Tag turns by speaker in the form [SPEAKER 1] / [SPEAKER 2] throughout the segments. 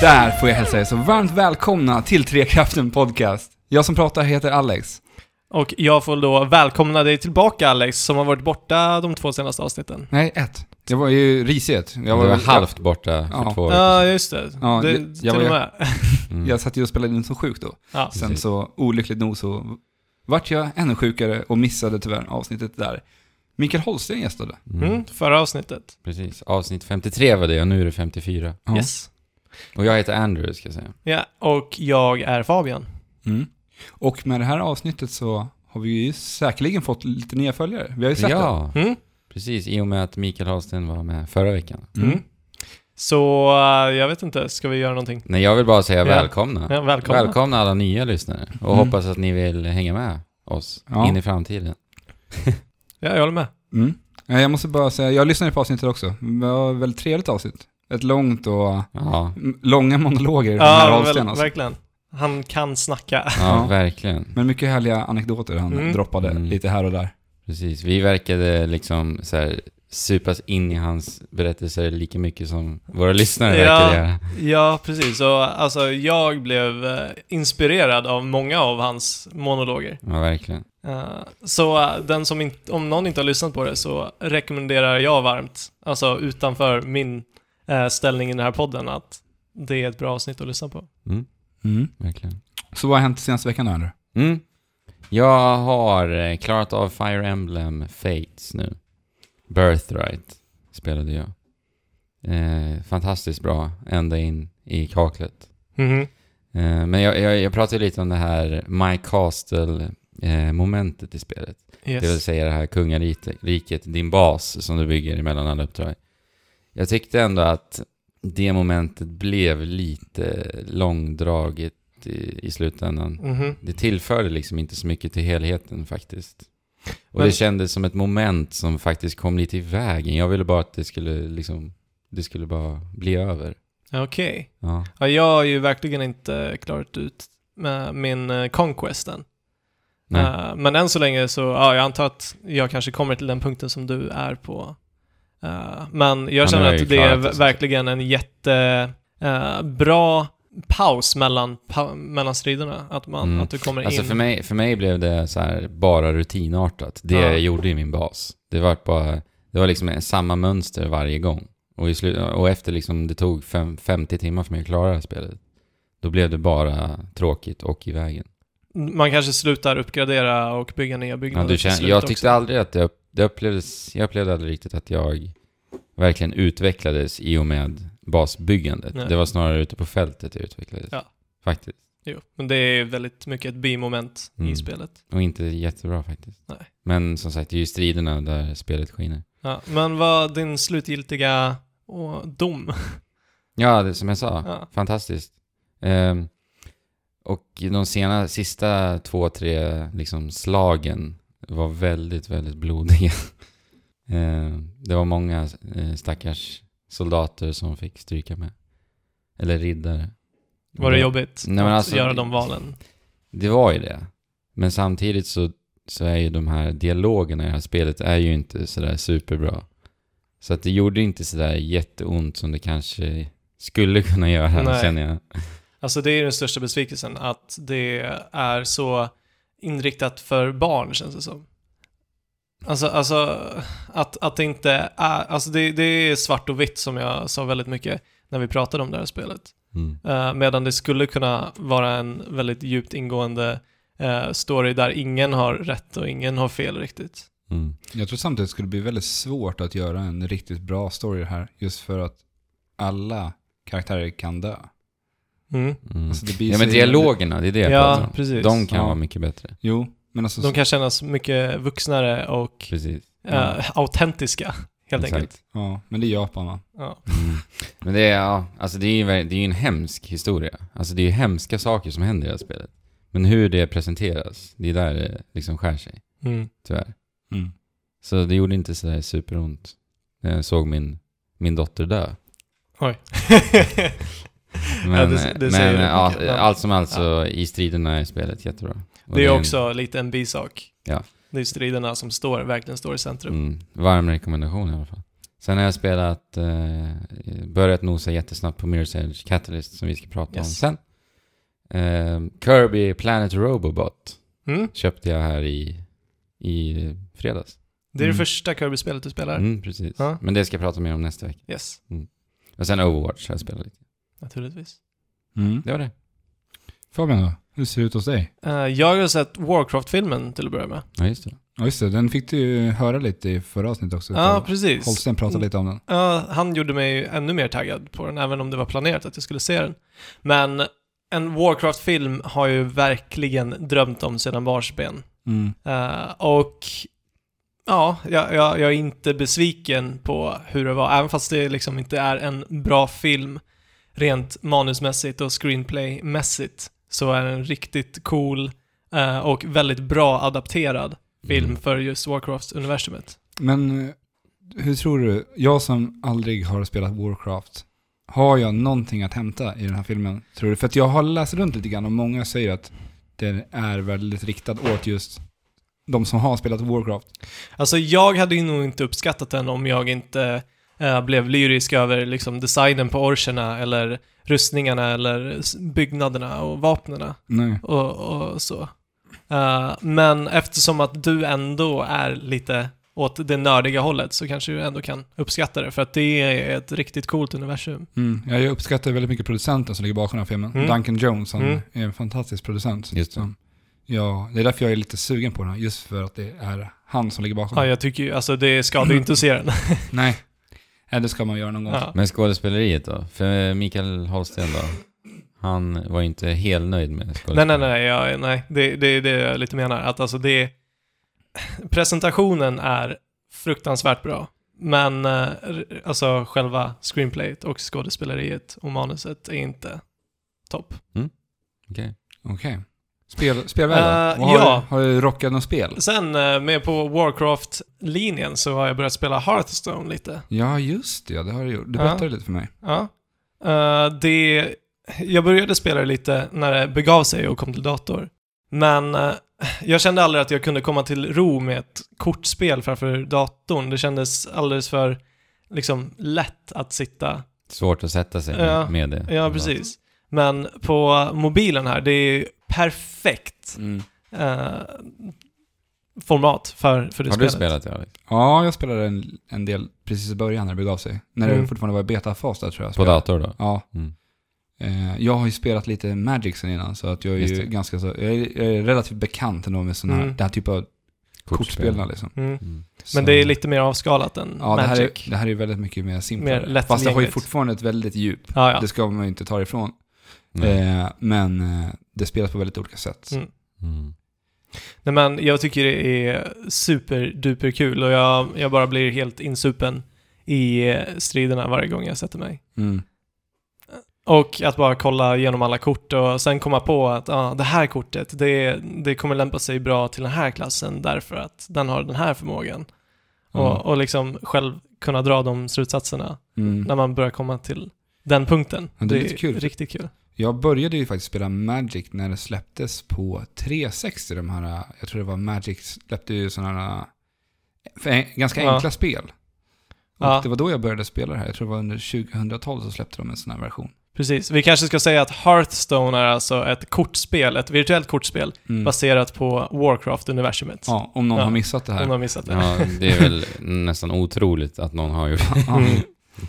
[SPEAKER 1] Där får jag hälsa er så varmt välkomna till Trekraften Podcast. Jag som pratar heter Alex.
[SPEAKER 2] Och jag får då välkomna dig tillbaka Alex, som har varit borta de två senaste avsnitten.
[SPEAKER 1] Nej, ett. Jag var ju risigt. Jag
[SPEAKER 3] Du var halvt borta för
[SPEAKER 1] Ja.
[SPEAKER 3] två år
[SPEAKER 2] Ja,
[SPEAKER 3] sedan.
[SPEAKER 2] just det.
[SPEAKER 1] Ja,
[SPEAKER 2] det
[SPEAKER 1] jag-
[SPEAKER 2] till
[SPEAKER 1] jag
[SPEAKER 2] och
[SPEAKER 1] var-
[SPEAKER 2] med.
[SPEAKER 3] Mm.
[SPEAKER 1] Jag satt ju och spelade in som sjuk då.
[SPEAKER 2] Ja.
[SPEAKER 1] Sen
[SPEAKER 3] Precis.
[SPEAKER 1] så, olyckligt nog så vart jag ännu sjukare och missade tyvärr avsnittet där Mikael Holsten gästade.
[SPEAKER 3] Mm.
[SPEAKER 2] Mm, förra avsnittet.
[SPEAKER 3] Precis. Avsnitt 53 var det och nu är det 54.
[SPEAKER 1] Ja.
[SPEAKER 2] Yes.
[SPEAKER 3] Och jag heter Andrew, ska jag säga.
[SPEAKER 2] Ja, och jag är Fabian.
[SPEAKER 1] Mm. Och med det här avsnittet så har vi ju säkerligen fått lite nya följare. Vi har ju sett
[SPEAKER 3] Ja,
[SPEAKER 2] Mm?
[SPEAKER 3] precis. I och med att Mikael Hallsten var med förra veckan.
[SPEAKER 1] det.
[SPEAKER 2] Mm. Så, eh, jag vet inte, ska vi göra någonting?
[SPEAKER 3] Nej, jag vill bara säga
[SPEAKER 2] Ja.
[SPEAKER 3] välkomna.
[SPEAKER 2] Ja, välkomna.
[SPEAKER 3] Välkomna alla nya lyssnare. Och
[SPEAKER 1] Mm.
[SPEAKER 3] hoppas att ni vill hänga med oss
[SPEAKER 1] Ja.
[SPEAKER 3] in i framtiden.
[SPEAKER 2] Ja, jag håller med.
[SPEAKER 1] Mm. Ja, Jag måste bara säga, jag lyssnade på avsnittet också. Det var ett väldigt trevligt avsnitt. Ett långt och
[SPEAKER 3] Ja,
[SPEAKER 1] m- långa monologer från herr
[SPEAKER 2] Ja, väl,
[SPEAKER 1] Holsten alltså.
[SPEAKER 2] verkligen. Han kan snacka.
[SPEAKER 3] ja
[SPEAKER 1] Ja.
[SPEAKER 3] verkligen.
[SPEAKER 1] Men mycket härliga anekdoter han
[SPEAKER 2] Mm.
[SPEAKER 1] droppade
[SPEAKER 3] Mm.
[SPEAKER 1] lite här och där.
[SPEAKER 3] Precis. Vi verkade liksom så här supas in i hans berättelser lika mycket som våra lyssnare
[SPEAKER 2] Ja.
[SPEAKER 3] verkade göra.
[SPEAKER 2] Ja, precis. Så, alltså, jag blev eh, inspirerad av många av hans monologer.
[SPEAKER 3] Ja, verkligen.
[SPEAKER 2] Eh, Så eh, den som inte, om någon inte har lyssnat på det så rekommenderar jag varmt, alltså utanför min eh, ställning i den här podden, att det är ett bra avsnitt att lyssna på.
[SPEAKER 3] Mm,
[SPEAKER 1] Mm.
[SPEAKER 3] verkligen.
[SPEAKER 1] Så vad har hänt senaste veckan då, Andrew?
[SPEAKER 3] Mm. Jag har eh, klarat av Fire Emblem Fates nu. Birthright spelade jag. Eh, fantastiskt bra, ända in i kaklet. Eh, men jag, jag, jag pratade lite om det här My Castle-momentet i spelet.
[SPEAKER 2] Yes.
[SPEAKER 3] Det vill säga det här kungariket, din bas som du bygger mellan alla uppdrag. Jag tyckte ändå att det momentet blev lite långdraget i, i slutändan.
[SPEAKER 2] Mhm.
[SPEAKER 3] Det tillförde liksom inte så mycket till helheten faktiskt. Och
[SPEAKER 2] Men-
[SPEAKER 3] det kändes som ett moment som faktiskt kom lite i vägen. Jag ville bara att det skulle liksom, det skulle bara bli över.
[SPEAKER 2] Okej.
[SPEAKER 3] Ja,
[SPEAKER 2] Ja, jag har ju verkligen inte klarat ut med min eh, conquest än.
[SPEAKER 3] nej.
[SPEAKER 2] Eh, Men än så länge så, ja, jag antar att jag kanske kommer till den punkten som du är på. Eh, Men
[SPEAKER 3] nu
[SPEAKER 2] jag
[SPEAKER 3] har
[SPEAKER 2] känner
[SPEAKER 3] jag ju
[SPEAKER 2] att det är
[SPEAKER 3] klarat det, så att-
[SPEAKER 2] verkligen en jättebra paus mellan, pa, mellan striderna. Att, man,
[SPEAKER 3] Mm.
[SPEAKER 2] att du kommer
[SPEAKER 3] Alltså
[SPEAKER 2] in.
[SPEAKER 3] för mig, för mig blev det så här bara rutinartat. Det
[SPEAKER 2] Ja.
[SPEAKER 3] jag gjorde i min bas. Det var bara, det var liksom samma mönster varje gång. Och, i slut, och efter liksom det tog fem, 50 timmar för mig att klara det här spelet. Då blev det bara tråkigt och i vägen.
[SPEAKER 2] Man kanske slutar uppgradera och bygga nya
[SPEAKER 3] Ja,
[SPEAKER 2] byggnader.
[SPEAKER 3] du
[SPEAKER 2] till
[SPEAKER 3] känner,
[SPEAKER 2] slut
[SPEAKER 3] jag
[SPEAKER 2] också.
[SPEAKER 3] tyckte aldrig att det, upp- det upplevdes, jag upplevde aldrig riktigt att jag verkligen utvecklades i och med basbyggandet.
[SPEAKER 2] Nej.
[SPEAKER 3] Det var snarare ute på fältet jag utvecklades.
[SPEAKER 2] Ja.
[SPEAKER 3] Faktiskt.
[SPEAKER 2] Jo, men det är väldigt mycket ett bimoment
[SPEAKER 3] Mm.
[SPEAKER 2] i spelet.
[SPEAKER 3] Och inte jättebra faktiskt.
[SPEAKER 2] Nej.
[SPEAKER 3] Men som sagt, det är ju striderna där spelet skiner.
[SPEAKER 2] Ja, men vad din slutgiltiga åh, dom?
[SPEAKER 3] Ja, det, som jag sa.
[SPEAKER 2] Ja.
[SPEAKER 3] Fantastiskt. Ehm, och de sena, sista två, tre liksom, slagen var väldigt, väldigt blodiga. Ehm, det var många eh, stackars soldater som fick stryka med. Eller riddare.
[SPEAKER 2] Var det jobbigt
[SPEAKER 3] Nej, men
[SPEAKER 2] att
[SPEAKER 3] alltså-
[SPEAKER 2] göra de valen?
[SPEAKER 3] Det var ju det. Men samtidigt så, så är ju de här dialogerna i det här spelet är ju inte sådär superbra. Så att det gjorde inte sådär jätteont som det kanske skulle kunna göra,
[SPEAKER 2] Nej.
[SPEAKER 3] känner jag.
[SPEAKER 2] Alltså det är den största besvikelsen, att det är så inriktat för barn känns det som. Alltså, alltså att, att det inte är, alltså det, det är svart och vitt som jag sa väldigt mycket när vi pratade om det här spelet.
[SPEAKER 3] Mm.
[SPEAKER 2] Eh, medan det skulle kunna vara en väldigt djupt ingående eh, story där ingen har rätt och ingen har fel riktigt.
[SPEAKER 3] Mm.
[SPEAKER 1] Jag tror samtidigt skulle det bli väldigt svårt att göra en riktigt bra story här. Just för att alla karaktärer kan dö.
[SPEAKER 2] Mm.
[SPEAKER 3] Mm.
[SPEAKER 1] Alltså, det blir
[SPEAKER 3] ja men
[SPEAKER 1] så-
[SPEAKER 3] dialogerna, det är det jag pratar
[SPEAKER 2] Ja,
[SPEAKER 3] om.
[SPEAKER 2] precis.
[SPEAKER 3] De kan
[SPEAKER 1] Ja.
[SPEAKER 3] vara mycket bättre.
[SPEAKER 1] Jo, men alltså...
[SPEAKER 2] De kan kännas mycket vuxnare och
[SPEAKER 3] Precis.
[SPEAKER 1] Ja.
[SPEAKER 2] eh, autentiska, helt
[SPEAKER 3] Mm. Exakt.
[SPEAKER 2] enkelt.
[SPEAKER 1] Ja, men det är Japan va?
[SPEAKER 2] Ja.
[SPEAKER 3] Mm. Men det är, ja, alltså det är, ju, ver- det är ju en hemsk historia. Alltså det är ju hemska saker som händer i det här spelet. Men hur det presenteras, det är där det liksom skär sig,
[SPEAKER 2] Mm.
[SPEAKER 3] tyvärr.
[SPEAKER 1] Mm.
[SPEAKER 3] Så det gjorde inte sådär superont när jag såg min, min dotter dö.
[SPEAKER 2] Oj.
[SPEAKER 3] Men,
[SPEAKER 2] Ja, det- det säger
[SPEAKER 3] men
[SPEAKER 2] ju
[SPEAKER 3] ja,
[SPEAKER 2] mycket, ja.
[SPEAKER 3] allt som allt så, i striderna i spelet, jättebra. Och
[SPEAKER 2] Det
[SPEAKER 3] en-
[SPEAKER 2] är också lite en bisak.
[SPEAKER 3] Ja.
[SPEAKER 2] Det är striderna som står, verkligen står i centrum.
[SPEAKER 3] Mm, varm rekommendation i alla fall. Sen har jag spelat, eh, börjat nosa jättesnabbt på Mirror's Edge Catalyst som vi ska prata om
[SPEAKER 2] Yes.
[SPEAKER 3] sen. Eh, Kirby Planet Robobot
[SPEAKER 2] Mm?
[SPEAKER 3] köpte jag här i, i fredags.
[SPEAKER 2] Det är
[SPEAKER 1] Mm.
[SPEAKER 2] det första Kirby-spelet du spelar?
[SPEAKER 3] Mm, precis.
[SPEAKER 2] Ja.
[SPEAKER 3] Men det ska jag prata mer om nästa vecka.
[SPEAKER 2] Yes,
[SPEAKER 3] Och sen Overwatch har jag spelat lite.
[SPEAKER 2] naturligtvis.
[SPEAKER 1] Mm.
[SPEAKER 3] Det var det.
[SPEAKER 1] Fabian då? Hur ser det ut hos dig?
[SPEAKER 2] Eh, jag har sett Warcraft-filmen till att börja med.
[SPEAKER 3] Ja, just det.
[SPEAKER 1] Ja, just det. Den fick du ju höra lite i förra avsnittet också.
[SPEAKER 2] Ja,
[SPEAKER 1] utav
[SPEAKER 2] precis.
[SPEAKER 1] Holsten pratade lite om den.
[SPEAKER 2] Ja, han gjorde mig ännu mer taggad på den, även om det var planerat att jag skulle se den. Men en Warcraft-film har jag ju verkligen drömt om sedan barnsben.
[SPEAKER 1] Mm.
[SPEAKER 2] Eh, och ja, jag, jag, jag är inte besviken på hur det var, även fast det liksom inte är en bra film rent manusmässigt och screenplaymässigt, så är den riktigt cool eh, och väldigt bra adapterad film
[SPEAKER 3] Mm.
[SPEAKER 2] för just Warcraft-universumet.
[SPEAKER 1] Men eh, hur tror du, jag som aldrig har spelat Warcraft, har jag någonting att hämta i den här filmen? Tror du? För att jag har läst runt lite grann och många säger att den är väldigt riktad åt just de som har spelat Warcraft.
[SPEAKER 2] Alltså jag hade ju nog inte uppskattat den om jag inte eh, blev lyrisk över liksom designen på orcherna eller rustningarna eller s- byggnaderna och vapnena
[SPEAKER 1] Nej.
[SPEAKER 2] och, och så. Eh, men eftersom att du ändå är lite åt det nördiga hållet så kanske du ändå kan uppskatta det för att det är ett riktigt coolt universum.
[SPEAKER 1] Mm. Jag uppskattar väldigt mycket producenten som ligger bakom den här filmen.
[SPEAKER 2] Mm.
[SPEAKER 1] Duncan Jones, han
[SPEAKER 2] Mm.
[SPEAKER 1] är en fantastisk producent.
[SPEAKER 3] Just det.
[SPEAKER 1] Som- Ja, det är därför jag är lite sugen på den, här, just för att det är han som ligger bakom.
[SPEAKER 2] Ja, jag tycker ju, alltså det skadar ju inte att se den.
[SPEAKER 1] Nej. Nej, det ska man göra någon gång.
[SPEAKER 2] ja.
[SPEAKER 3] Men skådespeleriet då? För Mikael Holsten då? Han var ju inte helt nöjd med
[SPEAKER 2] Nej,
[SPEAKER 3] skådespeleriet.
[SPEAKER 2] nej, nej, ja, nej. Det, det är det jag lite menar. Att alltså det, presentationen är fruktansvärt bra. Men eh, r- alltså själva screenplayet och skådespeleriet och manuset är inte topp.
[SPEAKER 3] Okej.
[SPEAKER 1] Okej. Spel, spelvärlden?
[SPEAKER 2] Eh,
[SPEAKER 1] Vad har,
[SPEAKER 2] ja.
[SPEAKER 1] du, har du rockat något spel?
[SPEAKER 2] Sen eh, med på Warcraft-linjen så har jag börjat spela Hearthstone lite.
[SPEAKER 1] Ja, just det. Ja, det har du gjort. Du
[SPEAKER 2] Ja.
[SPEAKER 1] berättade lite för mig.
[SPEAKER 2] Ja. Eh, det, jag började spela det lite när det begav sig och kom till dator. Men eh, jag kände aldrig att jag kunde komma till ro med ett kortspel framför datorn. Det kändes alldeles för liksom, lätt att sitta.
[SPEAKER 3] Svårt att sätta sig
[SPEAKER 2] Ja.
[SPEAKER 3] med det.
[SPEAKER 2] Ja, precis. Men på mobilen här, det är ju perfekt eh, format för, för det
[SPEAKER 3] Har du
[SPEAKER 2] spelet.
[SPEAKER 3] spelat det Alex?
[SPEAKER 1] Ja, jag spelade en, en del precis i början när det begav sig. När det
[SPEAKER 2] Mm.
[SPEAKER 1] fortfarande var i betafas där tror jag. jag
[SPEAKER 3] På
[SPEAKER 1] spelade.
[SPEAKER 3] dator då?
[SPEAKER 1] Ja.
[SPEAKER 3] Mm.
[SPEAKER 1] Eh, jag har ju spelat lite Magic sen innan, så att jag är
[SPEAKER 3] Just
[SPEAKER 1] ju
[SPEAKER 3] det.
[SPEAKER 1] ganska så, jag är, jag är relativt bekant ändå med sådana här,
[SPEAKER 2] Mm.
[SPEAKER 1] den här typen av kortspel. Liksom.
[SPEAKER 2] Mm.
[SPEAKER 3] Mm.
[SPEAKER 1] Så-
[SPEAKER 2] Men det är lite mer avskalat än
[SPEAKER 1] Ja, det
[SPEAKER 2] Magic.
[SPEAKER 1] här, är, det här är ju väldigt mycket mer
[SPEAKER 2] Mer
[SPEAKER 1] simplare. Fast det har ju
[SPEAKER 2] lättillgängligt.
[SPEAKER 1] fortfarande ett väldigt djup.
[SPEAKER 2] ja, ja.
[SPEAKER 1] Det ska man ju inte ta ifrån.
[SPEAKER 3] Nej.
[SPEAKER 1] Eh, men eh, det spelas på väldigt olika sätt.
[SPEAKER 2] Mm.
[SPEAKER 3] Mm.
[SPEAKER 2] Nej men jag tycker det är superduper kul och jag, jag bara blir helt insupen i eh, striderna varje gång jag sätter mig.
[SPEAKER 1] Mm.
[SPEAKER 2] Och att bara kolla igenom alla kort och sen komma på att ah, det här kortet, det, det kommer lämpa sig bra till den här klassen därför att den har den här förmågan.
[SPEAKER 1] Ja.
[SPEAKER 2] Och, och liksom själv kunna dra de slutsatserna
[SPEAKER 1] Mm.
[SPEAKER 2] när man börjar komma till den punkten.
[SPEAKER 1] Ja, det är lite kul.
[SPEAKER 2] riktigt kul.
[SPEAKER 1] Jag började ju faktiskt spela Magic när det släpptes på 360. De här, jag tror det var Magic släppte ju sådana här för en, ganska
[SPEAKER 2] Ja.
[SPEAKER 1] enkla spel. Och
[SPEAKER 2] Ja.
[SPEAKER 1] det var då jag började spela det här. Jag tror det var under 2012 så släppte de en sån här version.
[SPEAKER 2] Precis. Vi kanske ska säga att Hearthstone är alltså ett kortspel, ett virtuellt kortspel
[SPEAKER 1] Mm.
[SPEAKER 2] baserat på Warcraft-universumet.
[SPEAKER 1] Ja, om någon
[SPEAKER 2] Ja.
[SPEAKER 1] har missat det
[SPEAKER 2] Hon
[SPEAKER 1] här.
[SPEAKER 2] har missat det.
[SPEAKER 3] Ja, det är väl nästan otroligt att någon har gjort det.
[SPEAKER 1] Ja.
[SPEAKER 2] Mm.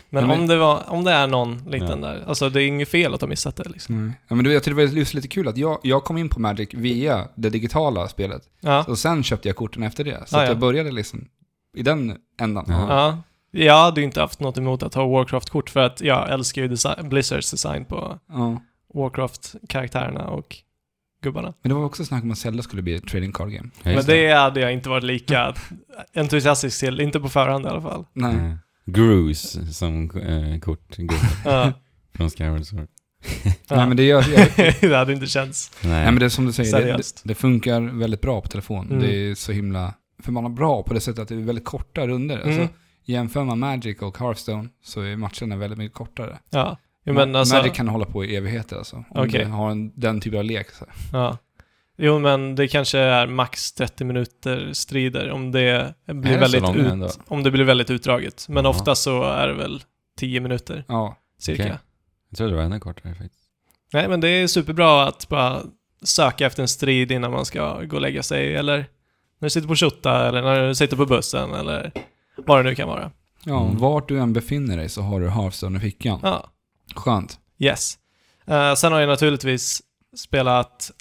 [SPEAKER 2] Men
[SPEAKER 1] men-
[SPEAKER 2] om det, var, om det är någon liten där, alltså det är inget fel att ha missat det liksom.
[SPEAKER 1] Nej. Ja, men du, jag tyckte det var just lite kul att jag, jag kom in på Magic via det digitala spelet.
[SPEAKER 2] Ja,
[SPEAKER 1] Och sen köpte jag korten efter det. Så
[SPEAKER 2] Ja,
[SPEAKER 1] att
[SPEAKER 2] ja.
[SPEAKER 1] jag började liksom i den ändan.
[SPEAKER 3] Ja.
[SPEAKER 2] ja. Jag hade ju inte haft något emot att ha Warcraft-kort för att jag älskar ju desi- Blizzards design på
[SPEAKER 1] Ja.
[SPEAKER 2] Warcraft-karaktärerna och gubbarna.
[SPEAKER 1] Men det var också snack om att Zelda skulle bli ett trading card game.
[SPEAKER 3] Ja, just
[SPEAKER 2] Men det hade jag inte varit lika entusiastisk till, inte på förhand i alla fall.
[SPEAKER 1] Nej.
[SPEAKER 3] Eh, Gruse som eh, kort
[SPEAKER 2] Ja,
[SPEAKER 3] från Skyward Sword.
[SPEAKER 1] Nej,
[SPEAKER 2] ja.
[SPEAKER 1] men det gör, jag,
[SPEAKER 2] det hade inte känts.
[SPEAKER 3] Nej.
[SPEAKER 1] Nej men det är som du säger, det, det,
[SPEAKER 2] Seriöst.
[SPEAKER 1] det funkar väldigt bra på telefon.
[SPEAKER 2] Mm.
[SPEAKER 1] Det är så himla... För man har bra på det sättet att det är väldigt korta runder. Alltså,
[SPEAKER 2] Mm.
[SPEAKER 1] jämför man Magic och Hearthstone så är matcherna väldigt mycket kortare.
[SPEAKER 2] Ja. Jo, men
[SPEAKER 1] Ma-
[SPEAKER 2] alltså,
[SPEAKER 1] Magic kan hålla på i evigheter alltså. Om
[SPEAKER 2] Okej.
[SPEAKER 1] du har en, den typen av lek. Så. här.
[SPEAKER 2] Ja. Jo, men det kanske är max 30 minuter strider om det blir,
[SPEAKER 3] det så
[SPEAKER 2] väldigt,
[SPEAKER 3] långa ändå?
[SPEAKER 2] ut, om det blir väldigt utdraget. Men
[SPEAKER 3] Ja.
[SPEAKER 2] ofta så är det väl 10 minuter
[SPEAKER 1] Ja.
[SPEAKER 2] cirka.
[SPEAKER 3] Okej. Jag tror det var ännu kortare faktiskt.
[SPEAKER 2] Nej, men det är superbra att bara söka efter en strid innan man ska gå och lägga sig, eller när du sitter på tjotta, eller när du sitter på bussen, eller vad det nu kan vara.
[SPEAKER 1] ja
[SPEAKER 3] Mm.
[SPEAKER 1] Vart du än befinner dig så har du Hearthstone i fickan.
[SPEAKER 2] Ja,
[SPEAKER 1] Skönt.
[SPEAKER 2] yes. Eh, sen har jag naturligtvis spelat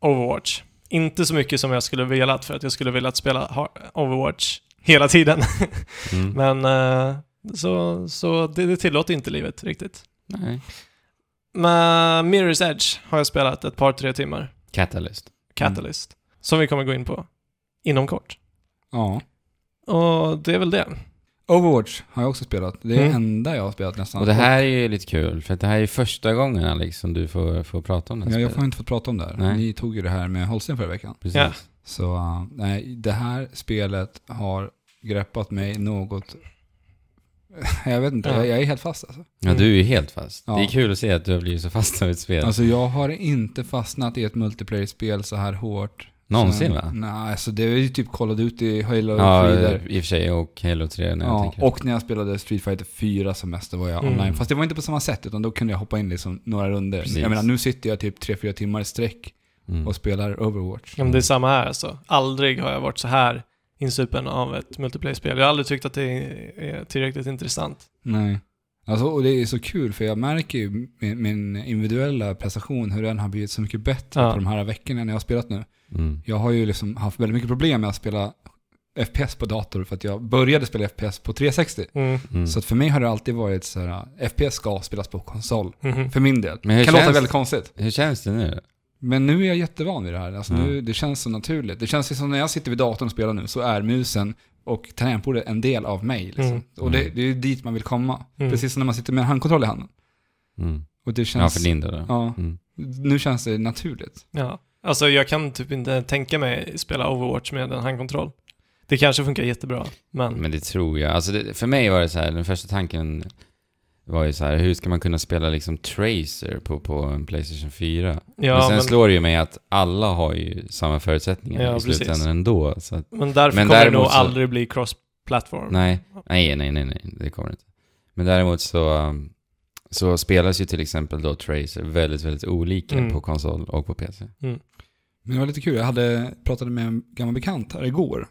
[SPEAKER 2] Overwatch. Inte så mycket som jag skulle velat, för att jag skulle velat spela Ha- Overwatch hela tiden.
[SPEAKER 3] Mm.
[SPEAKER 2] Men eh, så, så det, det tillåter inte livet riktigt.
[SPEAKER 3] Nej.
[SPEAKER 2] Men Mirror's Edge har jag spelat ett par, tre timmar.
[SPEAKER 3] Catalyst.
[SPEAKER 2] Catalyst.
[SPEAKER 3] Mm.
[SPEAKER 2] Som vi kommer gå in på inom kort.
[SPEAKER 1] Ja.
[SPEAKER 2] Och det är väl det.
[SPEAKER 1] Overwatch har jag också spelat. Det är det
[SPEAKER 2] Mm.
[SPEAKER 1] enda jag har spelat nästan.
[SPEAKER 3] Och det här är ju lite kul, för att det här är ju första gången Alex som du får, får prata om det här
[SPEAKER 1] Ja, jag
[SPEAKER 3] spelet.
[SPEAKER 1] har inte fått prata om det här.
[SPEAKER 3] Nej.
[SPEAKER 1] Ni tog ju det här med Holsten förra veckan.
[SPEAKER 3] Precis.
[SPEAKER 2] Ja.
[SPEAKER 1] Så uh, nej, det här spelet har greppat mig något... Jag vet inte,
[SPEAKER 2] Ja.
[SPEAKER 1] jag, jag är helt fast alltså.
[SPEAKER 3] Ja, du är ju helt fast.
[SPEAKER 1] Ja.
[SPEAKER 3] Det är kul att se att du har blivit så fast av ett spel.
[SPEAKER 1] Alltså jag har inte fastnat i ett multiplayer-spel så här hårt.
[SPEAKER 3] Någonsin
[SPEAKER 1] sen,
[SPEAKER 3] va?
[SPEAKER 1] Nej, alltså det är ju typ Call of Duty, Halo
[SPEAKER 3] Ja,
[SPEAKER 1] och så
[SPEAKER 3] i
[SPEAKER 1] vidare.
[SPEAKER 3] och för sig. Och Halo 3 när jag
[SPEAKER 1] Ja,
[SPEAKER 3] tänker
[SPEAKER 1] och när jag spelade Street Fighter 4 som mest, då var jag
[SPEAKER 2] Mm.
[SPEAKER 1] online. Fast det var inte på samma sätt, utan då kunde jag hoppa in liksom några runder.
[SPEAKER 3] Precis.
[SPEAKER 1] Jag menar, nu sitter jag typ 3-4 timmar i sträck
[SPEAKER 3] mm.
[SPEAKER 1] och spelar Overwatch.
[SPEAKER 2] Ja, men det är samma här alltså. Aldrig har jag varit så här insupen av ett multiplayer-spel. Jag har aldrig tyckt att det är tillräckligt intressant.
[SPEAKER 1] Nej. Alltså, och det är så kul för jag märker ju min, min individuella prestation hur den har blivit så mycket bättre
[SPEAKER 2] Ja.
[SPEAKER 1] på de här veckorna när jag har spelat nu.
[SPEAKER 3] Mm.
[SPEAKER 1] Jag har ju liksom haft väldigt mycket problem med att spela FPS på dator för att jag började spela FPS på 360.
[SPEAKER 2] Mm.
[SPEAKER 3] Mm.
[SPEAKER 1] Så att för mig har det alltid varit så här, FPS ska spelas på konsol.
[SPEAKER 2] Mhm.
[SPEAKER 1] För min del.
[SPEAKER 3] Men hur
[SPEAKER 1] kan
[SPEAKER 3] känns-
[SPEAKER 1] låta väldigt konstigt.
[SPEAKER 3] Hur känns det nu?
[SPEAKER 1] Men nu är jag jättevan vid det här. Alltså
[SPEAKER 3] Ja.
[SPEAKER 1] nu, det känns så naturligt. Det känns ju som när jag sitter vid datorn och spelar nu så är musen och tangentbordet en del av mig. Liksom.
[SPEAKER 2] Mm.
[SPEAKER 1] Och det, det är ju dit man vill komma.
[SPEAKER 2] Mm.
[SPEAKER 1] Precis som när man sitter med en handkontroll i handen.
[SPEAKER 3] Mm.
[SPEAKER 1] Och det
[SPEAKER 3] Ja,
[SPEAKER 1] känns...
[SPEAKER 3] för Linda då.
[SPEAKER 1] ja,
[SPEAKER 3] Mm.
[SPEAKER 1] nu känns det naturligt.
[SPEAKER 2] Ja. Alltså jag kan typ inte tänka mig spela Overwatch med en handkontroll. Det kanske funkar jättebra, men...
[SPEAKER 3] Men det tror jag. Alltså det, för mig var det så här, den första tanken var ju så här, hur ska man kunna spela liksom Tracer på, på en Playstation 4? men
[SPEAKER 2] Ja,
[SPEAKER 3] sen
[SPEAKER 2] men,
[SPEAKER 3] slår det ju mig att alla har ju samma förutsättningar
[SPEAKER 2] Ja,
[SPEAKER 3] i
[SPEAKER 2] precis.
[SPEAKER 3] slutändan ändå. Så att,
[SPEAKER 2] men därför
[SPEAKER 3] men
[SPEAKER 2] kommer det
[SPEAKER 3] däremot
[SPEAKER 2] nog
[SPEAKER 3] så-
[SPEAKER 2] aldrig bli cross-platform.
[SPEAKER 3] nej, nej, nej, nej, nej, det kommer det inte. Men däremot så, um, så spelas ju till exempel då Tracer väldigt, väldigt olika
[SPEAKER 2] Mm.
[SPEAKER 3] på konsol och på PC.
[SPEAKER 1] Men det var lite kul. Jag hade pratade med en gammal bekant här igår.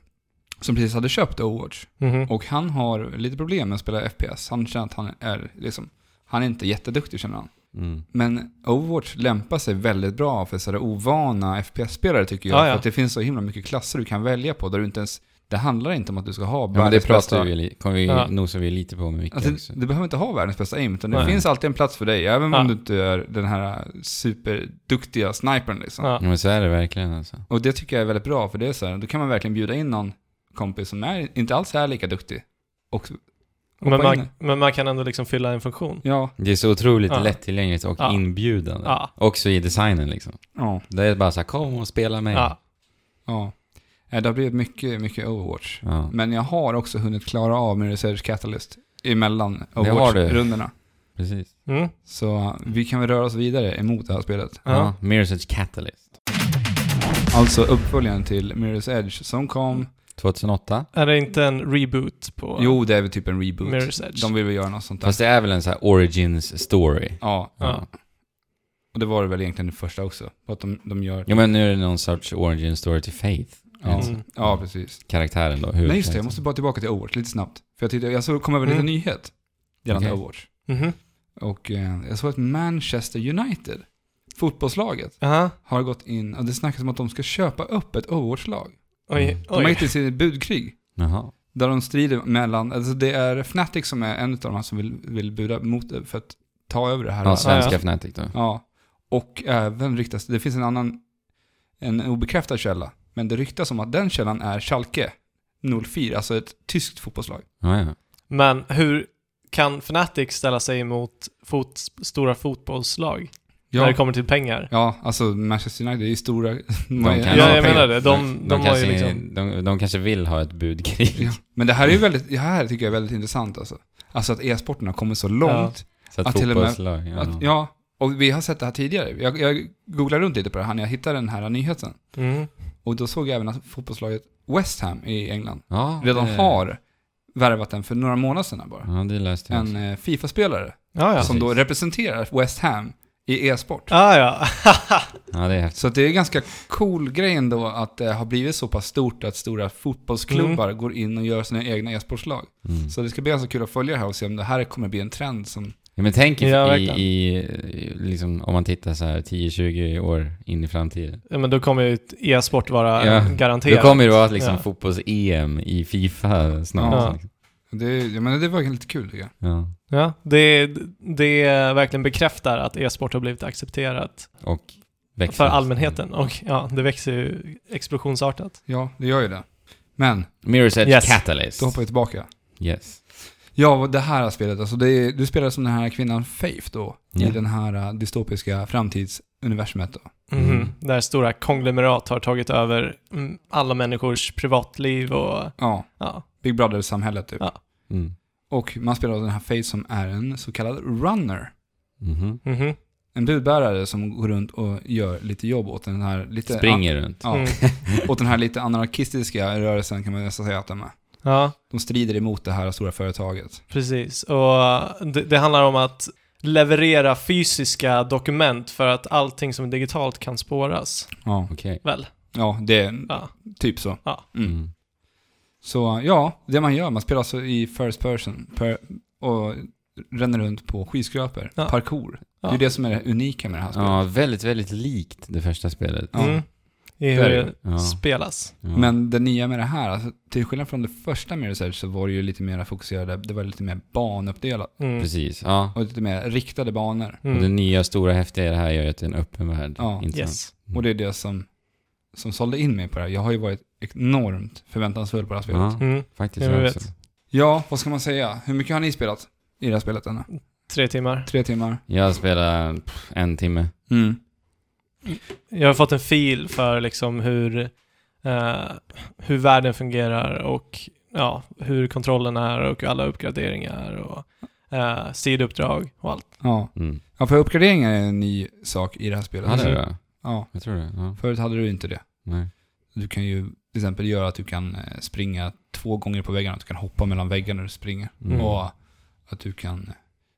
[SPEAKER 1] Som precis hade köpt Overwatch.
[SPEAKER 2] Mhm.
[SPEAKER 1] Och han har lite problem med att spela FPS. Han känner att han är liksom, han är inte jätteduktig känner han.
[SPEAKER 3] Mm.
[SPEAKER 1] Men Overwatch lämpar sig väldigt bra för sådär ovana FPS-spelare tycker jag.
[SPEAKER 2] Ja, ja.
[SPEAKER 1] För att det finns så himla mycket klasser du kan välja på där du inte ens, det handlar inte om att du ska ha
[SPEAKER 3] Ja, men det
[SPEAKER 1] världens bästa.
[SPEAKER 3] pratar vi, li- kommer vi,
[SPEAKER 2] Ja.
[SPEAKER 3] nosar vi lite på med Micke
[SPEAKER 1] Alltså,
[SPEAKER 3] också.
[SPEAKER 1] du behöver inte ha världens bästa aim, utan det
[SPEAKER 2] Nej.
[SPEAKER 1] finns alltid en plats för dig, även
[SPEAKER 2] Ja.
[SPEAKER 1] om du inte är den här superduktiga snipern liksom.
[SPEAKER 2] Ja.
[SPEAKER 3] Ja, men så är det verkligen alltså.
[SPEAKER 1] Och det tycker jag är väldigt bra, för det är så här, då kan man verkligen bjuda in någon kompis som är, inte alls är lika duktig. Och,
[SPEAKER 2] Men,
[SPEAKER 1] hoppa in
[SPEAKER 2] man, men man kan ändå liksom fylla en funktion.
[SPEAKER 1] ja,
[SPEAKER 3] Det är så otroligt
[SPEAKER 2] Ja.
[SPEAKER 3] lättillgängligt och
[SPEAKER 2] Ja.
[SPEAKER 3] inbjudande.
[SPEAKER 2] Ja.
[SPEAKER 3] Också i designen liksom.
[SPEAKER 1] ja.
[SPEAKER 3] Det är bara så här, kom och spela med.
[SPEAKER 2] Ja.
[SPEAKER 1] Ja. Eh, Det har blivit mycket, mycket Overwatch.
[SPEAKER 3] Ja.
[SPEAKER 1] Men jag har också hunnit klara av min Research Catalyst emellan
[SPEAKER 3] har du.
[SPEAKER 1] Overwatch-rundorna.
[SPEAKER 3] Precis.
[SPEAKER 2] Mm.
[SPEAKER 1] Så eh, vi kan väl röra oss vidare emot det här spelet.
[SPEAKER 2] Ja.
[SPEAKER 3] Ja. Mirror's Edge Catalyst.
[SPEAKER 1] Alltså uppföljaren till Mirror's Edge som kom.
[SPEAKER 3] 2008.
[SPEAKER 2] Är det inte en reboot på
[SPEAKER 1] Jo, det är väl typ en reboot.
[SPEAKER 2] Mirror's Edge?
[SPEAKER 1] De vill väl göra något sånt där.
[SPEAKER 3] Fast det är väl en så här origins story.
[SPEAKER 1] Ja,
[SPEAKER 2] Ja.
[SPEAKER 1] och det var det väl egentligen det första också. Att de, de gör...
[SPEAKER 3] Jo men nu är det någon sorts origin story till Faith. Alltså,
[SPEAKER 1] Ja,
[SPEAKER 2] Mm.
[SPEAKER 1] ja precis.
[SPEAKER 3] Karaktären då.
[SPEAKER 1] Nej, just det. Jag måste bara tillbaka till Overwatch lite snabbt. För jag, tittade, jag såg, kom över
[SPEAKER 2] Mm.
[SPEAKER 1] lite nyhet gällande
[SPEAKER 3] Okej.
[SPEAKER 1] Overwatch.
[SPEAKER 2] Mhm.
[SPEAKER 1] Och eh, jag såg att Manchester United, fotbollslaget,
[SPEAKER 2] Aha.
[SPEAKER 1] har gått in, och det snackas om att de ska köpa upp ett Overwatch-lag.
[SPEAKER 2] Oj,
[SPEAKER 3] Mm.
[SPEAKER 1] De har
[SPEAKER 2] oj.
[SPEAKER 1] gick till sitt budkrig,
[SPEAKER 3] Jaha.
[SPEAKER 1] där de strider mellan, alltså det är Fnatic som är en av de här som vill, vill buda mot det för att ta över det här.
[SPEAKER 3] Ja, svenska
[SPEAKER 2] Ja, ja.
[SPEAKER 3] Fnatic då.
[SPEAKER 1] Ja. Och även ryktas, det finns en annan, en obekräftad källa, men det ryktas om att den källan är Schalke 04, alltså ett tyskt fotbollslag.
[SPEAKER 3] Ja, ja.
[SPEAKER 2] Men hur kan Fnatic ställa sig emot fot, stora fotbollslag när det
[SPEAKER 1] Ja,
[SPEAKER 2] kommer till pengar?
[SPEAKER 1] ja alltså Manchester United är ju stora.
[SPEAKER 3] De
[SPEAKER 2] Ja,
[SPEAKER 3] kan
[SPEAKER 2] jag
[SPEAKER 3] ha pengar.
[SPEAKER 2] menar det. De- de har ju
[SPEAKER 3] kanske,
[SPEAKER 2] liksom-
[SPEAKER 3] de, de kanske vill ha ett budkrig.
[SPEAKER 1] Ja. Men det här är ju väldigt, det här tycker jag är väldigt intressant alltså. Alltså att e-sporten har kommit så långt
[SPEAKER 3] Så att
[SPEAKER 1] Ja, till och med-
[SPEAKER 3] fotbollslag. Ja.
[SPEAKER 1] Att, ja, Och vi har sett det här tidigare. Jag, jag googlade runt lite på det här när jag hittade den här nyheten.
[SPEAKER 2] Mm.
[SPEAKER 1] Och då såg jag även att fotbollslaget West Ham i England
[SPEAKER 3] Ja,
[SPEAKER 1] redan
[SPEAKER 3] det-
[SPEAKER 1] har värvat en för några månader sedan bara.
[SPEAKER 3] Ja, det läste jag.
[SPEAKER 1] En eh, Fifa-spelare
[SPEAKER 2] Ja, ja.
[SPEAKER 1] som då representerar West Ham i e-sport.
[SPEAKER 2] Ah, ja.
[SPEAKER 3] Ja, det är häftigt.
[SPEAKER 1] Så att det är en ganska cool grej ändå att det har blivit så pass stort att stora fotbollsklubbar går in och gör sina egna e-sportslag.
[SPEAKER 3] Mm.
[SPEAKER 1] Så det ska bli ganska kul att följa det här och se om det här kommer bli en trend som...
[SPEAKER 3] Ja, men tänk i,
[SPEAKER 2] Ja,
[SPEAKER 3] i,
[SPEAKER 2] verkligen.
[SPEAKER 3] i, liksom, om man tittar så här 10-20 år in i framtiden.
[SPEAKER 2] ja, men då kommer ju ett e-sport vara
[SPEAKER 3] Ja.
[SPEAKER 2] garanterat.
[SPEAKER 3] Då kommer det vara liksom
[SPEAKER 2] Ja.
[SPEAKER 3] fotbolls-EM i Fifa snart.
[SPEAKER 1] Ja.
[SPEAKER 3] Liksom.
[SPEAKER 1] Det, jag menar, det var lite kul tycker jag.
[SPEAKER 3] Ja.
[SPEAKER 2] Ja, det, det verkligen bekräftar att e-sport har blivit accepterat
[SPEAKER 3] Och växer.
[SPEAKER 2] för allmänheten. Och ja, det växer ju explosionsartat.
[SPEAKER 1] Ja, det gör ju det. Men,
[SPEAKER 3] Mirror's Edge
[SPEAKER 2] Yes.
[SPEAKER 3] Catalyst.
[SPEAKER 1] då hoppar vi tillbaka.
[SPEAKER 3] Yes.
[SPEAKER 1] Ja, och det här spelet, alltså det är, du spelar som den här kvinnan Faith då,
[SPEAKER 3] Ja.
[SPEAKER 1] i den här eh, dystopiska framtidsuniversumet då.
[SPEAKER 2] Mhm.
[SPEAKER 3] Mm.
[SPEAKER 2] Där stora konglomerat har tagit över mm, alla människors privatliv och
[SPEAKER 1] Ja,
[SPEAKER 2] ja.
[SPEAKER 1] Big Brother-samhället typ.
[SPEAKER 2] Ja.
[SPEAKER 3] Mm.
[SPEAKER 1] Och man spelar den här Faith som är en så kallad runner.
[SPEAKER 3] Mhm.
[SPEAKER 2] Mhm.
[SPEAKER 1] En budbärare som går runt och gör lite jobb åt den här lite...
[SPEAKER 3] Springer runt.
[SPEAKER 1] Ja,
[SPEAKER 2] Mm.
[SPEAKER 1] åt den här lite anarkistiska rörelsen kan man nästan säga att de är.
[SPEAKER 2] ja,
[SPEAKER 1] De strider emot det här stora företaget.
[SPEAKER 2] precis. Och det, det handlar om att leverera fysiska dokument för att allting som är digitalt kan spåras.
[SPEAKER 1] Ja,
[SPEAKER 3] Okej.
[SPEAKER 2] Väl?
[SPEAKER 1] ja det är
[SPEAKER 2] Ja.
[SPEAKER 1] typ så.
[SPEAKER 2] Ja.
[SPEAKER 1] Mm.
[SPEAKER 3] Mm.
[SPEAKER 1] Så ja, det man gör, man spelar alltså i first person per, och ränner runt på skyskrapor,
[SPEAKER 2] Ja.
[SPEAKER 1] parkour. Det är
[SPEAKER 2] Ja.
[SPEAKER 1] ju det som är det unika med det här spelet.
[SPEAKER 3] Ja, väldigt, väldigt likt det första spelet.
[SPEAKER 1] Ja.
[SPEAKER 2] Mm. I
[SPEAKER 1] Där
[SPEAKER 2] hur
[SPEAKER 1] är
[SPEAKER 2] det
[SPEAKER 3] Ja.
[SPEAKER 2] spelas.
[SPEAKER 3] Ja.
[SPEAKER 1] Men det nya med det här, alltså, till skillnad från det första Mirror's Edge så var det ju lite mer fokuserade, det var lite mer banuppdelat
[SPEAKER 2] Mm.
[SPEAKER 3] Precis. Ja.
[SPEAKER 1] och lite mer riktade banor.
[SPEAKER 2] Mm.
[SPEAKER 3] Och det nya stora häftiga i det här gör ju att det är en öppen värld.
[SPEAKER 1] Ja.
[SPEAKER 3] Inte sant?
[SPEAKER 2] Yes.
[SPEAKER 1] Och det är det som, som sålde in mig på det här. Jag har ju varit enormt förväntansfull på det här spelet.
[SPEAKER 3] Ja,
[SPEAKER 2] Mm.
[SPEAKER 3] faktiskt.
[SPEAKER 2] Ja,
[SPEAKER 3] jag
[SPEAKER 2] jag
[SPEAKER 3] också.
[SPEAKER 2] vet.
[SPEAKER 1] Ja, vad ska man säga? Hur mycket har ni spelat i det här spelet ännu?
[SPEAKER 2] Tre timmar.
[SPEAKER 1] Tre timmar?
[SPEAKER 3] Jag spelar pff, en timme.
[SPEAKER 1] Mm.
[SPEAKER 2] Jag har fått en fil för liksom hur, eh, hur världen fungerar och ja, hur kontrollen är och alla uppgraderingar och eh, sidouppdrag och allt.
[SPEAKER 1] Ja.
[SPEAKER 3] Mm.
[SPEAKER 1] ja, för uppgraderingar är en ny sak i det här spelet.
[SPEAKER 3] Ja, det tror jag.
[SPEAKER 1] Ja,
[SPEAKER 3] Jag tror det. Ja.
[SPEAKER 1] förut hade du inte det.
[SPEAKER 3] Nej.
[SPEAKER 1] Du kan ju till exempel göra att du kan eh, springa två gånger på väggarna, att du kan hoppa mellan väggarna när du springer.
[SPEAKER 3] Mm.
[SPEAKER 1] Och att du kan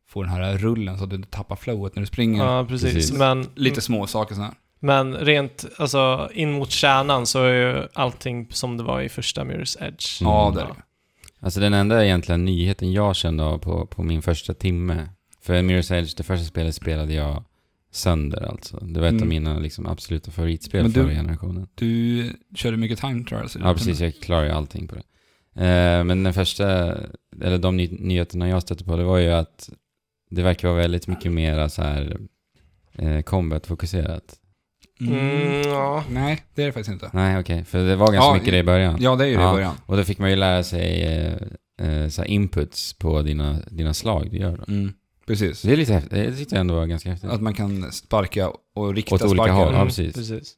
[SPEAKER 1] få den här rullen så att du inte tappar flowet när du springer.
[SPEAKER 2] Ja, precis.
[SPEAKER 3] Precis.
[SPEAKER 2] Men,
[SPEAKER 1] Lite små saker sådär.
[SPEAKER 3] Mm.
[SPEAKER 2] men rent alltså, in mot kärnan så är ju allting som det var i första Mirror's Edge.
[SPEAKER 3] Mm.
[SPEAKER 1] Ja, det är det.
[SPEAKER 3] Alltså den enda egentligen nyheten jag kände av på, på min första timme, för Mirror's Edge, det första spelet spelade jag sönder alltså. Det var ett av
[SPEAKER 1] Mm.
[SPEAKER 3] mina liksom, absoluta favoritspel
[SPEAKER 1] Men du-
[SPEAKER 3] förra generationen.
[SPEAKER 1] Du körde mycket time trials.
[SPEAKER 3] Ja, precis. Jag klarar ju allting på det. Eh, men den första, eller de ny- nyheterna jag stötte på, det var ju att det verkar vara väldigt mycket mer så här eh, combat-fokuserat.
[SPEAKER 2] Mm, ja.
[SPEAKER 1] Nej, det är det faktiskt inte.
[SPEAKER 3] Nej, okej. För det var ganska
[SPEAKER 1] Ja,
[SPEAKER 3] mycket det i början.
[SPEAKER 1] Ja, det är ju det
[SPEAKER 3] Ja.
[SPEAKER 1] i början.
[SPEAKER 3] Och då fick man ju lära sig eh, eh, så här inputs på dina, dina slag du gör då.
[SPEAKER 1] Mm. Precis.
[SPEAKER 3] Så det är lite häftigt. Det tyckte jag ändå var ganska häftigt.
[SPEAKER 1] Att man kan sparka och rikta
[SPEAKER 3] Åt olika
[SPEAKER 1] sparkar.
[SPEAKER 3] håll, ja.
[SPEAKER 2] Mm,
[SPEAKER 3] precis.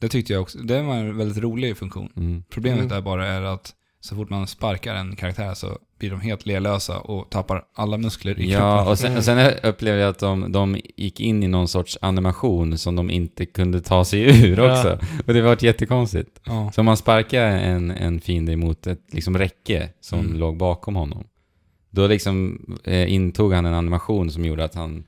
[SPEAKER 1] Det tyckte jag också. Det var en väldigt rolig funktion.
[SPEAKER 3] Mm.
[SPEAKER 1] Problemet
[SPEAKER 2] Mm.
[SPEAKER 1] där bara är att så fort man sparkar en karaktär så blir de helt lelösa och tappar alla muskler i
[SPEAKER 3] Ja,
[SPEAKER 1] kroppen.
[SPEAKER 3] och sen, och sen upplevde jag att de, de gick in i någon sorts animation som de inte kunde ta sig ur
[SPEAKER 2] Ja.
[SPEAKER 3] också. Och det var jättekonstigt.
[SPEAKER 1] Ja.
[SPEAKER 3] Så om man sparkar en, en fiende mot ett liksom, räcke som
[SPEAKER 1] Mm.
[SPEAKER 3] låg bakom honom, då liksom eh, intog han en animation som gjorde att han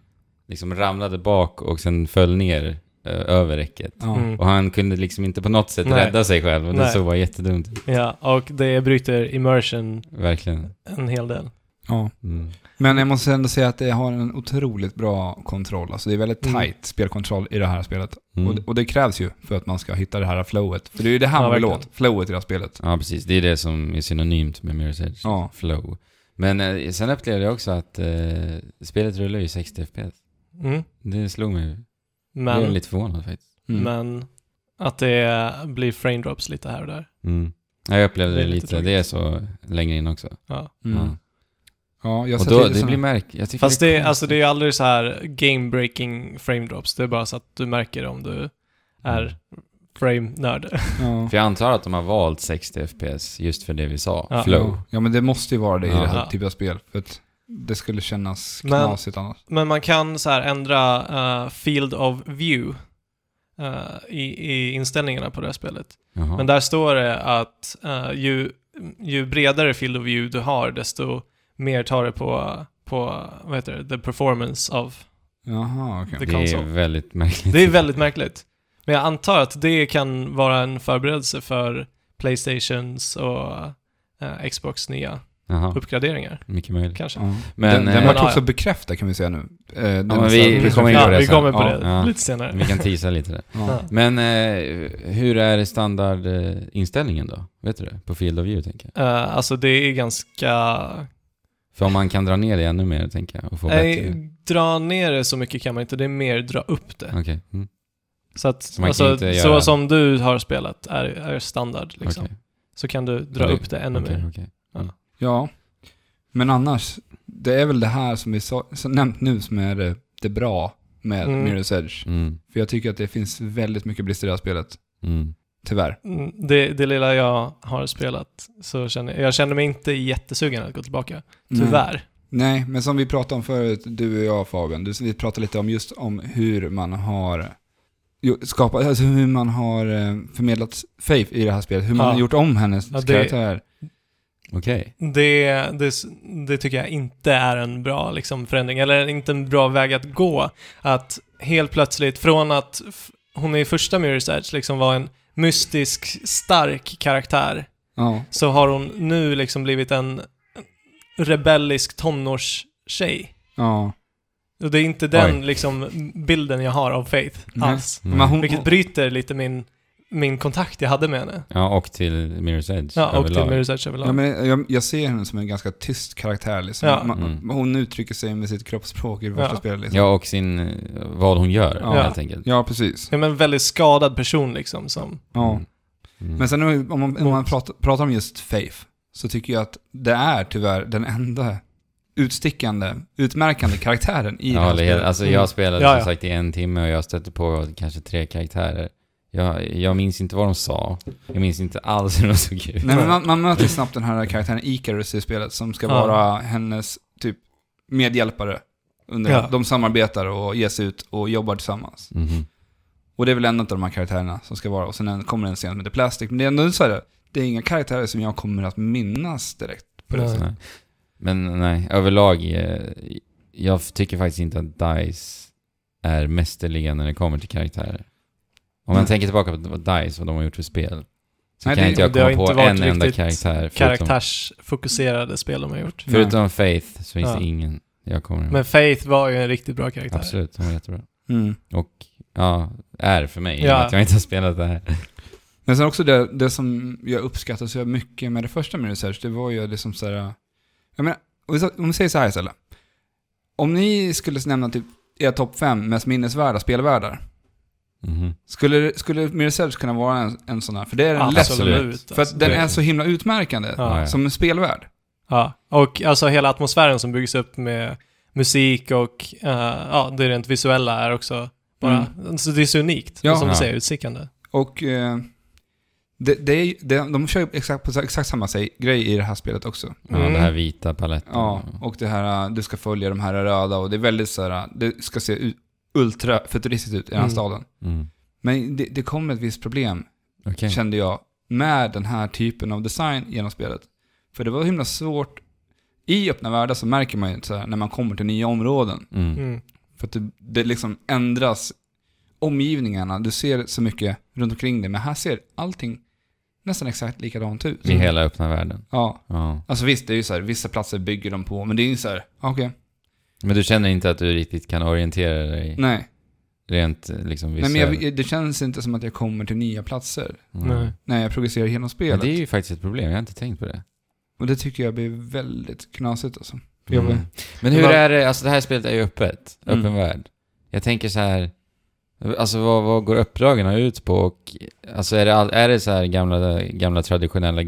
[SPEAKER 3] liksom ramlade bak och sen föll ner eh, över räcket.
[SPEAKER 1] Ja.
[SPEAKER 2] Mm.
[SPEAKER 3] Och han kunde liksom inte på något sätt
[SPEAKER 2] Nej.
[SPEAKER 3] rädda sig själv och det
[SPEAKER 2] Nej.
[SPEAKER 3] såg bara jättedumt ut.
[SPEAKER 2] Ja, och det bryter immersion
[SPEAKER 3] Verkligen.
[SPEAKER 2] en hel del.
[SPEAKER 1] Ja.
[SPEAKER 3] Mm.
[SPEAKER 1] Men jag måste ändå säga att det har en otroligt bra kontroll. Alltså det är väldigt
[SPEAKER 2] Mm.
[SPEAKER 1] tight spelkontroll i det här spelet.
[SPEAKER 3] Mm.
[SPEAKER 1] Och, det, och det krävs ju för att man ska hitta det här flowet. För det är ju det här
[SPEAKER 2] Ja,
[SPEAKER 1] man vill
[SPEAKER 2] verkligen.
[SPEAKER 1] åt, flowet i det här spelet.
[SPEAKER 3] Ja, precis. Det är det som är synonymt med Mirror's Edge.
[SPEAKER 1] Ja.
[SPEAKER 3] Flow. Men eh, sen upplevde jag också att eh, spelet rullar ju i 60 fps.
[SPEAKER 2] Mm.
[SPEAKER 3] Det slog mig. Jag blev
[SPEAKER 2] Men,
[SPEAKER 3] lite förvånad faktiskt.
[SPEAKER 1] Mm.
[SPEAKER 2] men att det blir frame drops lite här och där.
[SPEAKER 3] Mm. Ja, Jag upplevde
[SPEAKER 2] Det
[SPEAKER 3] det,
[SPEAKER 2] är lite
[SPEAKER 3] lite, det är så länge in också.
[SPEAKER 2] Ja.
[SPEAKER 1] Mm.
[SPEAKER 3] Ja.
[SPEAKER 1] Ja, jag har
[SPEAKER 3] Och
[SPEAKER 1] sett
[SPEAKER 3] då,
[SPEAKER 1] lite
[SPEAKER 3] det
[SPEAKER 1] såna-
[SPEAKER 3] blir märk... Jag tycker
[SPEAKER 2] Fast det, är- alltså,
[SPEAKER 3] konstigt.
[SPEAKER 2] det är aldrig så här game-breaking frame drops. Det är bara så att du märker om du
[SPEAKER 3] Mm.
[SPEAKER 2] är frame-nörd.
[SPEAKER 1] ja.
[SPEAKER 3] För jag antar att de har valt 60 fps just för det vi sa.
[SPEAKER 2] Ja. Mm.
[SPEAKER 3] Flow.
[SPEAKER 1] Ja, men det måste ju vara det i
[SPEAKER 3] Ja.
[SPEAKER 1] det här
[SPEAKER 2] Ja.
[SPEAKER 1] typen av spel. För att det skulle kännas
[SPEAKER 2] Men-
[SPEAKER 1] knasigt annars.
[SPEAKER 2] Men man kan så här ändra eh, field of view eh, i, i inställningarna på det här spelet.
[SPEAKER 3] Jaha.
[SPEAKER 2] Men där står det att eh, ju, ju bredare field of view du har, desto mer tar det på, på vad heter det, the performance of
[SPEAKER 1] Jaha, okej.
[SPEAKER 2] the
[SPEAKER 3] det är
[SPEAKER 2] console.
[SPEAKER 3] väldigt märkligt.
[SPEAKER 2] Det är väldigt märkligt. Men jag antar att det kan vara en förberedelse för Playstations och eh, Xbox nya
[SPEAKER 3] Jaha,
[SPEAKER 2] uppgraderingar,
[SPEAKER 3] mycket möjligt.
[SPEAKER 2] kanske.
[SPEAKER 1] Ja.
[SPEAKER 3] Men,
[SPEAKER 1] den den
[SPEAKER 3] eh,
[SPEAKER 1] vart
[SPEAKER 2] ja,
[SPEAKER 1] också
[SPEAKER 2] ja.
[SPEAKER 1] bekräftad kan vi säga nu. Eh, den
[SPEAKER 3] men
[SPEAKER 1] är
[SPEAKER 3] vi-
[SPEAKER 1] så-
[SPEAKER 3] vi kommer in på
[SPEAKER 2] ja,
[SPEAKER 3] det
[SPEAKER 2] vi
[SPEAKER 3] sen.
[SPEAKER 2] kommer på
[SPEAKER 1] Ja,
[SPEAKER 2] det
[SPEAKER 3] ja.
[SPEAKER 2] lite senare.
[SPEAKER 3] Vi kan tisa lite där.
[SPEAKER 1] Ja.
[SPEAKER 3] Men eh, hur är standardinställningen då? Vet du det? På Field of View tänker jag.
[SPEAKER 2] Eh, alltså det är ganska...
[SPEAKER 3] För om man kan dra ner det ännu mer tänker jag och få
[SPEAKER 2] Nej,
[SPEAKER 3] bättre...
[SPEAKER 2] dra ner det så mycket kan man inte, det är mer dra upp det.
[SPEAKER 3] Okej. Mm.
[SPEAKER 2] Så, att,
[SPEAKER 3] Så man kan
[SPEAKER 2] alltså,
[SPEAKER 3] inte
[SPEAKER 2] så
[SPEAKER 3] göra-
[SPEAKER 2] som du har spelat är, är standard. Liksom.
[SPEAKER 3] Okej.
[SPEAKER 2] Så kan du dra
[SPEAKER 3] Ja, det-
[SPEAKER 2] upp det ännu
[SPEAKER 3] okej,
[SPEAKER 2] mer.
[SPEAKER 3] okej.
[SPEAKER 1] Ja, men annars, det är väl det här som vi sa, som nämnt nu som är det, det bra med
[SPEAKER 2] Mm.
[SPEAKER 1] Mirror's Edge.
[SPEAKER 3] Mm.
[SPEAKER 1] För jag tycker att det finns väldigt mycket brister i det här spelet,
[SPEAKER 3] Mm.
[SPEAKER 1] tyvärr.
[SPEAKER 2] Mm, Det, det lilla jag har spelat, så känner jag, jag känner mig inte jättesugen att gå tillbaka. Mm. Tyvärr.
[SPEAKER 1] Nej, men som vi pratade om förut, du och jag Fabian, du, vi pratade lite om just om hur man har jo, skapat, alltså hur man har eh, förmedlat Faith i det här spelet, hur man
[SPEAKER 2] Ja.
[SPEAKER 1] har gjort om hennes
[SPEAKER 2] Ja, det-
[SPEAKER 1] karaktär.
[SPEAKER 3] Okej.
[SPEAKER 2] Det, det, det tycker jag inte är en bra liksom, förändring, eller inte en bra väg att gå. Att helt plötsligt, från att f- hon i första Mirror's Edge liksom var en mystisk, stark karaktär,
[SPEAKER 1] Ja,
[SPEAKER 2] så har hon nu liksom blivit en rebellisk tonårstjej.
[SPEAKER 1] ja.
[SPEAKER 3] Mm.
[SPEAKER 2] Och det är inte den
[SPEAKER 3] Oj.
[SPEAKER 2] liksom bilden jag har av Faith
[SPEAKER 1] Nej.
[SPEAKER 2] alls.
[SPEAKER 3] Mm.
[SPEAKER 1] Men hon,
[SPEAKER 2] Vilket bryter lite min, min kontakt jag hade med henne.
[SPEAKER 3] Ja, och till Mirror's Edge
[SPEAKER 2] Ja, och till
[SPEAKER 3] överlag.
[SPEAKER 2] Mirror's Edge
[SPEAKER 1] Ja,
[SPEAKER 2] överlag.
[SPEAKER 1] men jag, jag ser henne som en ganska tyst karaktär. Liksom.
[SPEAKER 2] Ja.
[SPEAKER 1] Man,
[SPEAKER 3] Mm.
[SPEAKER 1] Hon uttrycker sig med sitt kroppsspråk i det första
[SPEAKER 2] Ja.
[SPEAKER 1] spelet. Liksom.
[SPEAKER 3] Ja, och sin, eh, vad hon gör
[SPEAKER 1] Ja.
[SPEAKER 3] helt enkelt.
[SPEAKER 1] Ja, precis.
[SPEAKER 2] Ja, men en väldigt skadad person liksom som...
[SPEAKER 1] Ja.
[SPEAKER 3] Mm. Mm.
[SPEAKER 1] Men sen om om man, om man pratar, pratar om just Faith, så tycker jag att det är tyvärr den enda utstickande, utmärkande karaktären i det
[SPEAKER 3] ja,
[SPEAKER 1] här
[SPEAKER 3] eller hela,
[SPEAKER 1] spelet.
[SPEAKER 3] alltså
[SPEAKER 2] Mm.
[SPEAKER 3] jag spelade
[SPEAKER 2] Ja, ja.
[SPEAKER 3] som sagt i en timme och jag stötte på kanske tre karaktärer. Jag, jag minns inte vad de sa. Jag minns inte alls hur de såg ut.
[SPEAKER 1] Nej, men man, man möter snabbt den här karaktären Icarus i spelet som ska
[SPEAKER 2] Ja.
[SPEAKER 1] vara hennes typ medhjälpare. Under,
[SPEAKER 2] Ja.
[SPEAKER 1] De samarbetar och ger sig ut och jobbar tillsammans.
[SPEAKER 2] Mm.
[SPEAKER 3] Mhm.
[SPEAKER 1] Och det är väl en av de här karaktärerna som ska vara. Och sen en- kommer en scen med The Plastic. Men det är ändå så här, det är inga karaktärer som jag kommer att minnas direkt. På det
[SPEAKER 2] Nej.
[SPEAKER 1] sättet.
[SPEAKER 3] Nej. Men nej, överlag, eh, jag tycker faktiskt inte att DICE är mästerliga när det kommer till karaktärer. Om man
[SPEAKER 1] Nej.
[SPEAKER 3] tänker tillbaka på vad DICE, vad de har gjort för spel, så
[SPEAKER 1] Nej,
[SPEAKER 3] kan
[SPEAKER 1] det-
[SPEAKER 3] inte jag
[SPEAKER 2] det har
[SPEAKER 3] komma på
[SPEAKER 2] inte varit
[SPEAKER 3] en enda
[SPEAKER 2] riktigt
[SPEAKER 3] karaktär. Förutom,
[SPEAKER 2] Karaktärsfokuserade spel de har gjort.
[SPEAKER 1] Nej.
[SPEAKER 3] förutom Faith så finns
[SPEAKER 2] Ja.
[SPEAKER 3] det ingen jag kommer ihåg.
[SPEAKER 2] Men Faith var ju en riktigt bra karaktär.
[SPEAKER 3] Absolut, hon var jättebra.
[SPEAKER 1] Mm.
[SPEAKER 3] Och ja, är för mig, i och
[SPEAKER 2] Ja.
[SPEAKER 3] med att jag inte har spelat det här.
[SPEAKER 1] Men sen också det, det som jag uppskattar så mycket med det första med research, det var ju liksom så här... Jag menar, om vi, sa- om vi säger så här istället. Om ni skulle nämna typ era topp fem mest minnesvärda spelvärldar,
[SPEAKER 3] Mhm.
[SPEAKER 1] skulle, skulle Mirror's Edge kunna vara en, en sån här? För det är den lätt.
[SPEAKER 3] Absolut.
[SPEAKER 1] För
[SPEAKER 2] alltså.
[SPEAKER 1] att den
[SPEAKER 3] det-
[SPEAKER 1] är så himla utmärkande
[SPEAKER 2] Ja.
[SPEAKER 1] som en spelvärld.
[SPEAKER 2] Ja, och alltså hela atmosfären som byggs upp med musik och eh, ja, det rent visuella är också bara, alltså det är så unikt,
[SPEAKER 1] Ja.
[SPEAKER 2] som du
[SPEAKER 3] Mm. Ja.
[SPEAKER 2] säger, utstickande.
[SPEAKER 1] Och eh, det, det är, ju- det, de kör ju exakt, på exakt samma sig, grej i det här spelet också.
[SPEAKER 3] Ja,
[SPEAKER 2] Mm.
[SPEAKER 3] det här vita paletten.
[SPEAKER 1] Ja, och det här, eh, du ska följa de här röda och det är väldigt så här, eh, det ska se u- ultrafuturistiskt ut i den här
[SPEAKER 2] Mm.
[SPEAKER 1] staden.
[SPEAKER 3] Mm.
[SPEAKER 1] Men det, det kommer ett visst problem,
[SPEAKER 3] Okej.
[SPEAKER 1] kände jag, med den här typen av design genom spelet. För det var himla svårt, i öppna världar så märker man ju så här, när man kommer till nya områden,
[SPEAKER 3] Mm.
[SPEAKER 2] Mm.
[SPEAKER 1] för att det, det liksom ändras omgivningarna, du ser så mycket runt omkring dig, men här ser allting nästan exakt likadant ut.
[SPEAKER 3] I hela öppna världen.
[SPEAKER 1] Ja,
[SPEAKER 3] Ja.
[SPEAKER 1] alltså visst, det är ju så här, vissa platser bygger de på, men det är ju så här, okej,
[SPEAKER 3] Men du känner inte att du riktigt kan orientera dig
[SPEAKER 1] nej.
[SPEAKER 3] rent eh, liksom
[SPEAKER 1] Mm. nej men
[SPEAKER 3] visuellt?
[SPEAKER 1] jag, det känns inte som att jag kommer till nya platser
[SPEAKER 3] Mm.
[SPEAKER 2] Nej.
[SPEAKER 1] när jag progresserar genom
[SPEAKER 3] Men
[SPEAKER 1] spelet.
[SPEAKER 3] det är ju faktiskt ett problem, jag har inte tänkt på det.
[SPEAKER 1] Och det tycker jag blir väldigt knasigt alltså. För jag
[SPEAKER 3] Mm.
[SPEAKER 1] blir-
[SPEAKER 3] Men hur
[SPEAKER 1] Men-
[SPEAKER 3] är det, alltså det här spelet är ju öppet, öppen
[SPEAKER 1] Mm.
[SPEAKER 3] värld. Jag tänker så här, alltså vad, vad går uppdragen ut på? Och, alltså är det, all, är det så här gamla, gamla traditionella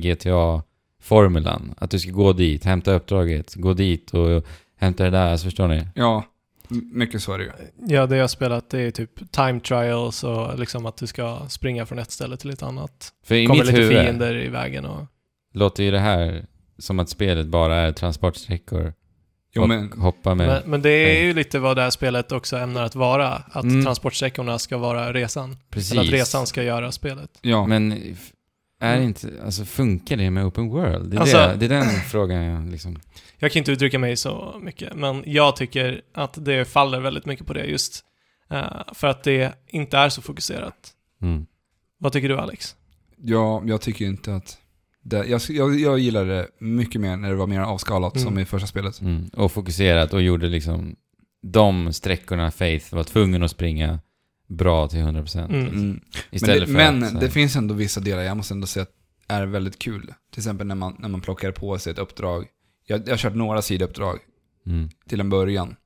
[SPEAKER 3] GTA-formulan? Att du ska gå dit, hämta uppdraget, gå dit och hämta det där, alltså förstår ni?
[SPEAKER 1] Ja, m- mycket så är det ju.
[SPEAKER 2] Ja, det jag har spelat det är typ time trials och liksom att du ska springa från ett ställe till ett annat.
[SPEAKER 3] För i
[SPEAKER 2] kommer
[SPEAKER 3] mitt
[SPEAKER 2] lite
[SPEAKER 3] huvud
[SPEAKER 2] fiender i vägen och...
[SPEAKER 3] låter ju det här som att spelet bara är transportsträckor
[SPEAKER 1] Jo,
[SPEAKER 3] och
[SPEAKER 1] men,
[SPEAKER 3] hoppa med.
[SPEAKER 2] Men, men det är ju lite vad det här spelet också ämnar att vara. Att
[SPEAKER 3] Mm.
[SPEAKER 2] transportsträckorna ska vara resan.
[SPEAKER 3] Precis.
[SPEAKER 2] Eller att resan ska göra spelet.
[SPEAKER 1] ja.
[SPEAKER 3] Men f- är inte, alltså funkar det med open world? Det är,
[SPEAKER 2] Alltså-
[SPEAKER 3] det, det är den frågan jag liksom...
[SPEAKER 2] Jag kan inte uttrycka mig så mycket, men jag tycker att det faller väldigt mycket på det just eh, för att det inte är så fokuserat.
[SPEAKER 3] Mm.
[SPEAKER 2] Vad tycker du Alex?
[SPEAKER 1] Ja, jag tycker inte att... Det, jag, jag, jag gillade det mycket mer när det var mer avskalat
[SPEAKER 2] Mm.
[SPEAKER 1] som i första spelet.
[SPEAKER 3] Mm. Och fokuserat och gjorde liksom de sträckorna Faith var tvungen att springa bra till 100%.
[SPEAKER 2] Mm.
[SPEAKER 1] Mm. Men,
[SPEAKER 3] Istället
[SPEAKER 1] det, men
[SPEAKER 3] för att, så här-
[SPEAKER 1] det finns ändå vissa delar jag måste ändå säga att är väldigt kul. Till exempel när man, när man plockar på sig ett uppdrag. Jag, jag har kört några sidouppdrag
[SPEAKER 3] mm.
[SPEAKER 1] till en början.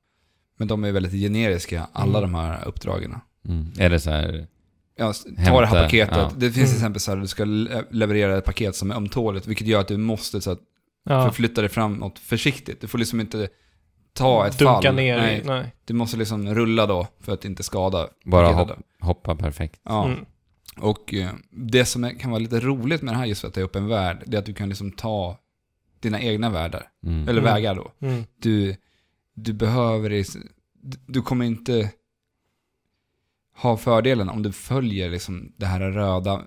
[SPEAKER 1] Men de är väldigt generiska, alla
[SPEAKER 2] Mm.
[SPEAKER 1] de här uppdragen.
[SPEAKER 3] Mm. Eller så här,
[SPEAKER 1] Ja, s- ta
[SPEAKER 3] Hämta,
[SPEAKER 1] det här paketet.
[SPEAKER 3] ja.
[SPEAKER 1] Det finns till
[SPEAKER 2] Mm.
[SPEAKER 1] exempel så här, du ska le- leverera ett paket som är ömtåligt, vilket gör att du måste så att,
[SPEAKER 2] Ja,
[SPEAKER 1] förflytta dig framåt försiktigt. Du får liksom inte ta ett
[SPEAKER 2] dunka
[SPEAKER 1] fall.
[SPEAKER 2] ner
[SPEAKER 1] Nej,
[SPEAKER 2] i... Nej.
[SPEAKER 1] Du måste liksom rulla då för att inte skada.
[SPEAKER 3] bara
[SPEAKER 1] paketet
[SPEAKER 3] hopp,
[SPEAKER 1] då.
[SPEAKER 3] hoppa perfekt.
[SPEAKER 1] Ja.
[SPEAKER 2] Mm.
[SPEAKER 1] Och eh, det som är, kan vara lite roligt med det här just för att det är öppen värld, det är att du kan liksom ta dina egna världar,
[SPEAKER 3] Mm.
[SPEAKER 1] eller
[SPEAKER 2] Mm.
[SPEAKER 1] vägar då.
[SPEAKER 2] Mm.
[SPEAKER 1] Du, du behöver, is- du- du kommer inte ha fördelen om du följer liksom de här röda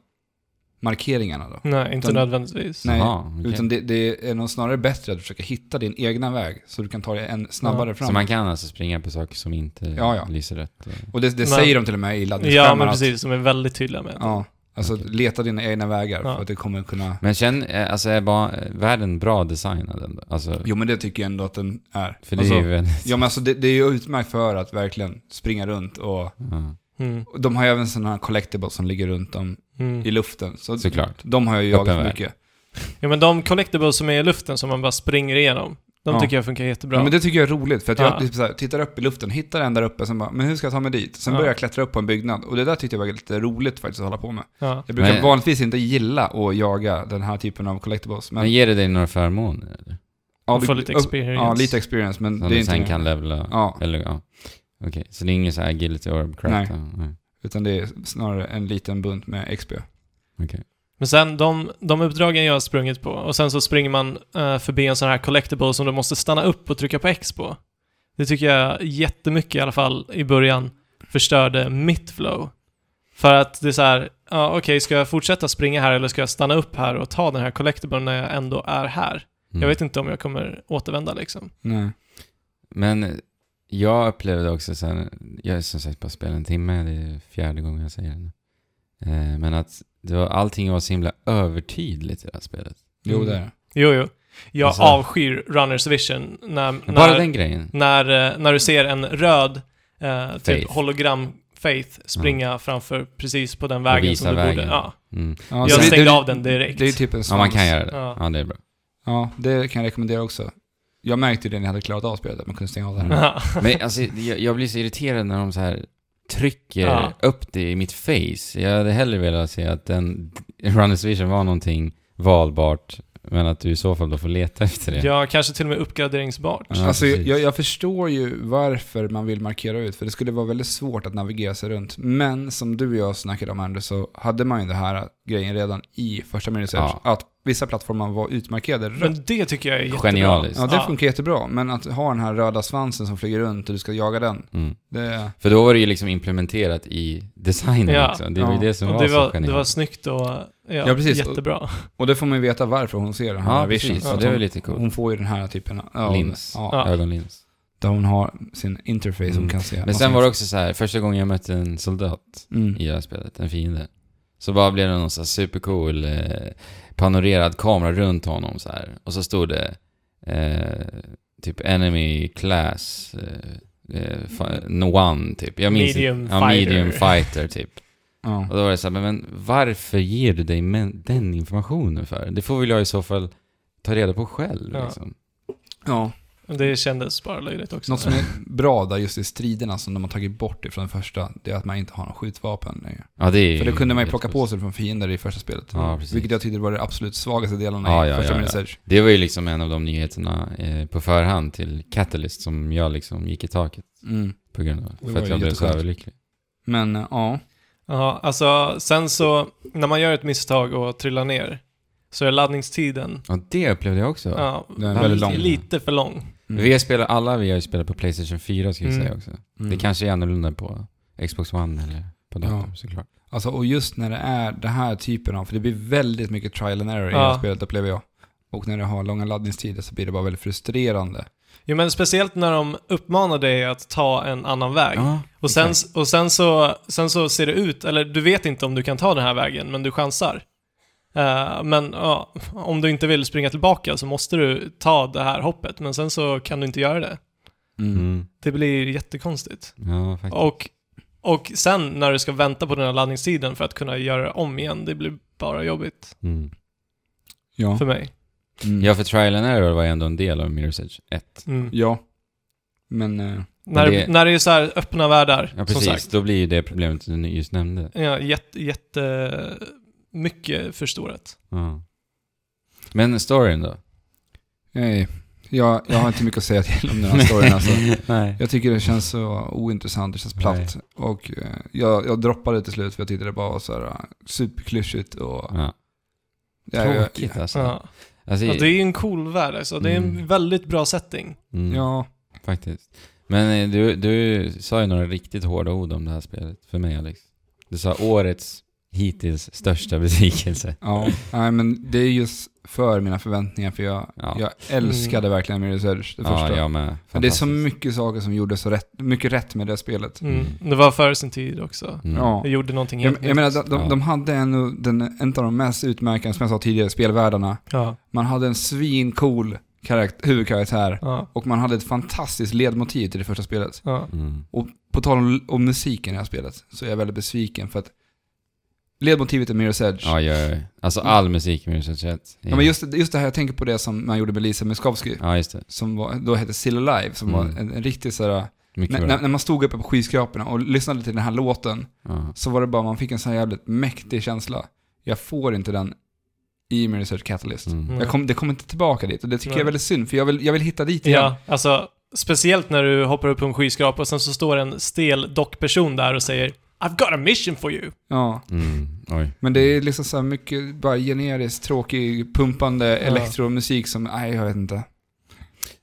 [SPEAKER 1] markeringarna då.
[SPEAKER 2] Nej, inte
[SPEAKER 1] Utan-
[SPEAKER 2] nödvändigtvis.
[SPEAKER 1] Nej,
[SPEAKER 3] Jaha, okej.
[SPEAKER 1] Utan det, det är nog snarare bättre att försöka hitta din egna väg så du kan ta dig en snabbare fram.
[SPEAKER 3] Så man kan alltså springa på saker som inte
[SPEAKER 1] Ja, ja.
[SPEAKER 3] lyser rätt? eh.
[SPEAKER 1] Och det, det
[SPEAKER 2] Men-
[SPEAKER 1] säger de till och med i
[SPEAKER 2] Ja,
[SPEAKER 1] laddningsskärmarna.
[SPEAKER 2] men
[SPEAKER 1] att-
[SPEAKER 2] precis. De är väldigt tydliga med det.
[SPEAKER 1] Ja, alltså
[SPEAKER 3] Okej.
[SPEAKER 1] leta dina egna vägar
[SPEAKER 2] Ja.
[SPEAKER 1] för att det kommer kunna...
[SPEAKER 3] Men känn, eh, alltså är ba, eh, världen bra designad ändå? Alltså,
[SPEAKER 1] Jo men det tycker jag ändå att den är.
[SPEAKER 3] för det
[SPEAKER 1] alltså,
[SPEAKER 3] är ju väldigt...
[SPEAKER 1] Ja men alltså det, det är ju utmärkt för att verkligen springa runt och...
[SPEAKER 3] Ja,
[SPEAKER 2] Mm.
[SPEAKER 1] och De har ju även sådana här collectibles som ligger runt om
[SPEAKER 2] Mm.
[SPEAKER 1] i luften. Så
[SPEAKER 3] såklart.
[SPEAKER 1] de har jag ju
[SPEAKER 3] Öppen
[SPEAKER 1] jagat
[SPEAKER 3] värld.
[SPEAKER 1] mycket.
[SPEAKER 2] Ja, men de collectibles som är i luften som man bara springer igenom, de
[SPEAKER 1] Ja.
[SPEAKER 2] tycker jag funkar jättebra.
[SPEAKER 1] Ja, men det tycker jag är roligt för att jag
[SPEAKER 2] Ja.
[SPEAKER 1] liksom så här, tittar upp i luften, hittar en där uppe, sen bara, men hur ska jag ta mig dit? Sen
[SPEAKER 2] Ja.
[SPEAKER 1] börjar jag klättra upp på en byggnad och det där tyckte jag var lite roligt faktiskt att hålla på med.
[SPEAKER 2] ja.
[SPEAKER 1] Jag brukar
[SPEAKER 3] Men-
[SPEAKER 1] vanligtvis inte gilla att jaga den här typen av collectibles. Men,
[SPEAKER 3] Men ger det dig några förmåner? Eller?
[SPEAKER 1] ja,
[SPEAKER 2] Och få
[SPEAKER 1] vi-
[SPEAKER 2] lite
[SPEAKER 1] upp-
[SPEAKER 2] experience.
[SPEAKER 1] Ja, lite experience, men
[SPEAKER 3] Som
[SPEAKER 1] det är
[SPEAKER 3] du
[SPEAKER 1] inte...
[SPEAKER 3] sen kan levla?
[SPEAKER 1] Ja,
[SPEAKER 3] Eller ja. Okej, så det är ingen så här agility orb crap?
[SPEAKER 1] Nej.
[SPEAKER 3] då? Nej.
[SPEAKER 1] utan det är snarare en liten bunt med XP.
[SPEAKER 3] Okej.
[SPEAKER 2] Men sen de, de uppdragen jag har sprungit på och sen så springer man eh, förbi en sån här collectible som du måste stanna upp och trycka på X på. Det tycker jag jättemycket i alla fall i början förstörde mitt flow. För att det är så här, ja okej, ska jag fortsätta springa här eller ska jag stanna upp här och ta den här collectiblen när jag ändå är här?
[SPEAKER 3] Mm.
[SPEAKER 2] Jag vet inte om jag kommer återvända liksom.
[SPEAKER 1] Nej.
[SPEAKER 3] Men jag upplevde också sen, jag har som sagt bara spelat en timme, det är fjärde gången jag säger det nu. Eh, Men att det var, allting var så himla övertydligt i det här spelet.
[SPEAKER 1] Jo,
[SPEAKER 2] Mm.
[SPEAKER 1] det är det.
[SPEAKER 2] Jo, jo. Jag
[SPEAKER 3] Alltså-
[SPEAKER 2] avskyr runners vision när, när,
[SPEAKER 3] Bara den grejen.
[SPEAKER 2] när, eh, när du ser en röd eh, typ
[SPEAKER 3] Faith. Mm.
[SPEAKER 2] hologram Faith springa framför precis på den vägen
[SPEAKER 3] visa
[SPEAKER 2] som du borde.
[SPEAKER 3] vägen.
[SPEAKER 2] Ja.
[SPEAKER 3] Mm.
[SPEAKER 1] Ja,
[SPEAKER 2] Jag
[SPEAKER 1] så det-
[SPEAKER 2] stängde
[SPEAKER 1] det-
[SPEAKER 2] av den direkt.
[SPEAKER 1] Det är typ en
[SPEAKER 3] Ja,
[SPEAKER 1] svans.
[SPEAKER 3] man kan göra det.
[SPEAKER 2] Ja.
[SPEAKER 3] Ja, det är bra.
[SPEAKER 1] Ja, det kan jag rekommendera också. Jag märkte ju det när jag hade klarat av spelet, att man kunde stänga av det här.
[SPEAKER 3] Mm. Men alltså, jag, jag blir så irriterad när de så här trycker
[SPEAKER 2] Ja.
[SPEAKER 3] upp det i mitt face. Jag hade hellre velat se att den Runners Vision var någonting valbart, men att du i så fall då får leta efter det.
[SPEAKER 2] ja, kanske till och med uppgraderingsbart.
[SPEAKER 3] Ja,
[SPEAKER 1] alltså,
[SPEAKER 3] precis.
[SPEAKER 1] jag, jag förstår ju varför man vill markera ut, för det skulle vara väldigt svårt att navigera sig runt. Men som du och jag snackade om, Anders, så hade man ju den här grejen redan i första Minisearch,
[SPEAKER 3] Ja.
[SPEAKER 1] att vissa plattformar var utmarkerade rött.
[SPEAKER 2] Men det tycker jag är jättebra.
[SPEAKER 3] Genialiskt.
[SPEAKER 1] Ja, det funkar jättebra, men att ha den här röda svansen som flyger runt och du ska jaga den,
[SPEAKER 3] Mm.
[SPEAKER 1] det...
[SPEAKER 3] För då var det ju liksom implementerat i designen
[SPEAKER 2] Ja.
[SPEAKER 3] också. Det var ju
[SPEAKER 1] Ja.
[SPEAKER 3] det som
[SPEAKER 2] Och
[SPEAKER 3] var,
[SPEAKER 2] det, var,
[SPEAKER 3] så genialt.
[SPEAKER 2] det var snyggt och ja,
[SPEAKER 1] Ja, precis.
[SPEAKER 2] jättebra.
[SPEAKER 1] Och det får man ju veta varför hon ser den här
[SPEAKER 3] Ja,
[SPEAKER 1] vision.
[SPEAKER 3] precis.
[SPEAKER 1] Så
[SPEAKER 3] Så
[SPEAKER 1] att
[SPEAKER 3] det var ju
[SPEAKER 1] hon,
[SPEAKER 3] lite coolt.
[SPEAKER 1] hon får ju den här typen av... ja,
[SPEAKER 3] Lins.
[SPEAKER 1] Ja,
[SPEAKER 2] Ja.
[SPEAKER 3] Ögonlins.
[SPEAKER 1] Där hon har sin interface hon
[SPEAKER 3] Mm.
[SPEAKER 1] kan se.
[SPEAKER 3] Men sen var det också så här, första gången jag mötte en soldat
[SPEAKER 1] Mm.
[SPEAKER 3] i det här spelet, en fiende. Så bara blev det någon så här supercool eh, panorerad kamera runt honom så här. Och så stod det eh, typ enemy class eh, eh, fa- no one typ. Jag minns
[SPEAKER 2] Medium
[SPEAKER 3] inte. Ja,
[SPEAKER 2] fighter.
[SPEAKER 3] medium fighter typ.
[SPEAKER 1] Ja.
[SPEAKER 3] Och då var det så här, men- men varför ger du dig men, den informationen för? Det får väl jag i så fall ta reda på själv
[SPEAKER 2] Ja.
[SPEAKER 3] liksom.
[SPEAKER 1] ja.
[SPEAKER 2] Det kändes bara löjligt också.
[SPEAKER 1] Något som är bra där just i striderna som de har tagit bort ifrån den första, det är att man inte har någon skjutvapen längre.
[SPEAKER 3] Ja, det är ju
[SPEAKER 1] För det kunde man ju
[SPEAKER 3] helt
[SPEAKER 1] plocka på
[SPEAKER 3] sjukt.
[SPEAKER 1] sig från fiender i första spelet.
[SPEAKER 3] Ja, precis.
[SPEAKER 1] Vilket jag tyckte var det absolut svagaste delarna
[SPEAKER 3] Ja,
[SPEAKER 1] i
[SPEAKER 3] ja,
[SPEAKER 1] första
[SPEAKER 3] ja,
[SPEAKER 1] Mini
[SPEAKER 3] ja.
[SPEAKER 1] Surge.
[SPEAKER 3] Det var ju liksom en av de nyheterna eh, på förhand till Catalyst som jag liksom gick i taket
[SPEAKER 1] Mm.
[SPEAKER 3] på grund av.
[SPEAKER 1] var
[SPEAKER 3] För att
[SPEAKER 1] ju
[SPEAKER 3] jag blev så
[SPEAKER 1] jätteskönt.
[SPEAKER 3] överlycklig.
[SPEAKER 1] Men eh, ja,
[SPEAKER 2] Ja, alltså sen så, när man gör ett misstag och trillar ner, så är laddningstiden
[SPEAKER 3] Ja, det upplevde jag också.
[SPEAKER 2] ja,
[SPEAKER 1] den är
[SPEAKER 3] Ja,
[SPEAKER 1] väldigt
[SPEAKER 3] lite-
[SPEAKER 1] lång.
[SPEAKER 2] lite för lång.
[SPEAKER 1] Mm.
[SPEAKER 3] Vi har spelat, alla vi har ju spelat på Playstation 4 ska vi
[SPEAKER 2] Mm.
[SPEAKER 3] säga också.
[SPEAKER 1] Mm.
[SPEAKER 3] Det kanske är annorlunda på Xbox One eller på datorn såklart.
[SPEAKER 1] Alltså, och just när det är den här typen av, för det blir väldigt mycket trial and error i
[SPEAKER 2] Ja.
[SPEAKER 1] det här spelet upplever jag. Och när det har långa laddningstider så blir det bara väldigt frustrerande.
[SPEAKER 2] Jo men speciellt när de uppmanar dig att ta en annan väg.
[SPEAKER 3] Ja,
[SPEAKER 2] och sen,
[SPEAKER 3] exakt.
[SPEAKER 2] och sen, så, sen så ser det ut, eller du vet inte om du kan ta den här vägen, men du chansar. Eh, men ja, om du inte vill springa tillbaka så måste du ta det här hoppet, men sen så kan du inte göra det.
[SPEAKER 3] Mm.
[SPEAKER 2] Det blir jättekonstigt.
[SPEAKER 3] Ja, faktiskt.
[SPEAKER 2] Och, och sen när du ska vänta på den här laddningstiden för att kunna göra det om igen, det blir bara jobbigt
[SPEAKER 3] Mm.
[SPEAKER 1] Ja.
[SPEAKER 2] för mig.
[SPEAKER 1] Mm.
[SPEAKER 3] Ja, för trial and error var ju ändå en del av Mirror's Edge 1.
[SPEAKER 2] Mm.
[SPEAKER 1] ja. Men eh,
[SPEAKER 2] När,
[SPEAKER 3] det-
[SPEAKER 2] det... när det är så här öppna världar,
[SPEAKER 3] Ja,
[SPEAKER 2] som
[SPEAKER 3] precis.
[SPEAKER 2] sagt.
[SPEAKER 3] Då blir ju det problemet du just nämnde.
[SPEAKER 2] Ja, jätte, jätte mycket förstorat.
[SPEAKER 3] Ja. Men storyn då?
[SPEAKER 1] nej, jag, jag har inte mycket att säga till om den här storyn alltså.
[SPEAKER 3] Nej.
[SPEAKER 1] Jag tycker det känns så ointressant, det känns platt. Och eh, jag, jag droppade det till slut för jag tyckte det bara var så här eh, superklyschigt och...
[SPEAKER 3] Ja.
[SPEAKER 1] Ja, jag-
[SPEAKER 3] Tråkigt alltså.
[SPEAKER 2] Ja.
[SPEAKER 3] alltså
[SPEAKER 2] Ja, det är ju en cool värld alltså. Det är en
[SPEAKER 3] Mm.
[SPEAKER 2] väldigt bra setting.
[SPEAKER 3] mm,
[SPEAKER 1] Ja,
[SPEAKER 3] Faktiskt. Men eh, du, du sa ju några riktigt hårda ord om det här spelet för mig Alex. Du sa årets hittills största besvikelse.
[SPEAKER 1] ja. Nej, men det är just för mina förväntningar för jag,
[SPEAKER 3] Ja.
[SPEAKER 1] jag älskade verkligen Mirror's Edge, det första.
[SPEAKER 3] Ja, jag med.
[SPEAKER 1] Men det är så
[SPEAKER 3] Fantastiskt.
[SPEAKER 1] mycket saker som gjordes så rätt, mycket rätt med det spelet.
[SPEAKER 2] Mm.
[SPEAKER 3] Mm.
[SPEAKER 2] Det var före sin tid också.
[SPEAKER 3] Mm.
[SPEAKER 1] Ja.
[SPEAKER 2] Jag gjorde någonting helt
[SPEAKER 1] Jag, jag menar,
[SPEAKER 2] nytt.
[SPEAKER 1] de, de,
[SPEAKER 3] Ja.
[SPEAKER 1] de hade en, den, en av de mest utmärkande, som jag sa tidigare, spelvärldarna.
[SPEAKER 2] Ja,
[SPEAKER 1] Man hade en svincool karakt- huvudkaraktär
[SPEAKER 2] ja,
[SPEAKER 1] och man hade ett fantastiskt ledmotiv till det första spelet.
[SPEAKER 2] ja.
[SPEAKER 3] Mm.
[SPEAKER 1] På tal om, om musiken i det här spelet så är jag väldigt besviken för att ledmotivet är Mirror's Edge.
[SPEAKER 3] Ja, ja, ja. Alltså all musik i Mirror's Edge 1.
[SPEAKER 1] Mm. Ja, men just, just det här, jag tänker på det som man gjorde med Lisa Miskovsky,
[SPEAKER 3] Ja, just det.
[SPEAKER 1] som var, då hette Still Alive, som
[SPEAKER 3] Mm.
[SPEAKER 1] var en, en riktig såhär...
[SPEAKER 3] Mycket
[SPEAKER 1] När,
[SPEAKER 3] bra.
[SPEAKER 1] när när man stod uppe på skyskraporna och lyssnade till den här låten
[SPEAKER 3] Ja.
[SPEAKER 1] så var det bara, man fick en sån här jävligt mäktig känsla. Jag får inte den i min Research Catalyst.
[SPEAKER 3] Mm.
[SPEAKER 2] Mm.
[SPEAKER 1] Jag kom, det kommer inte tillbaka dit och det tycker jag är
[SPEAKER 2] Nej.
[SPEAKER 1] väldigt synd för jag vill, jag vill hitta dit igen.
[SPEAKER 2] ja alltså, speciellt när du hoppar upp på en skyskrapa och sen så står en stel dockperson där och säger I've got a mission for you.
[SPEAKER 1] Ja,
[SPEAKER 3] Mm. Oj.
[SPEAKER 1] men det är liksom så här mycket bara generiskt tråkig pumpande
[SPEAKER 2] Ja.
[SPEAKER 1] elektromusik som, nej jag vet inte.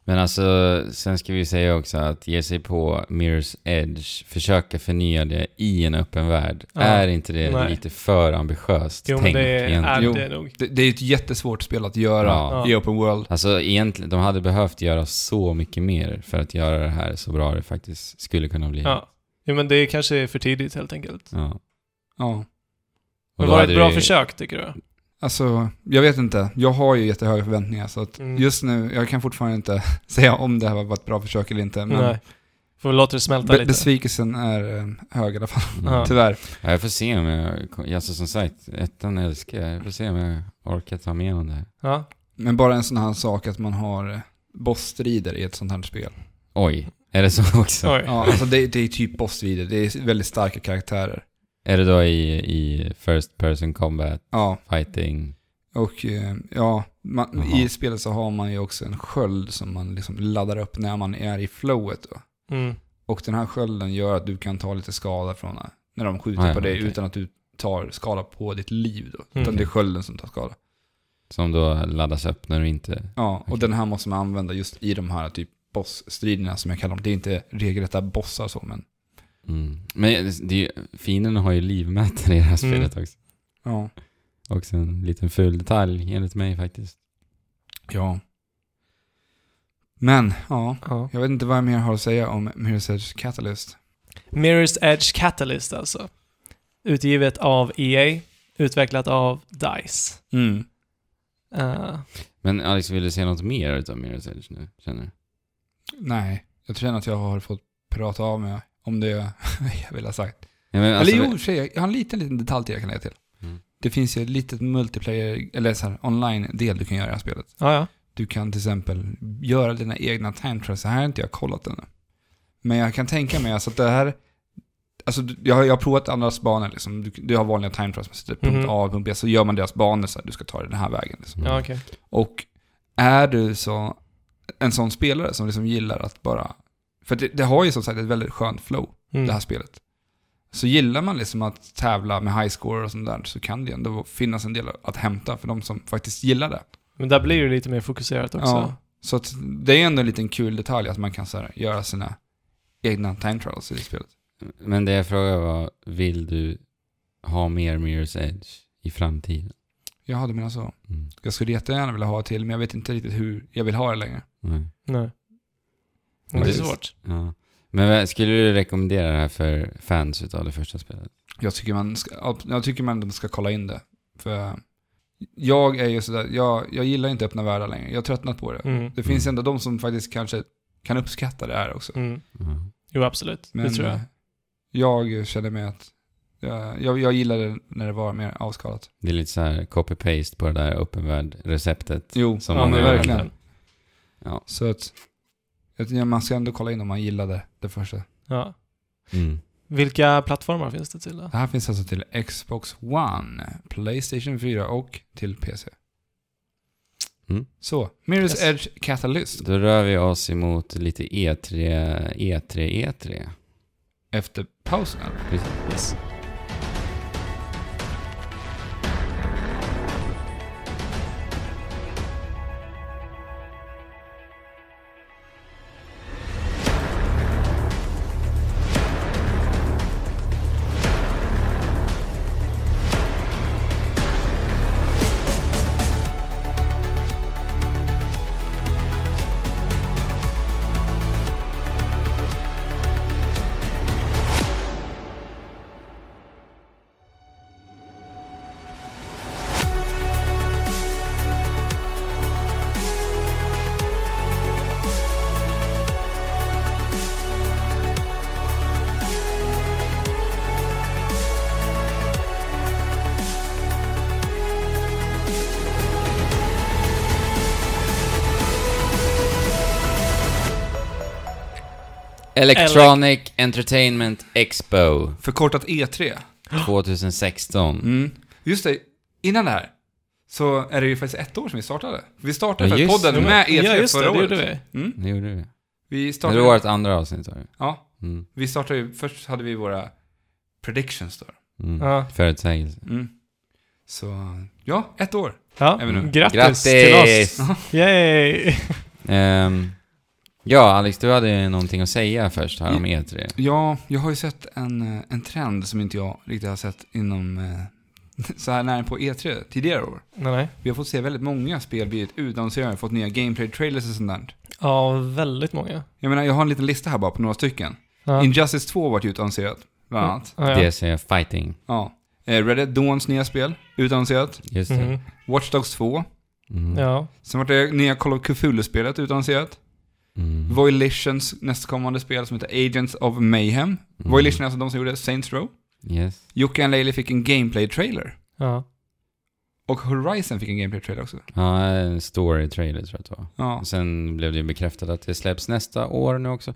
[SPEAKER 3] Men alltså, sen ska vi säga också att ge sig på Mirror's Edge, försöka förnya det i en öppen värld.
[SPEAKER 2] Ja.
[SPEAKER 3] Är inte det
[SPEAKER 2] Nej.
[SPEAKER 3] lite för ambitiöst
[SPEAKER 2] Jo, men
[SPEAKER 3] tänk
[SPEAKER 2] det är
[SPEAKER 1] Jo.
[SPEAKER 2] det nog.
[SPEAKER 1] Det, det är ett jättesvårt spel att göra
[SPEAKER 3] Ja.
[SPEAKER 1] i Open World.
[SPEAKER 3] Alltså egentligen, de hade behövt göra så mycket mer för att göra det här så bra det faktiskt skulle kunna bli.
[SPEAKER 2] Ja. Jo, men det kanske är för tidigt helt enkelt.
[SPEAKER 3] Ja. Och
[SPEAKER 1] Ja.
[SPEAKER 2] Men
[SPEAKER 3] då
[SPEAKER 2] var det
[SPEAKER 3] hade
[SPEAKER 2] ett bra
[SPEAKER 3] det-
[SPEAKER 2] försök, tycker du?
[SPEAKER 1] Alltså, jag vet inte. Jag har ju jättehöga förväntningar så att
[SPEAKER 2] Mm.
[SPEAKER 1] just nu, jag kan fortfarande inte säga om det här var ett bra försök eller inte. Men
[SPEAKER 2] Nej. Får vi låta det smälta
[SPEAKER 1] be-
[SPEAKER 2] lite?
[SPEAKER 1] besvikelsen är eh, hög i alla fall,
[SPEAKER 2] Ja.
[SPEAKER 1] tyvärr.
[SPEAKER 3] Ja, Mm. jag får se om jag, alltså som sagt, ettan älskar jag. Jag får se om jag orkar ta med om det här.
[SPEAKER 2] Ja.
[SPEAKER 1] Men bara en sån här sak att man har eh, bossstrider i ett sånt här spel.
[SPEAKER 3] Oj, är det så också?
[SPEAKER 2] Oj.
[SPEAKER 1] Ja, alltså det, det är typ bossstrider, det är väldigt starka karaktärer.
[SPEAKER 3] Är det då i, i first person combat,
[SPEAKER 1] Ja,
[SPEAKER 3] fighting?
[SPEAKER 1] och eh, ja, man,
[SPEAKER 3] Jaha.
[SPEAKER 1] i spelet så har man ju också en sköld som man liksom laddar upp när man är i flowet. Då.
[SPEAKER 2] Mm.
[SPEAKER 1] Och den här skölden gör att du kan ta lite skada från eh, när de skjuter
[SPEAKER 3] Ah, ja,
[SPEAKER 1] på dig
[SPEAKER 3] okej.
[SPEAKER 1] utan att du tar skada på ditt liv då. Utan
[SPEAKER 2] Mm.
[SPEAKER 1] det är skölden som tar skada.
[SPEAKER 3] Som då laddas upp när du inte...
[SPEAKER 1] Ja, och
[SPEAKER 3] Okej.
[SPEAKER 1] den här måste man använda just i de här typ bossstriderna som jag kallar dem. Det är inte regelrätta bossar så, men
[SPEAKER 3] Mm. Men det är ju, fienden har ju livmätare i det här
[SPEAKER 2] Mm.
[SPEAKER 3] spelet också.
[SPEAKER 1] ja.
[SPEAKER 3] Också en liten ful detalj enligt mig faktiskt.
[SPEAKER 1] Ja. Men, ja.
[SPEAKER 2] Ja.
[SPEAKER 1] Jag vet inte vad jag mer har att säga om Mirror's Edge Catalyst.
[SPEAKER 2] Mirror's Edge Catalyst alltså. Utgivet av EA, utvecklat av DICE.
[SPEAKER 1] Mm.
[SPEAKER 2] Eh,
[SPEAKER 3] Men Alex, vill du säga något mer utav Mirror's Edge nu? Känner du?
[SPEAKER 1] Nej, jag känner att jag har fått prata av mig om det jag, jag vill ha sagt.
[SPEAKER 3] Ja, men
[SPEAKER 1] eller
[SPEAKER 3] alltså,
[SPEAKER 1] jo, i och för sig, jag har en liten, liten detalj till jag kan lägga till.
[SPEAKER 3] Mm.
[SPEAKER 1] Det finns ju ett litet multiplayer, eller så här, online-del du kan göra i det här spelet.
[SPEAKER 2] ja, ja.
[SPEAKER 1] Du kan till exempel göra dina egna time trials. Det här har inte jag kollat ännu. Men jag kan tänka mig alltså att det här... Alltså, du- jag, har- jag har provat andras banor. Liksom. Du, du har vanliga time trials. Man sätter punkt
[SPEAKER 2] Mhm.
[SPEAKER 1] A och punkt B. Så gör man deras banor. Så här, du ska ta dig den här vägen. Liksom.
[SPEAKER 3] Mm.
[SPEAKER 2] ja okej.
[SPEAKER 1] Och är du så, en sån spelare som liksom gillar att bara... För det, det har ju som sagt ett väldigt skönt flow,
[SPEAKER 2] Mm.
[SPEAKER 1] det här spelet. Så gillar man liksom att tävla med high score och sånt där så kan det ändå finnas en del att hämta för de som faktiskt gillar det.
[SPEAKER 2] Men där blir det lite mer fokuserat också.
[SPEAKER 1] Ja. Så att det är ändå en liten kul detalj att man kan så här, göra sina egna time trials i det spelet.
[SPEAKER 3] Men det jag frågade var, vill du ha mer Mirror's Edge i framtiden?
[SPEAKER 1] Jaha, du menar så.
[SPEAKER 3] Mm.
[SPEAKER 1] Jag skulle jättegärna vilja ha till, men jag vet inte riktigt hur jag vill ha det längre.
[SPEAKER 3] Nej.
[SPEAKER 2] Nej. Det
[SPEAKER 3] Men
[SPEAKER 2] är
[SPEAKER 3] det-
[SPEAKER 2] svårt.
[SPEAKER 3] Ja. Men vad- skulle du rekommendera det här för fans utav det första spelet?
[SPEAKER 1] Jag tycker man, ska, jag tycker man ändå ska kolla in det. För jag är ju sådär, jag, jag gillar inte öppna världar längre. Jag har tröttnat på det.
[SPEAKER 2] Mm.
[SPEAKER 1] Det finns
[SPEAKER 3] Mm.
[SPEAKER 1] ändå de som faktiskt kanske kan uppskatta det här också.
[SPEAKER 2] Mm.
[SPEAKER 3] Ja.
[SPEAKER 2] Jo, absolut.
[SPEAKER 1] Men
[SPEAKER 2] det tror jag.
[SPEAKER 1] eh, jag känner mig att eh, jag, jag gillade det när det var mer avskalat.
[SPEAKER 3] Det är lite så här copy-paste på det där öppen värld-receptet.
[SPEAKER 1] Jo,
[SPEAKER 3] Som
[SPEAKER 1] ja,
[SPEAKER 3] man
[SPEAKER 1] men
[SPEAKER 3] gör.
[SPEAKER 1] verkligen.
[SPEAKER 3] Ja.
[SPEAKER 1] Så att jag tycker man ska ändå kolla in om man gillade det första.
[SPEAKER 2] Ja.
[SPEAKER 3] Mm.
[SPEAKER 2] Vilka plattformar finns det till då?
[SPEAKER 1] Det här finns alltså till Xbox One, Playstation 4 och till PC.
[SPEAKER 3] Mm.
[SPEAKER 1] Så, Mirror's
[SPEAKER 2] Yes.
[SPEAKER 1] Edge Catalyst
[SPEAKER 3] Då rör vi oss emot lite E E3, E3, E3.
[SPEAKER 1] efter pausen. eller?
[SPEAKER 2] Yes.
[SPEAKER 3] Electronic Entertainment Expo
[SPEAKER 1] Förkortat E3.
[SPEAKER 3] 2016.
[SPEAKER 1] Mm. Just det, innan det här så är det ju faktiskt ett år sedan vi startade. Vi startade
[SPEAKER 3] Ja,
[SPEAKER 1] faktiskt
[SPEAKER 3] just
[SPEAKER 1] podden
[SPEAKER 3] det.
[SPEAKER 1] med E3
[SPEAKER 2] ja, just
[SPEAKER 1] E förra
[SPEAKER 2] det, det
[SPEAKER 1] året.
[SPEAKER 2] gjorde vi.
[SPEAKER 1] Mm.
[SPEAKER 3] Det gjorde vi.
[SPEAKER 1] Vi
[SPEAKER 3] Det
[SPEAKER 1] startade,
[SPEAKER 3] var vårt andra avsnitt var det.
[SPEAKER 1] ja,
[SPEAKER 3] Mm.
[SPEAKER 1] vi startade ju, först hade vi våra predictions då.
[SPEAKER 3] Mm.
[SPEAKER 2] Ja.
[SPEAKER 3] Förutsägelse.
[SPEAKER 1] Mm. Så, ja, ett år.
[SPEAKER 2] Ja.
[SPEAKER 1] Även nu.
[SPEAKER 2] Grattis,
[SPEAKER 3] Grattis!
[SPEAKER 2] till oss! Yay!
[SPEAKER 3] Ehm, ja, Alex, du hade någonting att säga först här om E E3.
[SPEAKER 1] Ja, jag har ju sett en, eh, en trend som inte jag riktigt har sett inom eh, så här nära på E3 tidigare år.
[SPEAKER 2] Nej, nej.
[SPEAKER 1] Vi har fått se väldigt många spel blivit utannonserade, fått nya gameplay-trailers och sånt där.
[SPEAKER 2] Ja, väldigt många.
[SPEAKER 1] Jag menar, jag har en liten lista här bara på några stycken.
[SPEAKER 2] Ja.
[SPEAKER 1] Injustice 2 vart ju utannonserat, bland annat.
[SPEAKER 2] Ja, ja.
[SPEAKER 3] DC Fighting.
[SPEAKER 1] Ja. Eh, Red Dead Dawns nya spel, utannonserat.
[SPEAKER 3] Just det.
[SPEAKER 2] Mhm.
[SPEAKER 1] Watch Dogs 2.
[SPEAKER 3] Mm.
[SPEAKER 2] Ja.
[SPEAKER 1] Sen vart det nya Call of Cthulhu-spelet utannonserat.
[SPEAKER 3] Mm.
[SPEAKER 1] Volitions nästkommande spel som heter Agents of Mayhem.
[SPEAKER 3] Mm.
[SPEAKER 1] Volition är alltså de som gjorde Saints Row.
[SPEAKER 3] Yes.
[SPEAKER 1] Jocke and Laley fick en gameplay-trailer.
[SPEAKER 2] Ja.
[SPEAKER 1] Och Horizon fick en gameplay-trailer också.
[SPEAKER 3] Ja, en story trailer tror jag att det var.
[SPEAKER 1] Ja.
[SPEAKER 3] Och sen blev det ju bekräftat att det släpps nästa år nu också.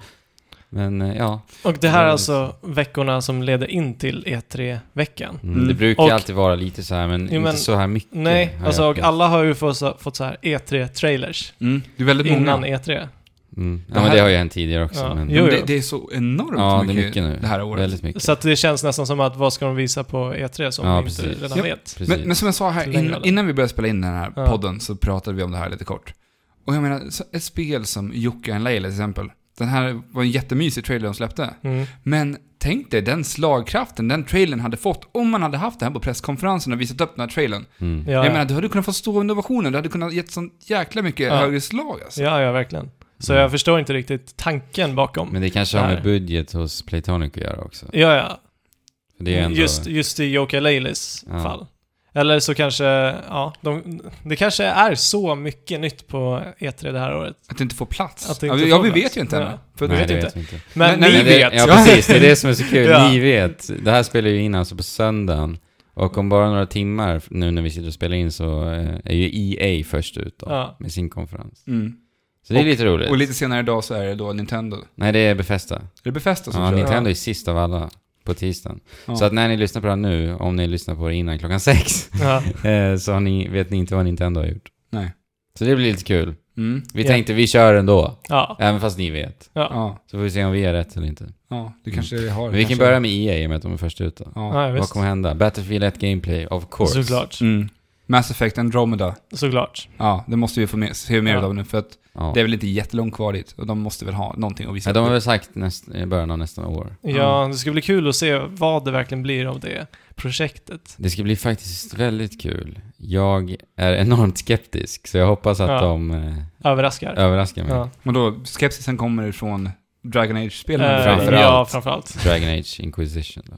[SPEAKER 3] Men eh, ja,
[SPEAKER 2] Och det här
[SPEAKER 3] Det
[SPEAKER 2] är
[SPEAKER 3] är
[SPEAKER 2] alltså veckorna som leder in till E E3-veckan.
[SPEAKER 3] mm.
[SPEAKER 1] Mm.
[SPEAKER 3] det brukar
[SPEAKER 2] Och-
[SPEAKER 3] alltid vara lite så här, men
[SPEAKER 2] Jo, men-
[SPEAKER 3] inte så här mycket. har
[SPEAKER 2] Nej,
[SPEAKER 3] jag
[SPEAKER 2] alltså och
[SPEAKER 3] upplevt.
[SPEAKER 2] alla har ju fått så, fått så här E3-trailers
[SPEAKER 1] Mm. Det är väldigt många.
[SPEAKER 2] innan E E3.
[SPEAKER 3] Mm. Ja,
[SPEAKER 1] Det
[SPEAKER 3] men
[SPEAKER 1] här-
[SPEAKER 3] det har ju hänt tidigare också.
[SPEAKER 2] Ja.
[SPEAKER 3] Men...
[SPEAKER 2] Jo,
[SPEAKER 1] Men
[SPEAKER 2] jo.
[SPEAKER 1] Det, det är så enormt
[SPEAKER 3] ja, det
[SPEAKER 1] mycket,
[SPEAKER 3] är mycket nu.
[SPEAKER 1] det här året.
[SPEAKER 3] Väldigt mycket.
[SPEAKER 2] Så att det känns nästan som att vad ska de visa på E3 som
[SPEAKER 3] Ja,
[SPEAKER 2] vi inte
[SPEAKER 3] precis.
[SPEAKER 2] redan
[SPEAKER 1] Ja.
[SPEAKER 2] vet?
[SPEAKER 3] Precis.
[SPEAKER 1] Men, men som jag sa här,
[SPEAKER 2] Längre
[SPEAKER 1] innan,
[SPEAKER 2] eller?
[SPEAKER 1] innan vi började spela in den här
[SPEAKER 2] Ja.
[SPEAKER 1] podden så pratade vi om det här lite kort. Och jag menar, så ett spel som Jocke and Laley till exempel. Den här var en jättemysig trailer de släppte.
[SPEAKER 2] Mm.
[SPEAKER 1] Men tänk dig den slagkraften den trailern hade fått om man hade haft det här på presskonferensen och visat upp den här trailern.
[SPEAKER 3] Mm.
[SPEAKER 2] Ja,
[SPEAKER 1] jag menar,
[SPEAKER 2] ja.
[SPEAKER 1] du hade kunnat få stora innovationer, du hade kunnat gett sånt jäkla mycket
[SPEAKER 2] Ja.
[SPEAKER 1] högre slag alltså.
[SPEAKER 2] ja, ja, verkligen. Så
[SPEAKER 3] Mm.
[SPEAKER 2] jag förstår inte riktigt tanken bakom.
[SPEAKER 3] Men det kanske har med
[SPEAKER 2] Där.
[SPEAKER 3] budget hos Playtonic att göra också.
[SPEAKER 2] Ja, ja.
[SPEAKER 3] För det är ju ändå...
[SPEAKER 2] Mm, Just, just i Joker Leilis
[SPEAKER 3] Ja.
[SPEAKER 2] fall. Eller så kanske, ja, de, det kanske är så mycket nytt på E3 det här året.
[SPEAKER 1] Att inte få plats.
[SPEAKER 2] Att det
[SPEAKER 1] ja,
[SPEAKER 2] inte
[SPEAKER 1] vi, ja,
[SPEAKER 2] får
[SPEAKER 1] vi
[SPEAKER 2] plats.
[SPEAKER 1] vet ju inte ännu.
[SPEAKER 2] Ja.
[SPEAKER 1] För
[SPEAKER 3] Nej,
[SPEAKER 1] vi
[SPEAKER 2] vet
[SPEAKER 1] vet inte.
[SPEAKER 3] det
[SPEAKER 2] inte.
[SPEAKER 3] vet vi inte.
[SPEAKER 2] Men,
[SPEAKER 1] Men-
[SPEAKER 2] ni
[SPEAKER 1] men
[SPEAKER 3] det,
[SPEAKER 2] vet.
[SPEAKER 3] Ja, precis. Det är det som är så kul.
[SPEAKER 2] Ja.
[SPEAKER 3] Ni vet. Det här spelar ju in alltså på söndagen. Och om bara några timmar, nu när vi sitter och spelar in, så eh, är ju EA först ut då,
[SPEAKER 2] Ja.
[SPEAKER 3] med sin konferens.
[SPEAKER 1] Mm.
[SPEAKER 3] Så det är lite roligt.
[SPEAKER 1] Och lite senare idag så är det då Nintendo. Är
[SPEAKER 3] Nej, det är Befesta.
[SPEAKER 1] det Befesta som
[SPEAKER 3] Ja,
[SPEAKER 1] kör?
[SPEAKER 3] Nintendo är sist av alla på tisdagen.
[SPEAKER 1] Ja.
[SPEAKER 3] Så att när ni lyssnar på det här nu, om ni lyssnar på det innan klockan sex,
[SPEAKER 2] Ja.
[SPEAKER 3] eh, så har ni, vet ni inte vad Nintendo har gjort.
[SPEAKER 1] Nej.
[SPEAKER 3] Så det blir lite kul.
[SPEAKER 1] Mm.
[SPEAKER 3] Vi
[SPEAKER 2] Ja.
[SPEAKER 3] tänkte vi kör ändå,
[SPEAKER 2] Ja.
[SPEAKER 3] även fast ni vet.
[SPEAKER 2] Ja.
[SPEAKER 1] Ja,
[SPEAKER 3] Så får vi se om vi är rätt eller inte.
[SPEAKER 1] ja, det kanske det har.
[SPEAKER 3] Men vi kan E
[SPEAKER 1] kanske.
[SPEAKER 3] börja med EA i och med att de är först ut då.
[SPEAKER 1] Ja.
[SPEAKER 2] Ja,
[SPEAKER 3] Vad
[SPEAKER 2] visst.
[SPEAKER 3] kommer hända? Battlefield 1 Gameplay, of course.
[SPEAKER 2] Såklart.
[SPEAKER 1] Mm. Mass Effect Andromeda.
[SPEAKER 2] Såklart.
[SPEAKER 1] Ja, det måste vi få mer, se mer
[SPEAKER 2] Ja.
[SPEAKER 1] av nu för att
[SPEAKER 3] Ja.
[SPEAKER 1] det är väl inte jättelångt kvar dit. Och de måste väl ha någonting att visa
[SPEAKER 3] Ja, de har
[SPEAKER 1] upp.
[SPEAKER 3] väl sagt näst, i början av nästa år.
[SPEAKER 2] Ja, det ska bli kul att se vad det verkligen blir av det projektet.
[SPEAKER 3] Det ska bli faktiskt väldigt kul. Jag är enormt skeptisk, så jag hoppas att
[SPEAKER 2] Ja.
[SPEAKER 3] de eh,
[SPEAKER 2] Överraskar.
[SPEAKER 3] överraskar mig.
[SPEAKER 2] Ja.
[SPEAKER 1] Och då, skepsisen kommer ifrån Dragon Age-spelen
[SPEAKER 2] Eh,
[SPEAKER 3] framförallt.
[SPEAKER 2] Ja, framförallt.
[SPEAKER 3] Dragon Age Inquisition då.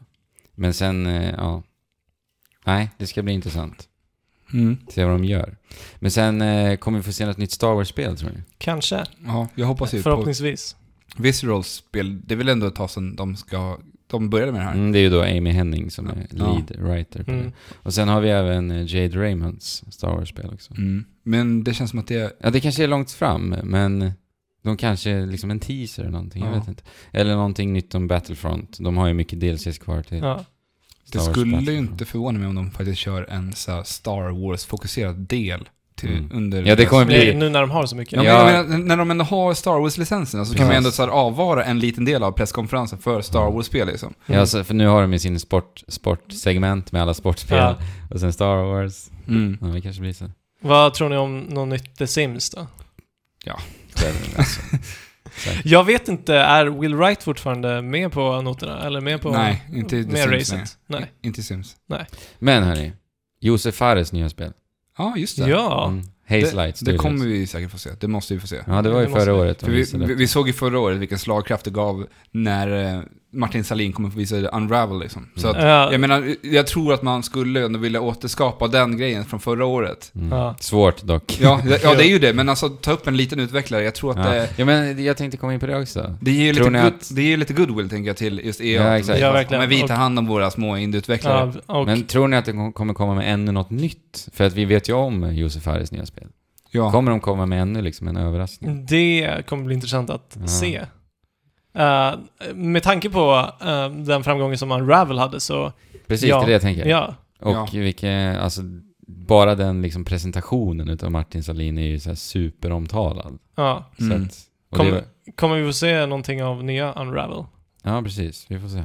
[SPEAKER 3] Men sen, eh, ja. Nej, det ska bli intressant.
[SPEAKER 1] Mm.
[SPEAKER 3] Se vad de gör. Men sen eh, kommer vi få se något nytt Star Wars-spel tror ni?
[SPEAKER 2] Kanske.
[SPEAKER 1] Ja, jag hoppas ju på
[SPEAKER 2] Förhoppningsvis.
[SPEAKER 1] Viscerals spel. Det är väl ändå ett tag sedan de ska... De började med det här.
[SPEAKER 3] Mm, det är ju då Amy Henning som är
[SPEAKER 1] Ja.
[SPEAKER 3] lead writer på
[SPEAKER 2] Mm.
[SPEAKER 3] det. Och sen har vi även eh, Jade Raymonds Star Wars-spel också.
[SPEAKER 1] Mm. Men det känns som att det...
[SPEAKER 3] Ja, det kanske är långt fram, men de kanske är liksom en teaser eller någonting, jag
[SPEAKER 1] Ja.
[SPEAKER 3] vet inte. Eller någonting nytt om Battlefront. De har ju mycket DLCs kvar till
[SPEAKER 2] Ja.
[SPEAKER 3] Star
[SPEAKER 1] Det
[SPEAKER 3] Wars
[SPEAKER 1] skulle ju
[SPEAKER 3] Battlefront.
[SPEAKER 1] inte förvåna mig om de faktiskt kör en så här Star Wars-fokuserad del till
[SPEAKER 3] Mm.
[SPEAKER 1] under...
[SPEAKER 3] Ja, det kommer bli-
[SPEAKER 2] Nu när de har så mycket.
[SPEAKER 1] Ja,
[SPEAKER 3] Ja.
[SPEAKER 1] men jag menar, när de ändå har Star Wars-licenserna så kan man ju
[SPEAKER 3] Precis.
[SPEAKER 1] ändå så här avvara en liten del av presskonferensen för Star
[SPEAKER 3] Ja.
[SPEAKER 1] Wars-spel liksom.
[SPEAKER 2] Mm.
[SPEAKER 3] Ja, alltså, för nu har de ju sin sport, sportsegment med alla sportspel.
[SPEAKER 2] Ja.
[SPEAKER 3] Och sen Star Wars.
[SPEAKER 1] Mm.
[SPEAKER 3] Ja, det kanske blir så.
[SPEAKER 2] Vad tror ni om något nytt The Sims då?
[SPEAKER 3] Det är väl alltså.
[SPEAKER 2] Jag vet inte, är Will Wright fortfarande med på noterna? Eller med på...
[SPEAKER 1] Nej, inte i The
[SPEAKER 2] med
[SPEAKER 1] Sims.
[SPEAKER 2] racet? Nej.
[SPEAKER 1] I- Inte i Sims.
[SPEAKER 3] Men hörni, Josef Fares nya spel.
[SPEAKER 1] Ja, just det.
[SPEAKER 2] Ja.
[SPEAKER 3] Mm. Haze
[SPEAKER 1] det,
[SPEAKER 3] Light
[SPEAKER 1] det
[SPEAKER 3] Studios.
[SPEAKER 1] kommer vi säkert få se. Det måste vi få se.
[SPEAKER 3] Ja, det var ju
[SPEAKER 2] Det måste
[SPEAKER 3] förra
[SPEAKER 2] vi.
[SPEAKER 3] året. de
[SPEAKER 1] För vi,
[SPEAKER 3] visade
[SPEAKER 1] vi,
[SPEAKER 3] upp.
[SPEAKER 1] vi såg ju förra året vilken slagkraft det gav när eh, Martin Salin kom upp och visade Unravel liksom. Så
[SPEAKER 3] Mm.
[SPEAKER 1] att,
[SPEAKER 2] Ja.
[SPEAKER 1] jag menar, eh, jag tror att man skulle ändå vilja återskapa den grejen från förra året.
[SPEAKER 3] Mm.
[SPEAKER 2] Ja.
[SPEAKER 3] Svårt dock.
[SPEAKER 1] Ja, det- ja det är ju det, men alltså ta upp en liten utvecklare. Jag tror att
[SPEAKER 3] Ja.
[SPEAKER 1] det,
[SPEAKER 3] ja, men jag tänkte komma in på det också.
[SPEAKER 1] det ger ju
[SPEAKER 3] Tror
[SPEAKER 1] lite,
[SPEAKER 3] ni
[SPEAKER 1] good,
[SPEAKER 3] att-
[SPEAKER 1] det ger lite goodwill tänker jag till just EA.
[SPEAKER 3] Ja, exakt.
[SPEAKER 2] Ja, verkligen.
[SPEAKER 1] Men vi tar
[SPEAKER 2] Och-
[SPEAKER 1] hand om våra små indieutvecklare.
[SPEAKER 2] Ja, och,
[SPEAKER 3] Men tror ni att det kom- kommer komma med ännu något nytt? För att vi vet ju om Josef Fares nya spel.
[SPEAKER 1] Ja.
[SPEAKER 3] Kommer de komma med ännu liksom en
[SPEAKER 2] Mm.
[SPEAKER 3] överraskning?
[SPEAKER 2] Det kommer bli intressant att
[SPEAKER 3] Ja.
[SPEAKER 2] se. Eh, med tanke på eh, den framgången som Unravel hade så,
[SPEAKER 3] Precis,
[SPEAKER 2] Ja.
[SPEAKER 3] det är det jag tänker.
[SPEAKER 2] ja.
[SPEAKER 3] Och
[SPEAKER 1] Ja.
[SPEAKER 3] vilken, alltså, bara den liksom presentationen utav Martin Salin är ju så här superomtalad.
[SPEAKER 2] ja.
[SPEAKER 1] Mm.
[SPEAKER 3] Så att, och
[SPEAKER 2] Kommer-
[SPEAKER 3] det,
[SPEAKER 2] Kommer vi få se någonting av nya Unravel?
[SPEAKER 3] ja, precis. Vi får se.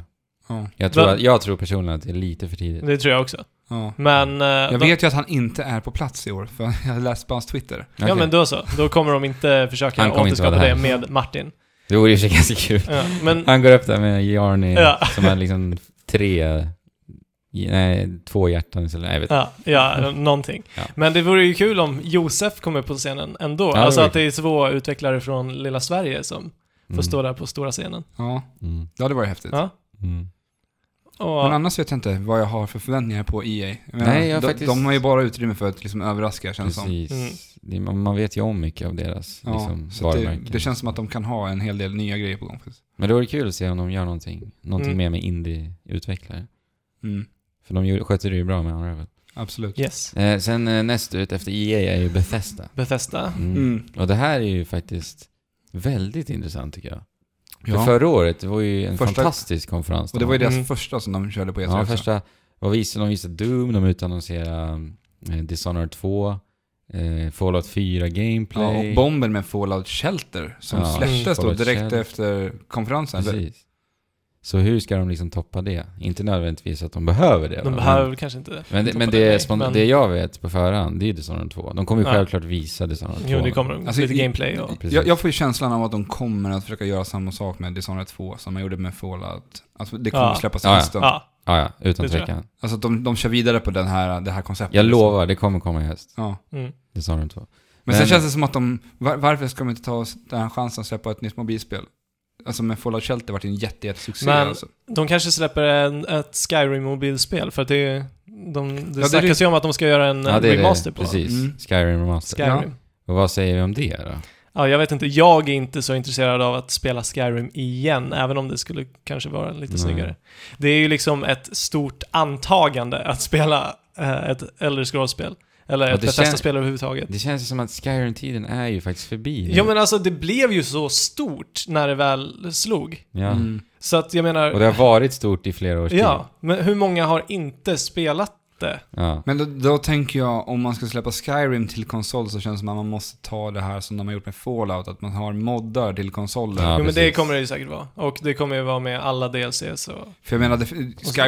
[SPEAKER 1] Ja.
[SPEAKER 3] Jag tror,
[SPEAKER 2] Men-
[SPEAKER 3] att, jag tror personligen att det är lite för tidigt.
[SPEAKER 2] Det tror jag också.
[SPEAKER 1] Ja.
[SPEAKER 2] Men... eh,
[SPEAKER 1] Jag
[SPEAKER 2] de,
[SPEAKER 1] vet ju att han inte är på plats i år, för jag har läst på hans Twitter.
[SPEAKER 2] Ja men då så. Då kommer de inte försöka
[SPEAKER 3] Han kommer inte
[SPEAKER 2] återskapa
[SPEAKER 3] vara
[SPEAKER 2] det
[SPEAKER 3] där.
[SPEAKER 2] med Martin.
[SPEAKER 3] Det vore i och för sig ganska kul.
[SPEAKER 2] Ja, men
[SPEAKER 3] Han går upp där med Jarny
[SPEAKER 2] Ja.
[SPEAKER 3] som har liksom tre, nej, två hjärtan istället. Nej, jag vet
[SPEAKER 2] Ja, ja någonting.
[SPEAKER 3] Ja.
[SPEAKER 2] Men det vore ju kul om Josef kom upp på scenen ändå.
[SPEAKER 3] det
[SPEAKER 2] alltså
[SPEAKER 3] vore
[SPEAKER 2] att det är två utvecklare från lilla Sverige som får stå där på stora scenen.
[SPEAKER 1] Ja,
[SPEAKER 3] Mm.
[SPEAKER 1] det hade varit häftigt.
[SPEAKER 2] Ja.
[SPEAKER 3] Mm.
[SPEAKER 1] Men
[SPEAKER 2] Och,
[SPEAKER 1] annars vet jag inte vad jag har för förväntningar på EA. Jag
[SPEAKER 3] Nej, jag har
[SPEAKER 1] de,
[SPEAKER 3] faktiskt-
[SPEAKER 1] de har ju bara utrymme för att liksom överraska känns det som.
[SPEAKER 3] Precis. Det, man, man vet ju om mycket av deras
[SPEAKER 1] Ja,
[SPEAKER 3] liksom,
[SPEAKER 1] så att det,
[SPEAKER 3] varumärken.
[SPEAKER 1] det känns som att de kan ha en hel del nya grejer på gång faktiskt.
[SPEAKER 3] Men det vore kul att se om de gör någonting, någonting
[SPEAKER 2] Mm.
[SPEAKER 3] mer med indie-utvecklare.
[SPEAKER 1] Mm,
[SPEAKER 3] För de ju- sköter det ju bra med Unravel.
[SPEAKER 1] absolut.
[SPEAKER 2] yes.
[SPEAKER 3] Eh, sen eh, näst ut efter EA är ju Bethesda.
[SPEAKER 2] Bethesda.
[SPEAKER 3] Mm.
[SPEAKER 1] Mm.
[SPEAKER 3] Och det här är ju faktiskt väldigt intressant tycker jag. För
[SPEAKER 1] Ja.
[SPEAKER 3] förra året, det var ju en
[SPEAKER 1] Första-
[SPEAKER 3] fantastisk konferens.
[SPEAKER 1] Och det var ju deras
[SPEAKER 2] Mm.
[SPEAKER 1] första som de körde på E3
[SPEAKER 3] Ja,
[SPEAKER 1] också.
[SPEAKER 3] första, vad visade de? visade Doom, de utannonserade eh, Dishonored 2, eh, Fallout 4
[SPEAKER 1] Ja,
[SPEAKER 3] Gameplay.
[SPEAKER 1] och bomben med Fallout Shelter som
[SPEAKER 3] Ja,
[SPEAKER 1] släpptes då
[SPEAKER 3] Fallout
[SPEAKER 1] direkt
[SPEAKER 3] Shelter.
[SPEAKER 1] efter konferensen. eller?
[SPEAKER 3] Precis. Så hur ska de liksom toppa det? Inte nödvändigtvis att de behöver det. va?
[SPEAKER 2] De behöver kanske inte...
[SPEAKER 3] Men, men, det,
[SPEAKER 2] toppa
[SPEAKER 3] men, det, är
[SPEAKER 2] nej,
[SPEAKER 3] spon- det jag vet på förhand, det är ju Dishonored 2. De kommer ju
[SPEAKER 2] Ja.
[SPEAKER 3] självklart visa Dishonored 2.
[SPEAKER 2] Jo, det kommer de.
[SPEAKER 1] Alltså,
[SPEAKER 2] Lite
[SPEAKER 1] i-
[SPEAKER 2] gameplay och...
[SPEAKER 3] Precis.
[SPEAKER 1] Jag, jag får ju känslan av att de kommer att försöka göra samma sak med Dishonored 2 som man gjorde med Fallout. Alltså det kommer
[SPEAKER 2] Ja.
[SPEAKER 1] att släppas
[SPEAKER 3] Ja, ja.
[SPEAKER 1] nästa.
[SPEAKER 2] Ja,
[SPEAKER 3] Ja, ja, utan
[SPEAKER 2] Det tror jag.
[SPEAKER 3] tvekan.
[SPEAKER 1] Alltså att de, de kör vidare på den här, det här konceptet.
[SPEAKER 3] Jag
[SPEAKER 1] liksom.
[SPEAKER 3] lovar, det kommer komma i höst.
[SPEAKER 1] Ja.
[SPEAKER 2] mm.
[SPEAKER 3] Dishonored 2.
[SPEAKER 1] Men sen
[SPEAKER 3] Men-
[SPEAKER 1] känns det som att de, var, varför ska de inte ta oss den här chansen att släppa ett nytt mobilspel? Alltså med Fallout Shelter vart det en jätte, jättesuccé
[SPEAKER 2] Men-
[SPEAKER 1] alltså.
[SPEAKER 2] De kanske släpper en, ett Skyrim-mobilspel för att det... De, det
[SPEAKER 1] det är
[SPEAKER 2] snackas ju om att de ska göra en eh,
[SPEAKER 3] det är
[SPEAKER 2] remaster på
[SPEAKER 3] Precis,
[SPEAKER 1] Mm.
[SPEAKER 3] Skyrim Remaster.
[SPEAKER 2] Skyrim.
[SPEAKER 3] Och vad säger vi om det då?
[SPEAKER 2] Ja, jag vet inte. Jag är inte så intresserad av att spela Skyrim igen, även om det skulle kanske vara lite
[SPEAKER 3] Nej.
[SPEAKER 2] snyggare. Det är ju liksom ett stort antagande att spela eh, ett Elder Scrolls-spel. Eller
[SPEAKER 3] Ja,
[SPEAKER 2] ett
[SPEAKER 3] det
[SPEAKER 2] Bethesda-spel
[SPEAKER 3] kän-
[SPEAKER 2] överhuvudtaget.
[SPEAKER 3] Det känns ju som att Skyrim-tiden är ju faktiskt förbi. nu.
[SPEAKER 2] Ja, men alltså det blev ju så stort när det väl slog.
[SPEAKER 3] ja.
[SPEAKER 1] Mm.
[SPEAKER 2] Så att jag menar...
[SPEAKER 3] Och det har varit stort i flera års tid.
[SPEAKER 2] ja, men hur många har inte spelat inte.
[SPEAKER 3] Ja.
[SPEAKER 1] Men då, då tänker jag, om man ska släppa Skyrim till konsol så känns det som att man måste ta det här som de har gjort med Fallout, att man har moddar till konsoler.
[SPEAKER 3] Ja,
[SPEAKER 2] jo men det
[SPEAKER 3] precis.
[SPEAKER 2] kommer det ju säkert vara. Och det kommer ju vara med alla DLCs och...
[SPEAKER 1] För jag menar, det-
[SPEAKER 2] så är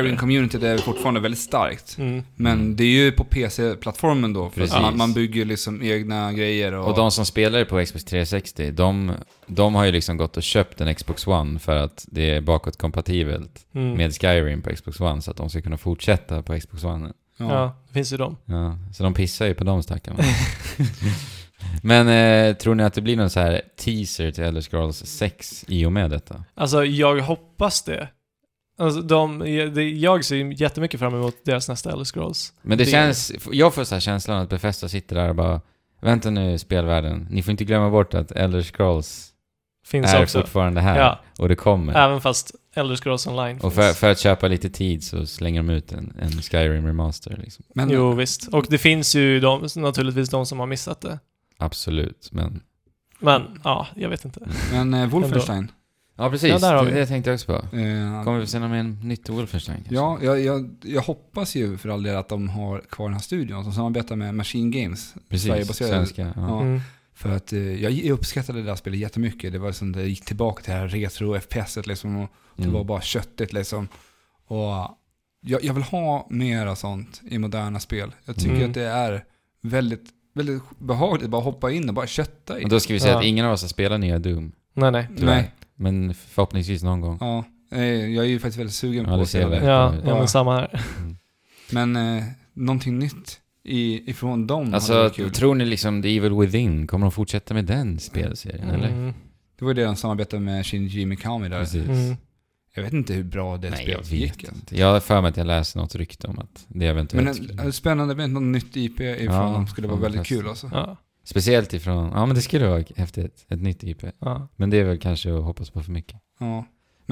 [SPEAKER 2] det.
[SPEAKER 1] Skyrim-communityt är fortfarande väldigt starkt.
[SPEAKER 2] Mm.
[SPEAKER 1] Men
[SPEAKER 3] Mm.
[SPEAKER 1] det är ju på PC-plattformen då, för att
[SPEAKER 3] Precis.
[SPEAKER 1] man, man bygger liksom egna grejer och...
[SPEAKER 3] Och de som spelar på Xbox 360, de, de har ju liksom gått och köpt en Xbox One för att det är bakåtkompatibelt
[SPEAKER 2] Mm.
[SPEAKER 3] med Skyrim på Xbox One så att de ska kunna fortsätta på Xbox One.
[SPEAKER 1] ja.
[SPEAKER 2] Ja, det finns ju dem.
[SPEAKER 3] Ja, så de pissar ju på de stackarna. Men eh, tror ni att det blir någon så här teaser till Elder Scrolls 6 i och med detta?
[SPEAKER 2] Alltså jag hoppas det. Alltså, de, det- jag ser ju jättemycket fram emot deras nästa Elder Scrolls.
[SPEAKER 3] Men det,
[SPEAKER 2] Det-
[SPEAKER 3] känns, jag får så här känslan att Bethesda sitter där och bara Vänta nu spelvärlden, ni får inte glömma bort att Elder Scrolls
[SPEAKER 2] Finns
[SPEAKER 3] är
[SPEAKER 2] också.
[SPEAKER 3] fortfarande här
[SPEAKER 2] Ja,
[SPEAKER 3] och det kommer.
[SPEAKER 2] även fast Elder Scrolls online
[SPEAKER 3] Och
[SPEAKER 2] finns.
[SPEAKER 3] för, för att köpa lite tid så slänger de ut en, en Skyrim Remaster liksom.
[SPEAKER 1] Men
[SPEAKER 2] Jo visst. Och det finns ju de, naturligtvis de som har missat det.
[SPEAKER 3] Absolut, men...
[SPEAKER 2] Men ja, jag vet inte.
[SPEAKER 1] Men eh, Wolfenstein.
[SPEAKER 3] Ja precis,
[SPEAKER 2] Ja, där har
[SPEAKER 3] det,
[SPEAKER 2] vi.
[SPEAKER 3] det tänkte jag också på.
[SPEAKER 1] Eh,
[SPEAKER 3] Kommer vi se någon med en nytt Wolfenstein kanske?
[SPEAKER 1] ja, jag, jag, jag hoppas ju för all del att de har kvar den här studion som samarbetar med Machine Games.
[SPEAKER 3] precis.
[SPEAKER 1] Sverigebaserade.
[SPEAKER 3] Svenska. Ja.
[SPEAKER 1] Ja.
[SPEAKER 2] Mm.
[SPEAKER 1] För att eh, jag uppskattade det där spelet jättemycket. Det var som det gick tillbaka till det här retro-FPS-et liksom. Och Det var
[SPEAKER 3] Mm.
[SPEAKER 1] bara köttigt liksom. Och jag, jag vill ha mera sånt i moderna spel. Jag tycker
[SPEAKER 2] Mm.
[SPEAKER 1] att det är väldigt, väldigt behagligt att bara hoppa in och bara kötta i.
[SPEAKER 3] Och då ska vi säga
[SPEAKER 2] Ja.
[SPEAKER 3] att ingen av oss har spelat nya Doom.
[SPEAKER 2] Nej, nej.
[SPEAKER 3] tyvärr.
[SPEAKER 1] Nej,
[SPEAKER 3] Men förhoppningsvis någon gång.
[SPEAKER 1] ja. Eh, Jag är ju faktiskt väldigt sugen
[SPEAKER 3] Ja,
[SPEAKER 1] på
[SPEAKER 3] det
[SPEAKER 1] att
[SPEAKER 3] ser
[SPEAKER 1] se
[SPEAKER 3] vi.
[SPEAKER 1] det.
[SPEAKER 2] Ja,
[SPEAKER 3] Ja.
[SPEAKER 2] ja, men samma här.
[SPEAKER 1] Men eh, någonting nytt i, ifrån dem hade
[SPEAKER 3] Alltså,
[SPEAKER 1] varit kul.
[SPEAKER 3] tror ni liksom The Evil Within, kommer de fortsätta med den spelserien eller?
[SPEAKER 2] Mm.
[SPEAKER 1] Det var ju det de samarbetade med Shinji Mikami där.
[SPEAKER 3] Precis.
[SPEAKER 2] Mm.
[SPEAKER 1] Jag vet inte hur bra det
[SPEAKER 3] Nej,
[SPEAKER 1] spelet
[SPEAKER 3] jag vet
[SPEAKER 1] gick. alltså.
[SPEAKER 3] inte. Jag har för mig att jag läste något rykte om att det eventuellt
[SPEAKER 1] Men alltså- en, en spännande med något nytt IP ifrån
[SPEAKER 3] Ja,
[SPEAKER 1] dem skulle vara
[SPEAKER 3] fan,
[SPEAKER 1] väldigt
[SPEAKER 3] testa.
[SPEAKER 1] kul alltså.
[SPEAKER 2] Ja,
[SPEAKER 3] Speciellt ifrån, ja men det skulle vara häftigt, ett nytt IP.
[SPEAKER 2] ja.
[SPEAKER 3] Men det är väl kanske att hoppas på för mycket.
[SPEAKER 1] Ja.
[SPEAKER 3] Men,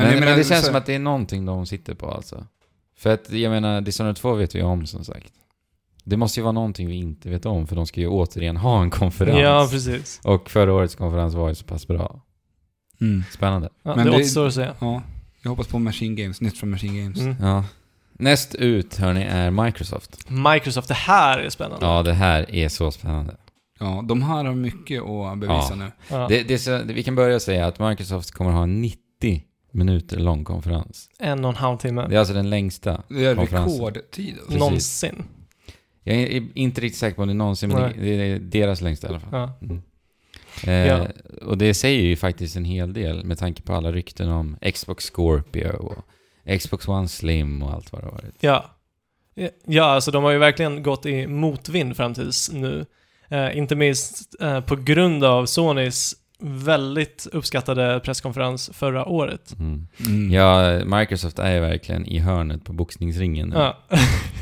[SPEAKER 1] jag
[SPEAKER 3] men,
[SPEAKER 1] menar,
[SPEAKER 3] det känns
[SPEAKER 1] så-
[SPEAKER 3] som att det är någonting de sitter på alltså. För att jag menar, Dishonored 2 vet vi om som sagt. Det måste ju vara någonting vi inte vet om för de ska ju återigen ha en konferens.
[SPEAKER 2] ja precis.
[SPEAKER 3] och förra årets konferens var ju så pass bra.
[SPEAKER 1] Mm.
[SPEAKER 3] Spännande.
[SPEAKER 2] Ja,
[SPEAKER 1] Men
[SPEAKER 2] det
[SPEAKER 1] det-
[SPEAKER 2] återstår att se.
[SPEAKER 1] Ja, jag hoppas på Machine Games, nytt från Machine Games.
[SPEAKER 2] Mm.
[SPEAKER 3] Ja. Näst ut hörni är Microsoft.
[SPEAKER 2] Microsoft, det här är spännande.
[SPEAKER 3] Ja, det här är så spännande.
[SPEAKER 1] Ja, de här har mycket att bevisa
[SPEAKER 3] Ja.
[SPEAKER 1] nu.
[SPEAKER 2] Ja.
[SPEAKER 3] Det, det är så, vi kan börja säga att Microsoft kommer ha en 90 minuter lång konferens.
[SPEAKER 2] En och en halv timme.
[SPEAKER 3] Det är alltså den längsta.
[SPEAKER 1] Det är
[SPEAKER 3] Konferensen.
[SPEAKER 1] rekordtid. Alltså.
[SPEAKER 3] precis.
[SPEAKER 2] Någonsin.
[SPEAKER 3] Jag är är inte riktigt säker på om det någonsin, men det, det är deras längsta i alla fall.
[SPEAKER 2] Ja.
[SPEAKER 3] Eh,
[SPEAKER 2] Ja.
[SPEAKER 3] Och det säger ju faktiskt en hel del med tanke på alla rykten om Xbox Scorpio och Xbox One Slim och allt vad det har varit.
[SPEAKER 2] Ja. Ja, alltså de har ju verkligen gått i motvind fram tills nu. Eh, inte minst eh, på grund av Sonys väldigt uppskattade presskonferens förra året.
[SPEAKER 3] Mm.
[SPEAKER 1] Mm.
[SPEAKER 3] Ja, Microsoft är ju verkligen i hörnet på boxningsringen nu.
[SPEAKER 2] Ja.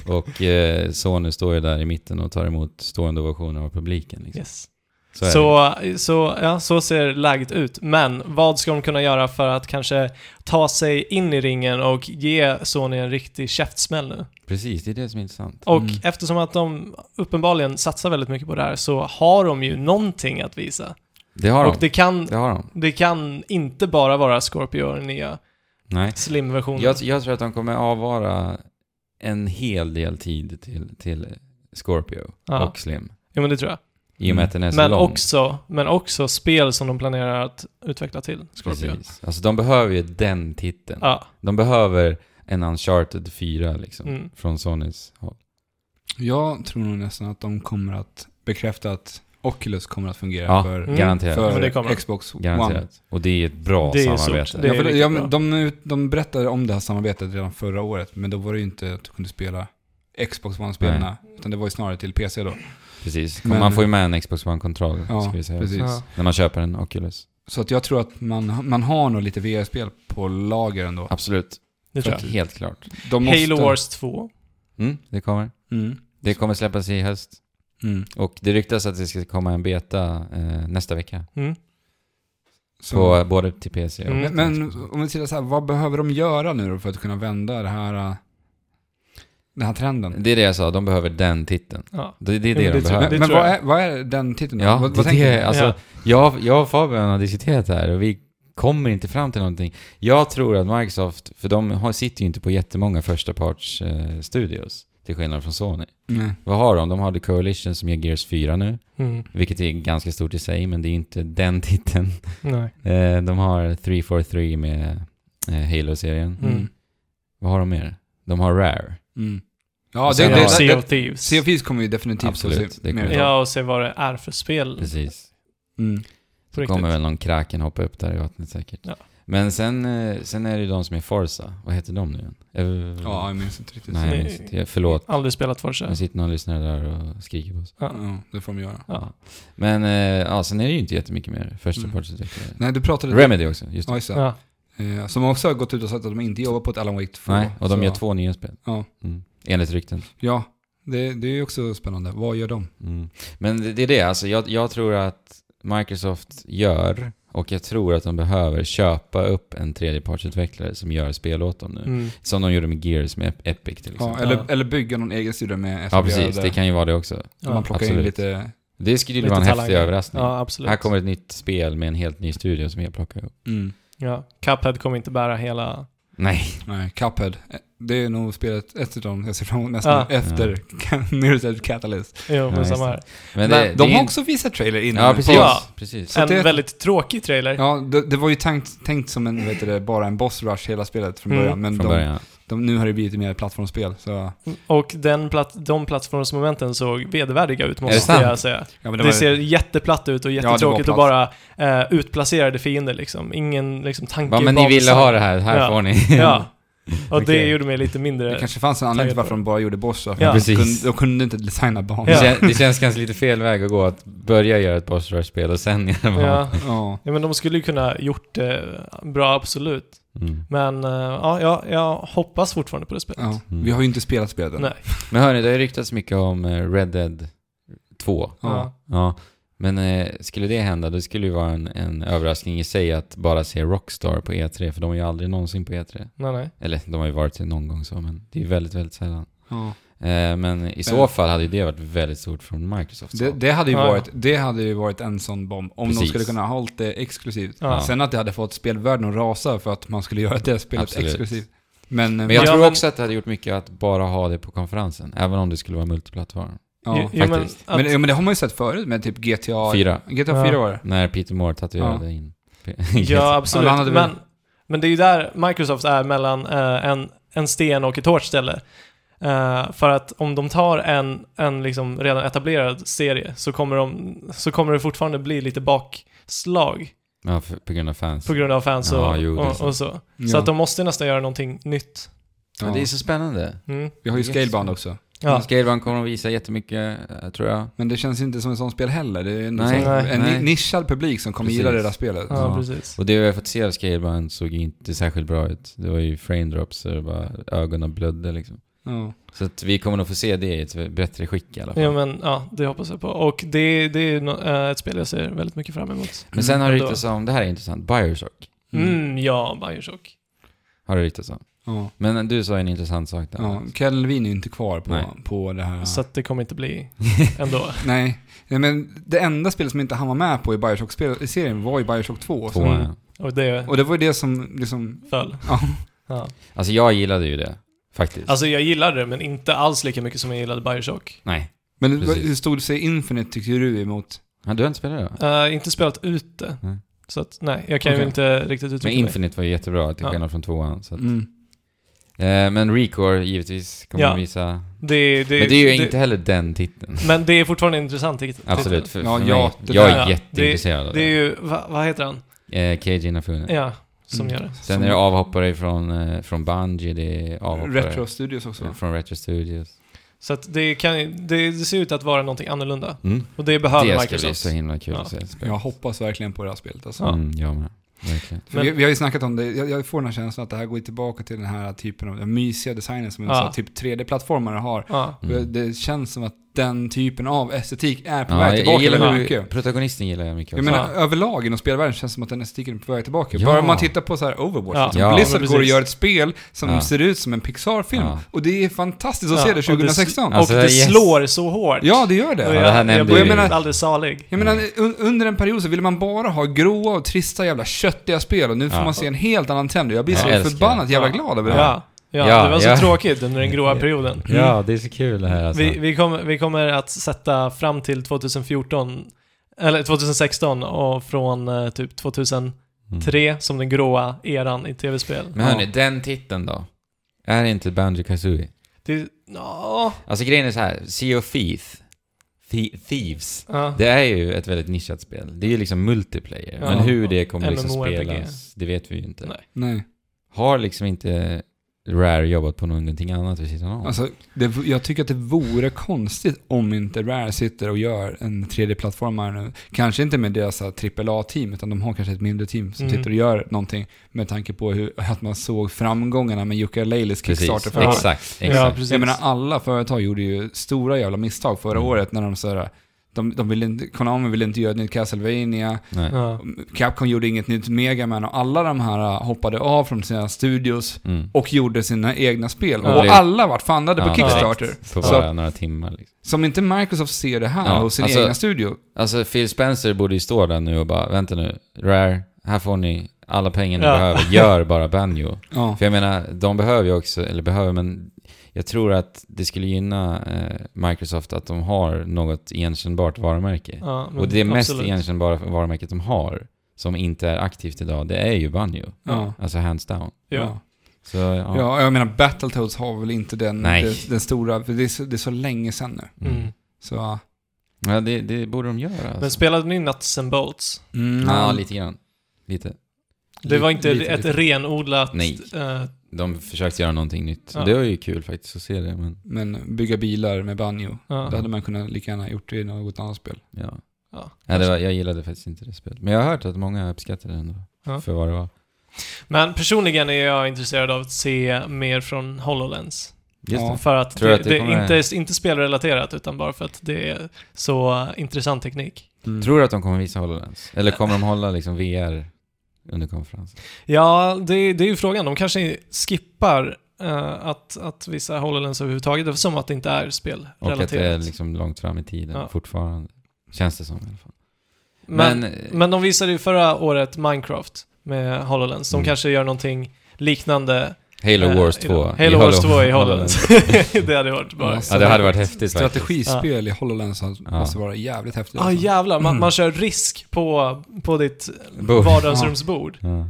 [SPEAKER 3] Och eh, Sony står ju där i mitten och tar emot stående ovationer av publiken. Liksom.
[SPEAKER 2] Yes.
[SPEAKER 3] är det.
[SPEAKER 2] Så, så, ja, så ser läget ut. Men vad ska de kunna göra för att kanske ta sig in i ringen och ge Sony en riktig käftsmäll nu?
[SPEAKER 3] Precis, det är det som är intressant.
[SPEAKER 2] Och
[SPEAKER 1] Mm.
[SPEAKER 2] eftersom att de uppenbarligen satsar väldigt mycket på det här så har de ju någonting att visa.
[SPEAKER 3] Det har
[SPEAKER 2] Och
[SPEAKER 3] de.
[SPEAKER 2] det kan,
[SPEAKER 3] Det har de.
[SPEAKER 2] det kan inte bara vara Scorpio, den nya
[SPEAKER 3] Nej.
[SPEAKER 2] slim-versionen.
[SPEAKER 3] Jag, jag tror att de kommer avvara en hel del tid till, till Scorpio
[SPEAKER 2] Ja.
[SPEAKER 3] och Slim.
[SPEAKER 2] Jo men det tror jag.
[SPEAKER 3] I och med
[SPEAKER 1] Mm.
[SPEAKER 3] att den är så
[SPEAKER 2] Men
[SPEAKER 3] lång.
[SPEAKER 2] också, men också spel som de planerar att utveckla till Scorpio.
[SPEAKER 3] Precis. Alltså de behöver ju den titeln.
[SPEAKER 2] Ja,
[SPEAKER 3] De behöver en Uncharted 4 liksom.
[SPEAKER 2] Mm.
[SPEAKER 3] Från Sonys håll.
[SPEAKER 1] Jag tror nog nästan att de kommer att bekräfta att Oculus kommer att fungera
[SPEAKER 3] Ja,
[SPEAKER 1] för,
[SPEAKER 2] Mm.
[SPEAKER 3] Garanterat.
[SPEAKER 2] Ja, men det
[SPEAKER 1] för
[SPEAKER 2] kommer.
[SPEAKER 1] Xbox One.
[SPEAKER 3] Garanterat. Och det är ett bra
[SPEAKER 2] Det är ju
[SPEAKER 3] samarbete.
[SPEAKER 2] stort. Det
[SPEAKER 1] Ja,
[SPEAKER 2] är
[SPEAKER 1] för
[SPEAKER 2] riktigt
[SPEAKER 1] ja,
[SPEAKER 2] bra.
[SPEAKER 1] men de, ut- de berättade om det här samarbetet redan förra året, men då var det ju inte att du kunde spela Xbox One-spelarna, utan det var ju snarare till PC då.
[SPEAKER 3] Precis.
[SPEAKER 1] Men-
[SPEAKER 3] Man får ju med en Xbox One-kontroll,
[SPEAKER 1] Ja,
[SPEAKER 3] ska vi säga.
[SPEAKER 1] precis.
[SPEAKER 2] ja.
[SPEAKER 3] När man köper en Oculus.
[SPEAKER 1] Så att jag tror att man, man har nog lite VR-spel på lager ändå.
[SPEAKER 3] Absolut.
[SPEAKER 2] det tror jag.
[SPEAKER 3] Helt klart.
[SPEAKER 1] De
[SPEAKER 2] Halo Wars 2.
[SPEAKER 3] Mm, det kommer.
[SPEAKER 1] Mm,
[SPEAKER 3] Det kommer släppas i höst.
[SPEAKER 1] mm.
[SPEAKER 3] Och det ryktas att det ska komma en beta eh, nästa vecka.
[SPEAKER 2] Mm.
[SPEAKER 1] Så-
[SPEAKER 3] På, både till PC och
[SPEAKER 2] Mm.
[SPEAKER 1] Men,
[SPEAKER 3] till
[SPEAKER 1] men
[SPEAKER 3] Xbox One.
[SPEAKER 1] om vi tittar så här, vad behöver de göra nu då för att kunna vända det här, äh, den här trenden?
[SPEAKER 3] Det är det jag sa, de behöver den titeln.
[SPEAKER 2] Ja.
[SPEAKER 3] Det, det är
[SPEAKER 2] Ja,
[SPEAKER 3] det
[SPEAKER 2] men
[SPEAKER 3] de
[SPEAKER 2] det tror-
[SPEAKER 3] behöver.
[SPEAKER 1] men men
[SPEAKER 2] tror
[SPEAKER 1] vad,
[SPEAKER 2] jag.
[SPEAKER 1] är, vad är den titeln då?
[SPEAKER 3] Ja,
[SPEAKER 1] vad,
[SPEAKER 3] det,
[SPEAKER 1] vad tänker
[SPEAKER 3] det,
[SPEAKER 1] ni?
[SPEAKER 3] alltså,
[SPEAKER 2] Ja.
[SPEAKER 3] jag, jag och Fabian har diskuterat det här och vi kommer inte fram till någonting. Jag tror att Microsoft, för de har, sitter ju inte på jättemånga första parts eh, studios. Till skillnad från Sony.
[SPEAKER 1] Nej.
[SPEAKER 3] Vad har de? De har The Coalition som ger Gears 4 nu.
[SPEAKER 2] Mm.
[SPEAKER 3] Vilket är ganska stort i sig, men det är ju inte den titeln.
[SPEAKER 2] Nej.
[SPEAKER 3] Eh, de har 343 med eh, Halo-serien.
[SPEAKER 2] Mm.
[SPEAKER 1] Mm.
[SPEAKER 3] Vad har de mer? De har Rare.
[SPEAKER 1] Mm. Ja,
[SPEAKER 3] Och
[SPEAKER 1] det,
[SPEAKER 3] sen
[SPEAKER 1] det,
[SPEAKER 3] har-
[SPEAKER 1] det,
[SPEAKER 2] och Sea
[SPEAKER 1] det,
[SPEAKER 2] of Thieves.
[SPEAKER 1] Sea of Thieves kommer ju definitivt
[SPEAKER 3] Absolut,
[SPEAKER 1] att se
[SPEAKER 3] det
[SPEAKER 1] mer
[SPEAKER 3] kommer
[SPEAKER 1] ut.
[SPEAKER 2] Ja, och se vad det är för spel.
[SPEAKER 3] Precis.
[SPEAKER 1] Mm.
[SPEAKER 2] På
[SPEAKER 3] Det
[SPEAKER 2] riktigt.
[SPEAKER 3] kommer väl någon kraken hoppa upp där i vattnet säkert.
[SPEAKER 2] Ja.
[SPEAKER 3] Men sen, eh, sen är det ju de som är Forza. Vad heter de nu igen? Eh, Ev-
[SPEAKER 1] Ja, jag minns inte riktigt.
[SPEAKER 3] Nej, jag minns inte. Jag- Förlåt.
[SPEAKER 2] Aldrig spelat Forza.
[SPEAKER 3] Nu sitter någon lyssnare där och skriker på oss.
[SPEAKER 1] Ja, det får de göra.
[SPEAKER 3] Ja. Men eh, ja, sen är det ju inte jättemycket mer
[SPEAKER 1] Mm.
[SPEAKER 3] förstapartsutvecklare.
[SPEAKER 1] Nej, du pratade...
[SPEAKER 3] Remedy också, just det.
[SPEAKER 1] Ja, just det.
[SPEAKER 2] Ja.
[SPEAKER 1] Eh, Som också har gått ut och sagt att de inte jobbar på ett Alan Wake 2.
[SPEAKER 3] Nej, och de
[SPEAKER 1] Så-
[SPEAKER 3] gör två nya spel.
[SPEAKER 1] Ja.
[SPEAKER 3] Mm. Enligt rykten.
[SPEAKER 1] Ja, det, det är ju också spännande. Vad gör de?
[SPEAKER 3] Mm. Men det, det är det, alltså jag, jag tror att Microsoft gör och jag tror att de behöver köpa upp en tredjepartsutvecklare som gör spel åt dem nu.
[SPEAKER 2] Mm.
[SPEAKER 3] Som de gjorde med Gears med Ep- Epic till exempel.
[SPEAKER 1] Ja,
[SPEAKER 3] Ja,
[SPEAKER 1] eller,
[SPEAKER 2] Ja.
[SPEAKER 1] eller bygga någon egen studio med
[SPEAKER 3] precis.
[SPEAKER 1] där
[SPEAKER 3] Det kan ju vara det också.
[SPEAKER 1] man
[SPEAKER 2] Ja.
[SPEAKER 1] plockar in
[SPEAKER 3] absolut.
[SPEAKER 1] lite...
[SPEAKER 3] Det skulle ju
[SPEAKER 2] Lite
[SPEAKER 3] vara en häftig
[SPEAKER 2] talanger.
[SPEAKER 3] överraskning.
[SPEAKER 2] ja, absolut.
[SPEAKER 3] Här kommer ett nytt spel med en helt ny studio som jag plockar upp.
[SPEAKER 1] Mm,
[SPEAKER 2] ja. Cuphead kommer inte bära hela...
[SPEAKER 3] Nej,
[SPEAKER 1] nej, Cuphead. Eh, Det är nog spelet ett av dem jag ser fram emot mest
[SPEAKER 2] Ja.
[SPEAKER 1] nu, efter Mirror's Edge Catalyst.
[SPEAKER 2] Jo, men
[SPEAKER 3] just
[SPEAKER 2] samma
[SPEAKER 3] det.
[SPEAKER 2] här. Men
[SPEAKER 3] men, det, det
[SPEAKER 1] De
[SPEAKER 3] är
[SPEAKER 1] har
[SPEAKER 3] ju-
[SPEAKER 1] också visat trailer innan.
[SPEAKER 3] Ja, precis.
[SPEAKER 2] Ja.
[SPEAKER 3] precis.
[SPEAKER 1] Så
[SPEAKER 2] En
[SPEAKER 1] det-
[SPEAKER 2] väldigt tråkig trailer.
[SPEAKER 1] Ja, det, det var ju tänkt, tänkt som en, vet du, det, bara en boss rush hela spelet från
[SPEAKER 2] Mm.
[SPEAKER 1] början. Men
[SPEAKER 3] Från
[SPEAKER 1] de,
[SPEAKER 3] början.
[SPEAKER 1] De, nu har det blivit mer plattformsspel. Så, ja,
[SPEAKER 2] Och den plat de plattformsmomenten såg vedervärdiga ut,
[SPEAKER 3] Är det
[SPEAKER 2] måste
[SPEAKER 3] sant?
[SPEAKER 2] jag säga.
[SPEAKER 1] men
[SPEAKER 2] Det,
[SPEAKER 1] var-
[SPEAKER 2] ser jätteplatt ut och
[SPEAKER 1] det var
[SPEAKER 2] jättetråkigt och bara
[SPEAKER 1] platt.
[SPEAKER 2] eh, utplacerade fiender liksom. Ingen liksom, tanke
[SPEAKER 3] Ja, men ni
[SPEAKER 2] bakom
[SPEAKER 3] ville
[SPEAKER 2] sig.
[SPEAKER 3] ha det här, här
[SPEAKER 2] Ja.
[SPEAKER 3] får ni.
[SPEAKER 2] Ja. Och det
[SPEAKER 1] Okej.
[SPEAKER 2] gjorde mig lite mindre...
[SPEAKER 1] det kanske fanns en anledning till
[SPEAKER 2] taggad
[SPEAKER 1] varför
[SPEAKER 2] på
[SPEAKER 1] de bara gjorde boss rush.
[SPEAKER 2] Ja.
[SPEAKER 1] De,
[SPEAKER 3] Precis.
[SPEAKER 1] kunde, de kunde inte designa banor.
[SPEAKER 3] Det,
[SPEAKER 2] Ja.
[SPEAKER 3] kän, det känns kanske lite fel väg att gå, att börja göra ett boss rush-spel och sen göra vad
[SPEAKER 2] Ja.
[SPEAKER 1] Ja.
[SPEAKER 2] ja, men de skulle ju kunna gjort det bra, absolut.
[SPEAKER 3] mm.
[SPEAKER 2] Men eh, ja, jag, jag hoppas fortfarande på det spelet.
[SPEAKER 1] Ja.
[SPEAKER 3] Mm.
[SPEAKER 1] Vi har ju inte spelat spelet än.
[SPEAKER 2] Nej.
[SPEAKER 3] Men hörni, det har ju ryktats mycket om eh, Red Dead 2.
[SPEAKER 1] Ja.
[SPEAKER 3] Ja. Men eh, skulle det hända, det skulle ju vara en, en överraskning i sig att bara se Rockstar på E3, för de är ju aldrig någonsin på E3.
[SPEAKER 2] Nej, nej.
[SPEAKER 3] Eller de har ju varit det någon gång så, men det är ju väldigt, väldigt sällan.
[SPEAKER 1] Ja.
[SPEAKER 3] Eh, men i så
[SPEAKER 1] Men-
[SPEAKER 3] fall hade ju det varit väldigt stort från Microsoft.
[SPEAKER 1] Det, det, hade ju
[SPEAKER 2] Ja.
[SPEAKER 1] varit, det hade ju varit en sån bomb om de
[SPEAKER 3] Precis.
[SPEAKER 1] skulle kunna ha hållit det exklusivt.
[SPEAKER 2] Ja.
[SPEAKER 1] Sen att det hade fått spelvärlden att rasa för att man skulle göra det spelet
[SPEAKER 3] Absolut.
[SPEAKER 1] exklusivt. Men, eh,
[SPEAKER 3] Men jag
[SPEAKER 2] Ja,
[SPEAKER 3] tror
[SPEAKER 2] men-
[SPEAKER 3] också att det hade gjort mycket att bara ha det på konferensen, även om det skulle vara multiplattform.
[SPEAKER 1] ja.
[SPEAKER 2] Jo- jo, men
[SPEAKER 3] faktiskt.
[SPEAKER 2] att-
[SPEAKER 1] men, ja, men det har man ju sett förut med typ GTA...
[SPEAKER 3] Fyra.
[SPEAKER 1] GTA
[SPEAKER 2] Ja.
[SPEAKER 1] 4 var det.
[SPEAKER 3] När Peter Moore tatuerade in...
[SPEAKER 2] Ja, absolut.
[SPEAKER 1] Ja, han hade väl-
[SPEAKER 2] men, men det är ju där Microsoft är mellan eh, en, en sten och ett hårt ställe. Eh, för att om de tar en, en liksom redan etablerad serie så kommer, de, så kommer det fortfarande bli lite bakslag
[SPEAKER 3] ja, för, på grund av fans.
[SPEAKER 2] på grund av fans och,
[SPEAKER 3] Ja, jo, det är
[SPEAKER 2] och,
[SPEAKER 3] sant.
[SPEAKER 2] och så.
[SPEAKER 1] Ja.
[SPEAKER 2] Så att de måste nästan göra någonting nytt.
[SPEAKER 3] ja. Det är så spännande.
[SPEAKER 2] Mm.
[SPEAKER 1] Vi har ju Scalebound också.
[SPEAKER 2] Ja.
[SPEAKER 3] Scalebound kommer att visa jättemycket, eh, tror jag.
[SPEAKER 1] Men det känns inte som ett sånt spel heller. Det är en,
[SPEAKER 3] Nej,
[SPEAKER 1] sån,
[SPEAKER 2] nej.
[SPEAKER 1] en
[SPEAKER 3] nej.
[SPEAKER 1] nischad publik som kommer
[SPEAKER 3] Precis.
[SPEAKER 1] gilla det där spelet.
[SPEAKER 2] Ja,
[SPEAKER 3] Ja.
[SPEAKER 2] precis.
[SPEAKER 3] Och det vi har fått se av Scalebound såg ju inte särskilt bra ut. Det var ju frame drops så det bara ögonen blödde liksom.
[SPEAKER 1] Ja.
[SPEAKER 3] Så att vi kommer nog få se det i ett bättre skick i alla fall.
[SPEAKER 2] Ja, men, ja, det hoppas jag på. Och det, det är ju nå- eh, ett spel jag ser väldigt mycket fram emot.
[SPEAKER 3] Men sen har det
[SPEAKER 2] Ändå.
[SPEAKER 3] ryktats om, det här är intressant, Bioshock
[SPEAKER 1] Mm.
[SPEAKER 2] Mm, ja, Bioshock.
[SPEAKER 3] har det ryktats om.
[SPEAKER 1] Ja.
[SPEAKER 3] Men du sa en intressant sak där.
[SPEAKER 1] Ja. Ken Levine är ju inte kvar
[SPEAKER 3] Nej.
[SPEAKER 1] på, på det här.
[SPEAKER 2] Så att det kommer inte bli ändå.
[SPEAKER 1] Nej. Nej, men det enda spelet som inte han var med på i Bioshock-serien var ju Bioshock 2.
[SPEAKER 3] Två,
[SPEAKER 1] Så,
[SPEAKER 2] Mm.
[SPEAKER 3] ja.
[SPEAKER 2] Och det
[SPEAKER 1] och det var ju det som liksom...
[SPEAKER 2] föll.
[SPEAKER 1] Ja.
[SPEAKER 2] Ja.
[SPEAKER 3] Alltså jag gillade ju det, faktiskt.
[SPEAKER 2] Alltså jag gillade det, men inte alls lika mycket som jag gillade Bioshock.
[SPEAKER 3] Nej.
[SPEAKER 1] Men det-
[SPEAKER 3] Precis.
[SPEAKER 1] hur stod sig Infinite tycker du emot?
[SPEAKER 3] Ja, du har inte spelat det? då?
[SPEAKER 2] Eh, inte spelat ut det.
[SPEAKER 3] Nej.
[SPEAKER 2] Så att nej, jag kan
[SPEAKER 1] Okej.
[SPEAKER 2] ju inte riktigt
[SPEAKER 3] Men
[SPEAKER 2] uttrycka mig.
[SPEAKER 3] Infinite var ju jättebra, till
[SPEAKER 2] Ja.
[SPEAKER 3] skillnad från tvåan. Så att,
[SPEAKER 1] Mm.
[SPEAKER 3] eh, men Recore givetvis kommer
[SPEAKER 2] Ja.
[SPEAKER 3] att visa.
[SPEAKER 2] Det, det,
[SPEAKER 3] Men det är ju inte heller den titeln.
[SPEAKER 2] Men det är fortfarande intressant. tit- titel.
[SPEAKER 3] Absolut, för,
[SPEAKER 1] Ja,
[SPEAKER 3] för
[SPEAKER 1] ja, det
[SPEAKER 3] mig. Jag
[SPEAKER 2] där-
[SPEAKER 3] är
[SPEAKER 2] ja,
[SPEAKER 3] jätteintresserad av
[SPEAKER 2] Det är
[SPEAKER 3] det.
[SPEAKER 2] ju, va, vad heter han?
[SPEAKER 3] Eh, KG Nafune.
[SPEAKER 2] Ja, som
[SPEAKER 1] Mm.
[SPEAKER 2] gör det.
[SPEAKER 3] Sen är det avhoppare från, eh, från Bungie, det är avhoppare
[SPEAKER 1] Retro Studios också.
[SPEAKER 3] eh, från Retro Studios.
[SPEAKER 2] Så att det, kan, ju- det, det ser ut att vara någonting annorlunda.
[SPEAKER 3] Mm.
[SPEAKER 2] Och det
[SPEAKER 3] Det
[SPEAKER 2] behöver
[SPEAKER 3] ska bli
[SPEAKER 2] Microsoft.
[SPEAKER 3] så himla kul
[SPEAKER 2] Ja.
[SPEAKER 3] att se. spelet.
[SPEAKER 1] Jag hoppas verkligen på det här spelet alltså.
[SPEAKER 2] Ja.
[SPEAKER 3] Mm, jag med. Verkligen.
[SPEAKER 1] För vi, vi har ju snackat om det, jag, jag får den här känslan att det här går tillbaka till den här typen av den mysiga designen som en
[SPEAKER 2] Ja.
[SPEAKER 1] sån här typ 3D-plattformare har.
[SPEAKER 2] Ja.
[SPEAKER 3] Mm.
[SPEAKER 1] Det känns som att den typen av estetik är på
[SPEAKER 3] Ja,
[SPEAKER 1] väg
[SPEAKER 3] jag, jag
[SPEAKER 1] tillbaka
[SPEAKER 3] gillar
[SPEAKER 1] väldigt
[SPEAKER 3] ju-
[SPEAKER 1] mycket.
[SPEAKER 3] Protagonisten gillar jag mycket
[SPEAKER 1] Jag
[SPEAKER 3] också.
[SPEAKER 1] menar, överlag inom spelvärlden känns det som att den estetiken är på väg tillbaka.
[SPEAKER 3] Ja.
[SPEAKER 1] Bara om man tittar på så här Overwatch.
[SPEAKER 2] Ja.
[SPEAKER 1] liksom.
[SPEAKER 3] Ja,
[SPEAKER 1] Blizzard
[SPEAKER 2] men
[SPEAKER 1] går och
[SPEAKER 2] precis.
[SPEAKER 1] gör ett spel som
[SPEAKER 3] Ja.
[SPEAKER 1] ser ut som en Pixar-film.
[SPEAKER 3] Ja.
[SPEAKER 1] Och det är fantastiskt att
[SPEAKER 2] Ja,
[SPEAKER 1] se det
[SPEAKER 2] och det-
[SPEAKER 1] 2016.
[SPEAKER 2] Och
[SPEAKER 3] Alltså,
[SPEAKER 2] det
[SPEAKER 3] yes.
[SPEAKER 2] slår så hårt.
[SPEAKER 1] ja, det gör det.
[SPEAKER 2] Och
[SPEAKER 3] Ja,
[SPEAKER 2] jag,
[SPEAKER 3] det här nämnde
[SPEAKER 2] jag blir
[SPEAKER 1] vi ju.
[SPEAKER 2] alldeles salig.
[SPEAKER 1] Jag menar, un under en period så ville man bara ha gråa och trista jävla köttiga spel och nu får
[SPEAKER 3] Ja.
[SPEAKER 1] man se en helt annan trend. Jag blir
[SPEAKER 3] Jag
[SPEAKER 1] så
[SPEAKER 3] älskar
[SPEAKER 1] förbannat
[SPEAKER 2] det.
[SPEAKER 1] jävla
[SPEAKER 2] Ja.
[SPEAKER 1] glad över det.
[SPEAKER 2] Ja. Ja,
[SPEAKER 3] Ja,
[SPEAKER 2] det var
[SPEAKER 3] ja.
[SPEAKER 2] så tråkigt under den gråa perioden.
[SPEAKER 3] Ja, det är så kul det här alltså.
[SPEAKER 2] Vi, vi, kommer, vi kommer att sätta fram till 2014, eller 2016 och från eh, typ 2003
[SPEAKER 3] Mm.
[SPEAKER 2] som den gråa eran i tv-spel.
[SPEAKER 3] Men hörni, den titeln då? Är det inte Banjo Kazooie?
[SPEAKER 2] Det, ja,
[SPEAKER 3] Alltså grejen är så här, Sea of Thief, Thi- Thieves,
[SPEAKER 2] ja.
[SPEAKER 3] det är ju ett väldigt nischat spel. Det är ju liksom multiplayer,
[SPEAKER 2] Ja.
[SPEAKER 3] men hur det kommer liksom
[SPEAKER 2] MMORPG.
[SPEAKER 3] spelas, det vet vi ju inte.
[SPEAKER 2] Nej.
[SPEAKER 1] Nej.
[SPEAKER 3] Har liksom inte Rare jobbat på någonting annat vid sidan om?
[SPEAKER 1] Alltså, det, jag tycker att det vore konstigt om inte Rare sitter och gör en 3D-plattformare nu. Kanske inte med deras så här, AAA-team, utan de har kanske ett mindre team som
[SPEAKER 2] Mm.
[SPEAKER 1] sitter och gör någonting med tanke på hur, att man såg framgångarna med Jukka Leilis
[SPEAKER 3] Precis,
[SPEAKER 1] Kickstarter förra året.
[SPEAKER 3] exakt,
[SPEAKER 2] ja,
[SPEAKER 3] exakt.
[SPEAKER 2] precis.
[SPEAKER 1] Jag menar, alla företag gjorde ju stora jävla misstag förra
[SPEAKER 3] Mm.
[SPEAKER 1] året när de så här, de, de ville inte, Konami ville inte göra ett nytt Castlevania,
[SPEAKER 3] Nej.
[SPEAKER 2] ja.
[SPEAKER 1] Capcom gjorde inget nytt Mega Man och alla de här äh, hoppade av från sina studios
[SPEAKER 3] Mm.
[SPEAKER 1] och gjorde sina egna spel.
[SPEAKER 2] Ja,
[SPEAKER 1] och
[SPEAKER 3] det-
[SPEAKER 1] alla vart fundade på
[SPEAKER 3] Ja,
[SPEAKER 1] Kickstarter. Så-
[SPEAKER 3] På bara några timmar liksom.
[SPEAKER 1] Som inte Microsoft ser det här
[SPEAKER 3] Ja,
[SPEAKER 1] hos sin
[SPEAKER 3] alltså-
[SPEAKER 1] egna studio.
[SPEAKER 3] Alltså Phil Spencer borde ju stå där nu och bara, vänta nu, Rare, här får ni alla pengar ni
[SPEAKER 2] Ja.
[SPEAKER 3] behöver, gör bara Banjo.
[SPEAKER 1] Ja.
[SPEAKER 3] För jag menar, de behöver ju också, eller behöver, men jag tror att det skulle gynna eh, Microsoft att de har något igenkännbart varumärke.
[SPEAKER 2] Ja, men
[SPEAKER 3] och det mest
[SPEAKER 2] absolut.
[SPEAKER 3] igenkännbara varumärket de har, som inte är aktivt idag, det är ju Banjo.
[SPEAKER 1] Ja.
[SPEAKER 3] Alltså hands down.
[SPEAKER 2] Ja.
[SPEAKER 1] Ja.
[SPEAKER 3] Så ja.
[SPEAKER 1] ja, jag menar Battletoads har väl inte den,
[SPEAKER 3] Nej.
[SPEAKER 1] den, den stora, för det är, så, det är så länge sedan nu.
[SPEAKER 3] Mm.
[SPEAKER 2] Mm.
[SPEAKER 1] Så, äh, ja.
[SPEAKER 3] ja det, det borde de göra. Alltså.
[SPEAKER 2] Men spelade ni Nuts and Bolts?
[SPEAKER 1] mm,
[SPEAKER 3] ja, lite grann. Lite.
[SPEAKER 2] Det var inte
[SPEAKER 1] lite,
[SPEAKER 2] ett
[SPEAKER 1] lite.
[SPEAKER 2] renodlat...
[SPEAKER 3] Nej.
[SPEAKER 2] eh,
[SPEAKER 3] De försökte göra någonting nytt.
[SPEAKER 2] Ja.
[SPEAKER 3] Det var ju kul faktiskt att se det, men
[SPEAKER 1] Men bygga bilar med banjo,
[SPEAKER 2] ja.
[SPEAKER 1] det hade man kunnat lika gärna gjort i något annat spel.
[SPEAKER 3] ja.
[SPEAKER 2] Ja.
[SPEAKER 3] ja det var, jag gillade faktiskt inte det spelet. Men jag har hört att många uppskattade det ändå,
[SPEAKER 2] Ja.
[SPEAKER 3] för vad det var.
[SPEAKER 2] Men personligen är jag intresserad av att se mer från HoloLens.
[SPEAKER 3] Just
[SPEAKER 1] Ja.
[SPEAKER 3] det.
[SPEAKER 2] För att
[SPEAKER 3] Tror
[SPEAKER 2] det,
[SPEAKER 3] att det
[SPEAKER 2] det
[SPEAKER 3] kommer-
[SPEAKER 2] inte, är- inte spelrelaterat, utan bara för att det är så eh, intressant teknik.
[SPEAKER 1] Mm.
[SPEAKER 3] Tror du att de kommer visa HoloLens? Eller kommer de hålla liksom VR under konferensen?
[SPEAKER 2] Ja, det, det är ju frågan. De kanske skippar eh, att, att visa HoloLens överhuvudtaget, eftersom att det inte är
[SPEAKER 3] Och att det är
[SPEAKER 2] spelrelaterat.
[SPEAKER 3] liksom långt fram i tiden
[SPEAKER 2] Ja.
[SPEAKER 3] fortfarande. Känns det som i alla fall.
[SPEAKER 2] Men, men,
[SPEAKER 3] eh,
[SPEAKER 2] de visade ju förra året Minecraft med HoloLens. De
[SPEAKER 3] Mm.
[SPEAKER 2] kanske gör någonting liknande.
[SPEAKER 3] Halo
[SPEAKER 2] eh,
[SPEAKER 3] Wars
[SPEAKER 2] i-
[SPEAKER 3] 2. i
[SPEAKER 2] Halo Wars 2 i HoloLens. det hade varit bara...
[SPEAKER 3] Ja, det hade varit häftigt faktiskt.
[SPEAKER 1] Strategispel i HoloLens har- måste vara jävligt häftigt.
[SPEAKER 2] Ja ah,
[SPEAKER 1] alltså.
[SPEAKER 2] jävlar, man,
[SPEAKER 1] Mm.
[SPEAKER 2] man kör risk på, på ditt
[SPEAKER 3] Bord.
[SPEAKER 2] vardagsrumsbord.
[SPEAKER 3] Ja.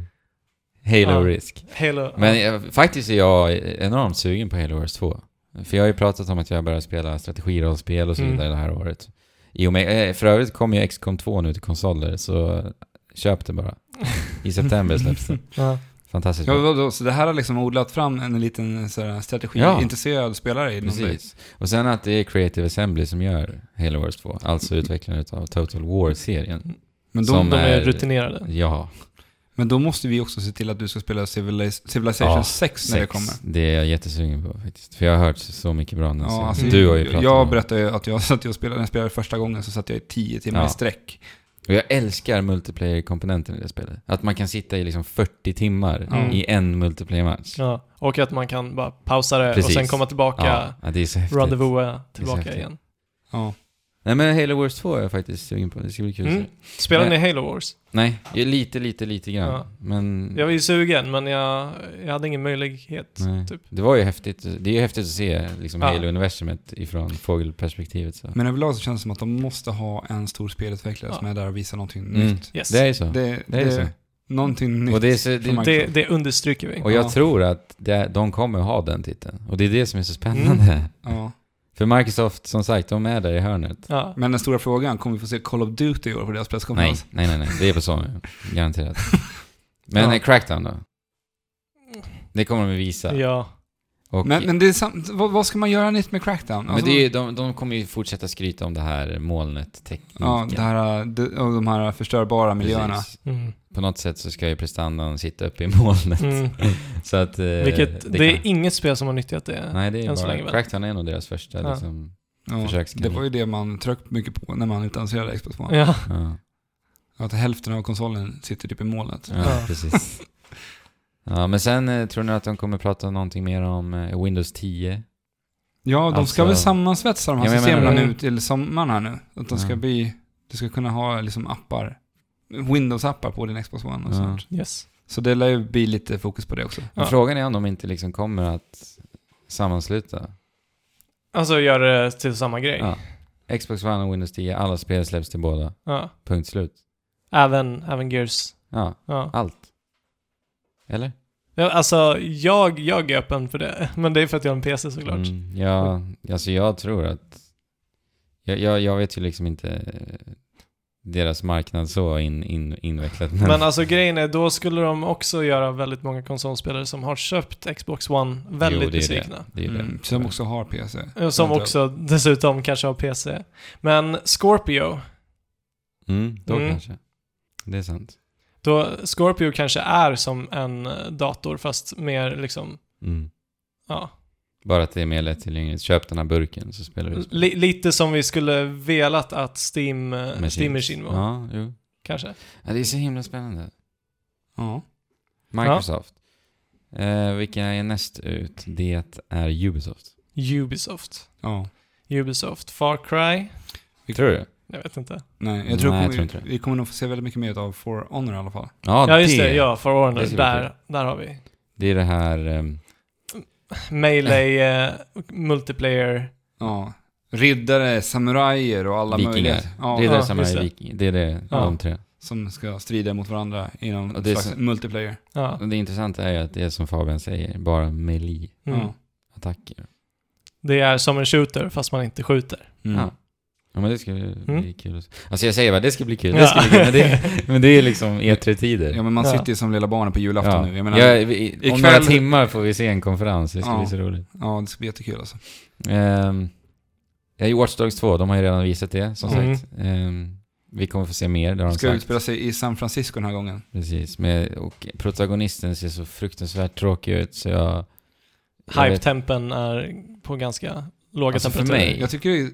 [SPEAKER 3] Halo
[SPEAKER 2] Ja.
[SPEAKER 3] Risk.
[SPEAKER 2] Halo.
[SPEAKER 3] Men jag, faktiskt är jag enormt sugen på Halo Wars 2. För jag har ju pratat om att jag börjar spela strategirollspel och så
[SPEAKER 2] Mm.
[SPEAKER 3] vidare det här året. I och med, eh, för övrigt kommer ju XCOM 2 nu till konsoler, så köp det bara. I september släpps det.
[SPEAKER 2] Ja.
[SPEAKER 3] Fantastiskt
[SPEAKER 1] Ja,
[SPEAKER 3] bra.
[SPEAKER 1] vadå, så det här har liksom odlat fram en liten eh, så här, strategiintresserad spelare i någon
[SPEAKER 3] Precis. Och sen att det är Creative Assembly som gör Halo Wars 2, alltså
[SPEAKER 1] Mm.
[SPEAKER 3] utvecklaren av Total War-serien.
[SPEAKER 1] men då,
[SPEAKER 3] Som-
[SPEAKER 2] De är
[SPEAKER 3] är-
[SPEAKER 2] rutinerade.
[SPEAKER 3] Ja,
[SPEAKER 1] men då måste vi också se till att du ska spela Civilis- Civilization
[SPEAKER 3] Ja,
[SPEAKER 1] 6 när det kommer.
[SPEAKER 3] Det är jag jättesugen på faktiskt. För jag har hört så mycket bra om den serien.
[SPEAKER 1] Ja, alltså,
[SPEAKER 3] Mm, Du har ju pratat om
[SPEAKER 1] Jag
[SPEAKER 3] den.
[SPEAKER 1] berättade ju att jag satt och spelade, när jag spelade första gången så satt jag i tio timmar
[SPEAKER 3] Ja.
[SPEAKER 1] i sträck.
[SPEAKER 3] Och jag älskar multiplayer-komponenten i det spelet. Att man kan sitta i liksom 40 timmar
[SPEAKER 2] Mm.
[SPEAKER 3] i en multiplayer-match.
[SPEAKER 2] Ja. Och att man kan bara pausa det och
[SPEAKER 3] Precis.
[SPEAKER 2] sen komma tillbaka,
[SPEAKER 3] ja, det är så häftigt.
[SPEAKER 2] rendezvousa tillbaka
[SPEAKER 3] häftigt.
[SPEAKER 2] igen.
[SPEAKER 1] Ja.
[SPEAKER 3] Nej men Halo Wars 2 är jag faktiskt sugen på. Det ska bli kul att se.
[SPEAKER 2] Mm. Spelade ni Halo Wars?
[SPEAKER 3] Nej, ju lite, lite, lite grann.
[SPEAKER 2] Ja.
[SPEAKER 3] Men...
[SPEAKER 2] Jag var ju sugen, men jag, jag hade ingen möjlighet.
[SPEAKER 3] nej.
[SPEAKER 2] typ.
[SPEAKER 3] Det var ju häftigt. Det är ju häftigt att se liksom
[SPEAKER 2] Ja.
[SPEAKER 3] Halo-universumet ifrån fågelperspektivet. Så.
[SPEAKER 1] Men överlag så känns det som att de måste ha en stor spelutvecklare
[SPEAKER 2] Ja.
[SPEAKER 1] som är där och visar någonting
[SPEAKER 3] Mm.
[SPEAKER 1] nytt.
[SPEAKER 2] Yes.
[SPEAKER 3] Det är ju så. Det,
[SPEAKER 1] Det,
[SPEAKER 3] är ju
[SPEAKER 1] det,
[SPEAKER 3] så.
[SPEAKER 1] någonting nytt.
[SPEAKER 3] Och, det är så,
[SPEAKER 1] från
[SPEAKER 3] det,
[SPEAKER 2] Det,
[SPEAKER 1] Microsoft.
[SPEAKER 2] det understryker vi.
[SPEAKER 3] och jag
[SPEAKER 1] Ja.
[SPEAKER 3] tror att det, de kommer ha den titeln. Och det är det som är så spännande.
[SPEAKER 1] ja.
[SPEAKER 3] För Microsoft, som sagt, de är där i hörnet.
[SPEAKER 2] Ja.
[SPEAKER 1] Men den stora frågan, kommer vi få se Call of Duty i år på deras
[SPEAKER 3] Nej,
[SPEAKER 1] presskonferens?
[SPEAKER 3] nej, nej, nej. Det är på Sony. Garanterat. Men
[SPEAKER 1] Ja.
[SPEAKER 3] eh, Crackdown då? Det kommer de att visa.
[SPEAKER 2] Ja.
[SPEAKER 3] Och,
[SPEAKER 1] Men,
[SPEAKER 3] men,
[SPEAKER 1] men det är samt, vad, vad ska man göra nytt med Crackdown? Alltså,
[SPEAKER 3] det är, ju- de, de kommer ju fortsätta skryta om det här molnet, tekniken.
[SPEAKER 1] ja, det här, de, och de här förstörbara miljöerna.
[SPEAKER 3] Precis.
[SPEAKER 2] Mm.
[SPEAKER 3] På något sätt så ska ju prestandan sitta uppe i molnet.
[SPEAKER 2] Mm.
[SPEAKER 3] Så att... eh,
[SPEAKER 2] Vilket, det, är
[SPEAKER 3] kan-
[SPEAKER 2] inget spel som har nyttjat det.
[SPEAKER 3] Nej, det är
[SPEAKER 2] än så länge
[SPEAKER 3] bara...
[SPEAKER 2] väl.
[SPEAKER 3] Crackdown är nog deras första
[SPEAKER 2] Ja.
[SPEAKER 3] liksom...
[SPEAKER 1] Ja,
[SPEAKER 3] Försökskanal.
[SPEAKER 1] det var ju det man tryckte mycket på när man utannonserade Xbox One.
[SPEAKER 2] Ja.
[SPEAKER 3] Ja,
[SPEAKER 1] Att hälften av konsolen sitter typ i molnet.
[SPEAKER 3] ja
[SPEAKER 2] Ja.
[SPEAKER 3] precis. Ja, men sen eh, tror ni att de kommer prata någonting mer om eh, Windows 10?
[SPEAKER 1] Ja, de
[SPEAKER 3] Alltså-
[SPEAKER 1] ska väl sammansvetsa de här
[SPEAKER 3] Ja, men jag
[SPEAKER 1] systemen
[SPEAKER 2] menar-
[SPEAKER 1] nu till sommaren här nu. Att de ska
[SPEAKER 3] Ja.
[SPEAKER 1] bli, du ska kunna ha liksom appar, Windows-appar på din Xbox One och
[SPEAKER 3] Ja.
[SPEAKER 1] sånt.
[SPEAKER 2] Yes.
[SPEAKER 1] Så det lär ju bli lite fokus på det också.
[SPEAKER 3] Men
[SPEAKER 2] Ja.
[SPEAKER 3] frågan är om de inte liksom kommer att sammansluta.
[SPEAKER 2] Alltså gör det till samma grej. Ja.
[SPEAKER 3] Ja. Xbox One och Windows 10, alla spel släpps till båda. Punkt slut.
[SPEAKER 2] Även, även Gears.
[SPEAKER 3] Ja,
[SPEAKER 2] Ja.
[SPEAKER 3] allt. Eller?
[SPEAKER 2] Ja, alltså, jag, jag är öppen för det. Men det är för att jag har en PC såklart.
[SPEAKER 3] Mm, ja, alltså jag tror att... Jag, jag, jag vet ju liksom inte eh, deras marknad så in, in, invecklat. Men,
[SPEAKER 2] Men alltså grejen är, då skulle de också göra väldigt många konsolspelare som har köpt Xbox One väldigt
[SPEAKER 3] Jo, det är
[SPEAKER 2] besvikna. Eh,
[SPEAKER 3] Det, det är ju
[SPEAKER 1] Mm,
[SPEAKER 3] det.
[SPEAKER 1] som också har PC.
[SPEAKER 2] Som
[SPEAKER 1] Eventuellt.
[SPEAKER 2] också dessutom kanske har PC. Men Scorpio,
[SPEAKER 3] Mm, då
[SPEAKER 2] Mm.
[SPEAKER 3] kanske. Det är sant.
[SPEAKER 2] då Scorpio kanske är som en eh, dator fast mer liksom,
[SPEAKER 3] Mm.
[SPEAKER 2] ja.
[SPEAKER 3] Bara att det är mer lättillgängligt. Köp den här burken så spelar du.
[SPEAKER 2] Li, lite som vi skulle velat att Steam, eh,
[SPEAKER 3] med
[SPEAKER 2] Steam
[SPEAKER 3] chips.
[SPEAKER 2] Machine var.
[SPEAKER 3] Ja, jo.
[SPEAKER 2] Kanske.
[SPEAKER 3] Ja, det är så himla spännande.
[SPEAKER 1] Ja.
[SPEAKER 3] Microsoft. Eh, vilka är näst ut? Det är Ubisoft.
[SPEAKER 2] Ubisoft.
[SPEAKER 1] ja.
[SPEAKER 2] Ubisoft. Far Cry?
[SPEAKER 3] Tror du?
[SPEAKER 2] Jag vet inte.
[SPEAKER 1] Nej, jag tror,
[SPEAKER 3] Nej, jag
[SPEAKER 1] kommer,
[SPEAKER 3] tror inte det.
[SPEAKER 1] vi kommer nog få se väldigt mycket mer av For Honor i alla fall.
[SPEAKER 3] Ja,
[SPEAKER 2] ja just det, ja. For Honor.
[SPEAKER 3] det ska bli
[SPEAKER 2] Där, där har vi.
[SPEAKER 3] Det är det här... ehm,
[SPEAKER 2] Melee, eh, multiplayer.
[SPEAKER 1] Ja. Riddare, samurajer och alla
[SPEAKER 3] Vikingar.
[SPEAKER 1] möjliga. Ja,
[SPEAKER 3] det är det
[SPEAKER 2] ja,
[SPEAKER 3] som
[SPEAKER 2] just
[SPEAKER 3] är
[SPEAKER 2] det.
[SPEAKER 3] viking. Det är det,
[SPEAKER 2] Ja.
[SPEAKER 3] de tre.
[SPEAKER 1] Som ska strida mot varandra i någon
[SPEAKER 3] Och det är
[SPEAKER 1] slags
[SPEAKER 3] så-
[SPEAKER 1] multiplayer.
[SPEAKER 2] Ja.
[SPEAKER 3] Och det intressanta är ju att det är som Fabian säger, bara melee-attacker.
[SPEAKER 1] Ja.
[SPEAKER 2] Mm. Det är som en shooter fast man inte skjuter.
[SPEAKER 1] Mm.
[SPEAKER 3] Ja. Ja men det ska bli
[SPEAKER 2] Mm.
[SPEAKER 3] kul. att se. Alltså jag säger bara, det ska bli kul, det
[SPEAKER 2] Ja.
[SPEAKER 3] ska bli kul. Men det, men det är liksom E3-tider.
[SPEAKER 1] Ja men man
[SPEAKER 2] Ja.
[SPEAKER 1] sitter ju som lilla barnet på julafton
[SPEAKER 3] Ja.
[SPEAKER 1] nu. Jag menar,
[SPEAKER 3] Ja, vi- i, om några
[SPEAKER 1] ikväll-
[SPEAKER 3] timmar får vi se en konferens, det ska
[SPEAKER 1] Ja.
[SPEAKER 3] bli så roligt.
[SPEAKER 1] ja det ska bli jättekul alltså.
[SPEAKER 3] Um, ja, i Watch Dogs 2, de har ju redan visat det, som
[SPEAKER 2] Mm.
[SPEAKER 3] sagt. Ehm, vi kommer få se mer, det har de
[SPEAKER 1] Ska
[SPEAKER 3] sagt.
[SPEAKER 1] utspela sig i San Francisco den här gången.
[SPEAKER 3] Precis, med, och protagonisten ser så fruktansvärt tråkig ut så jag... jag vet-
[SPEAKER 2] Hype-tempen är på ganska låga
[SPEAKER 3] Alltså, för
[SPEAKER 2] temperaturer.
[SPEAKER 3] mig-
[SPEAKER 1] Jag tycker det är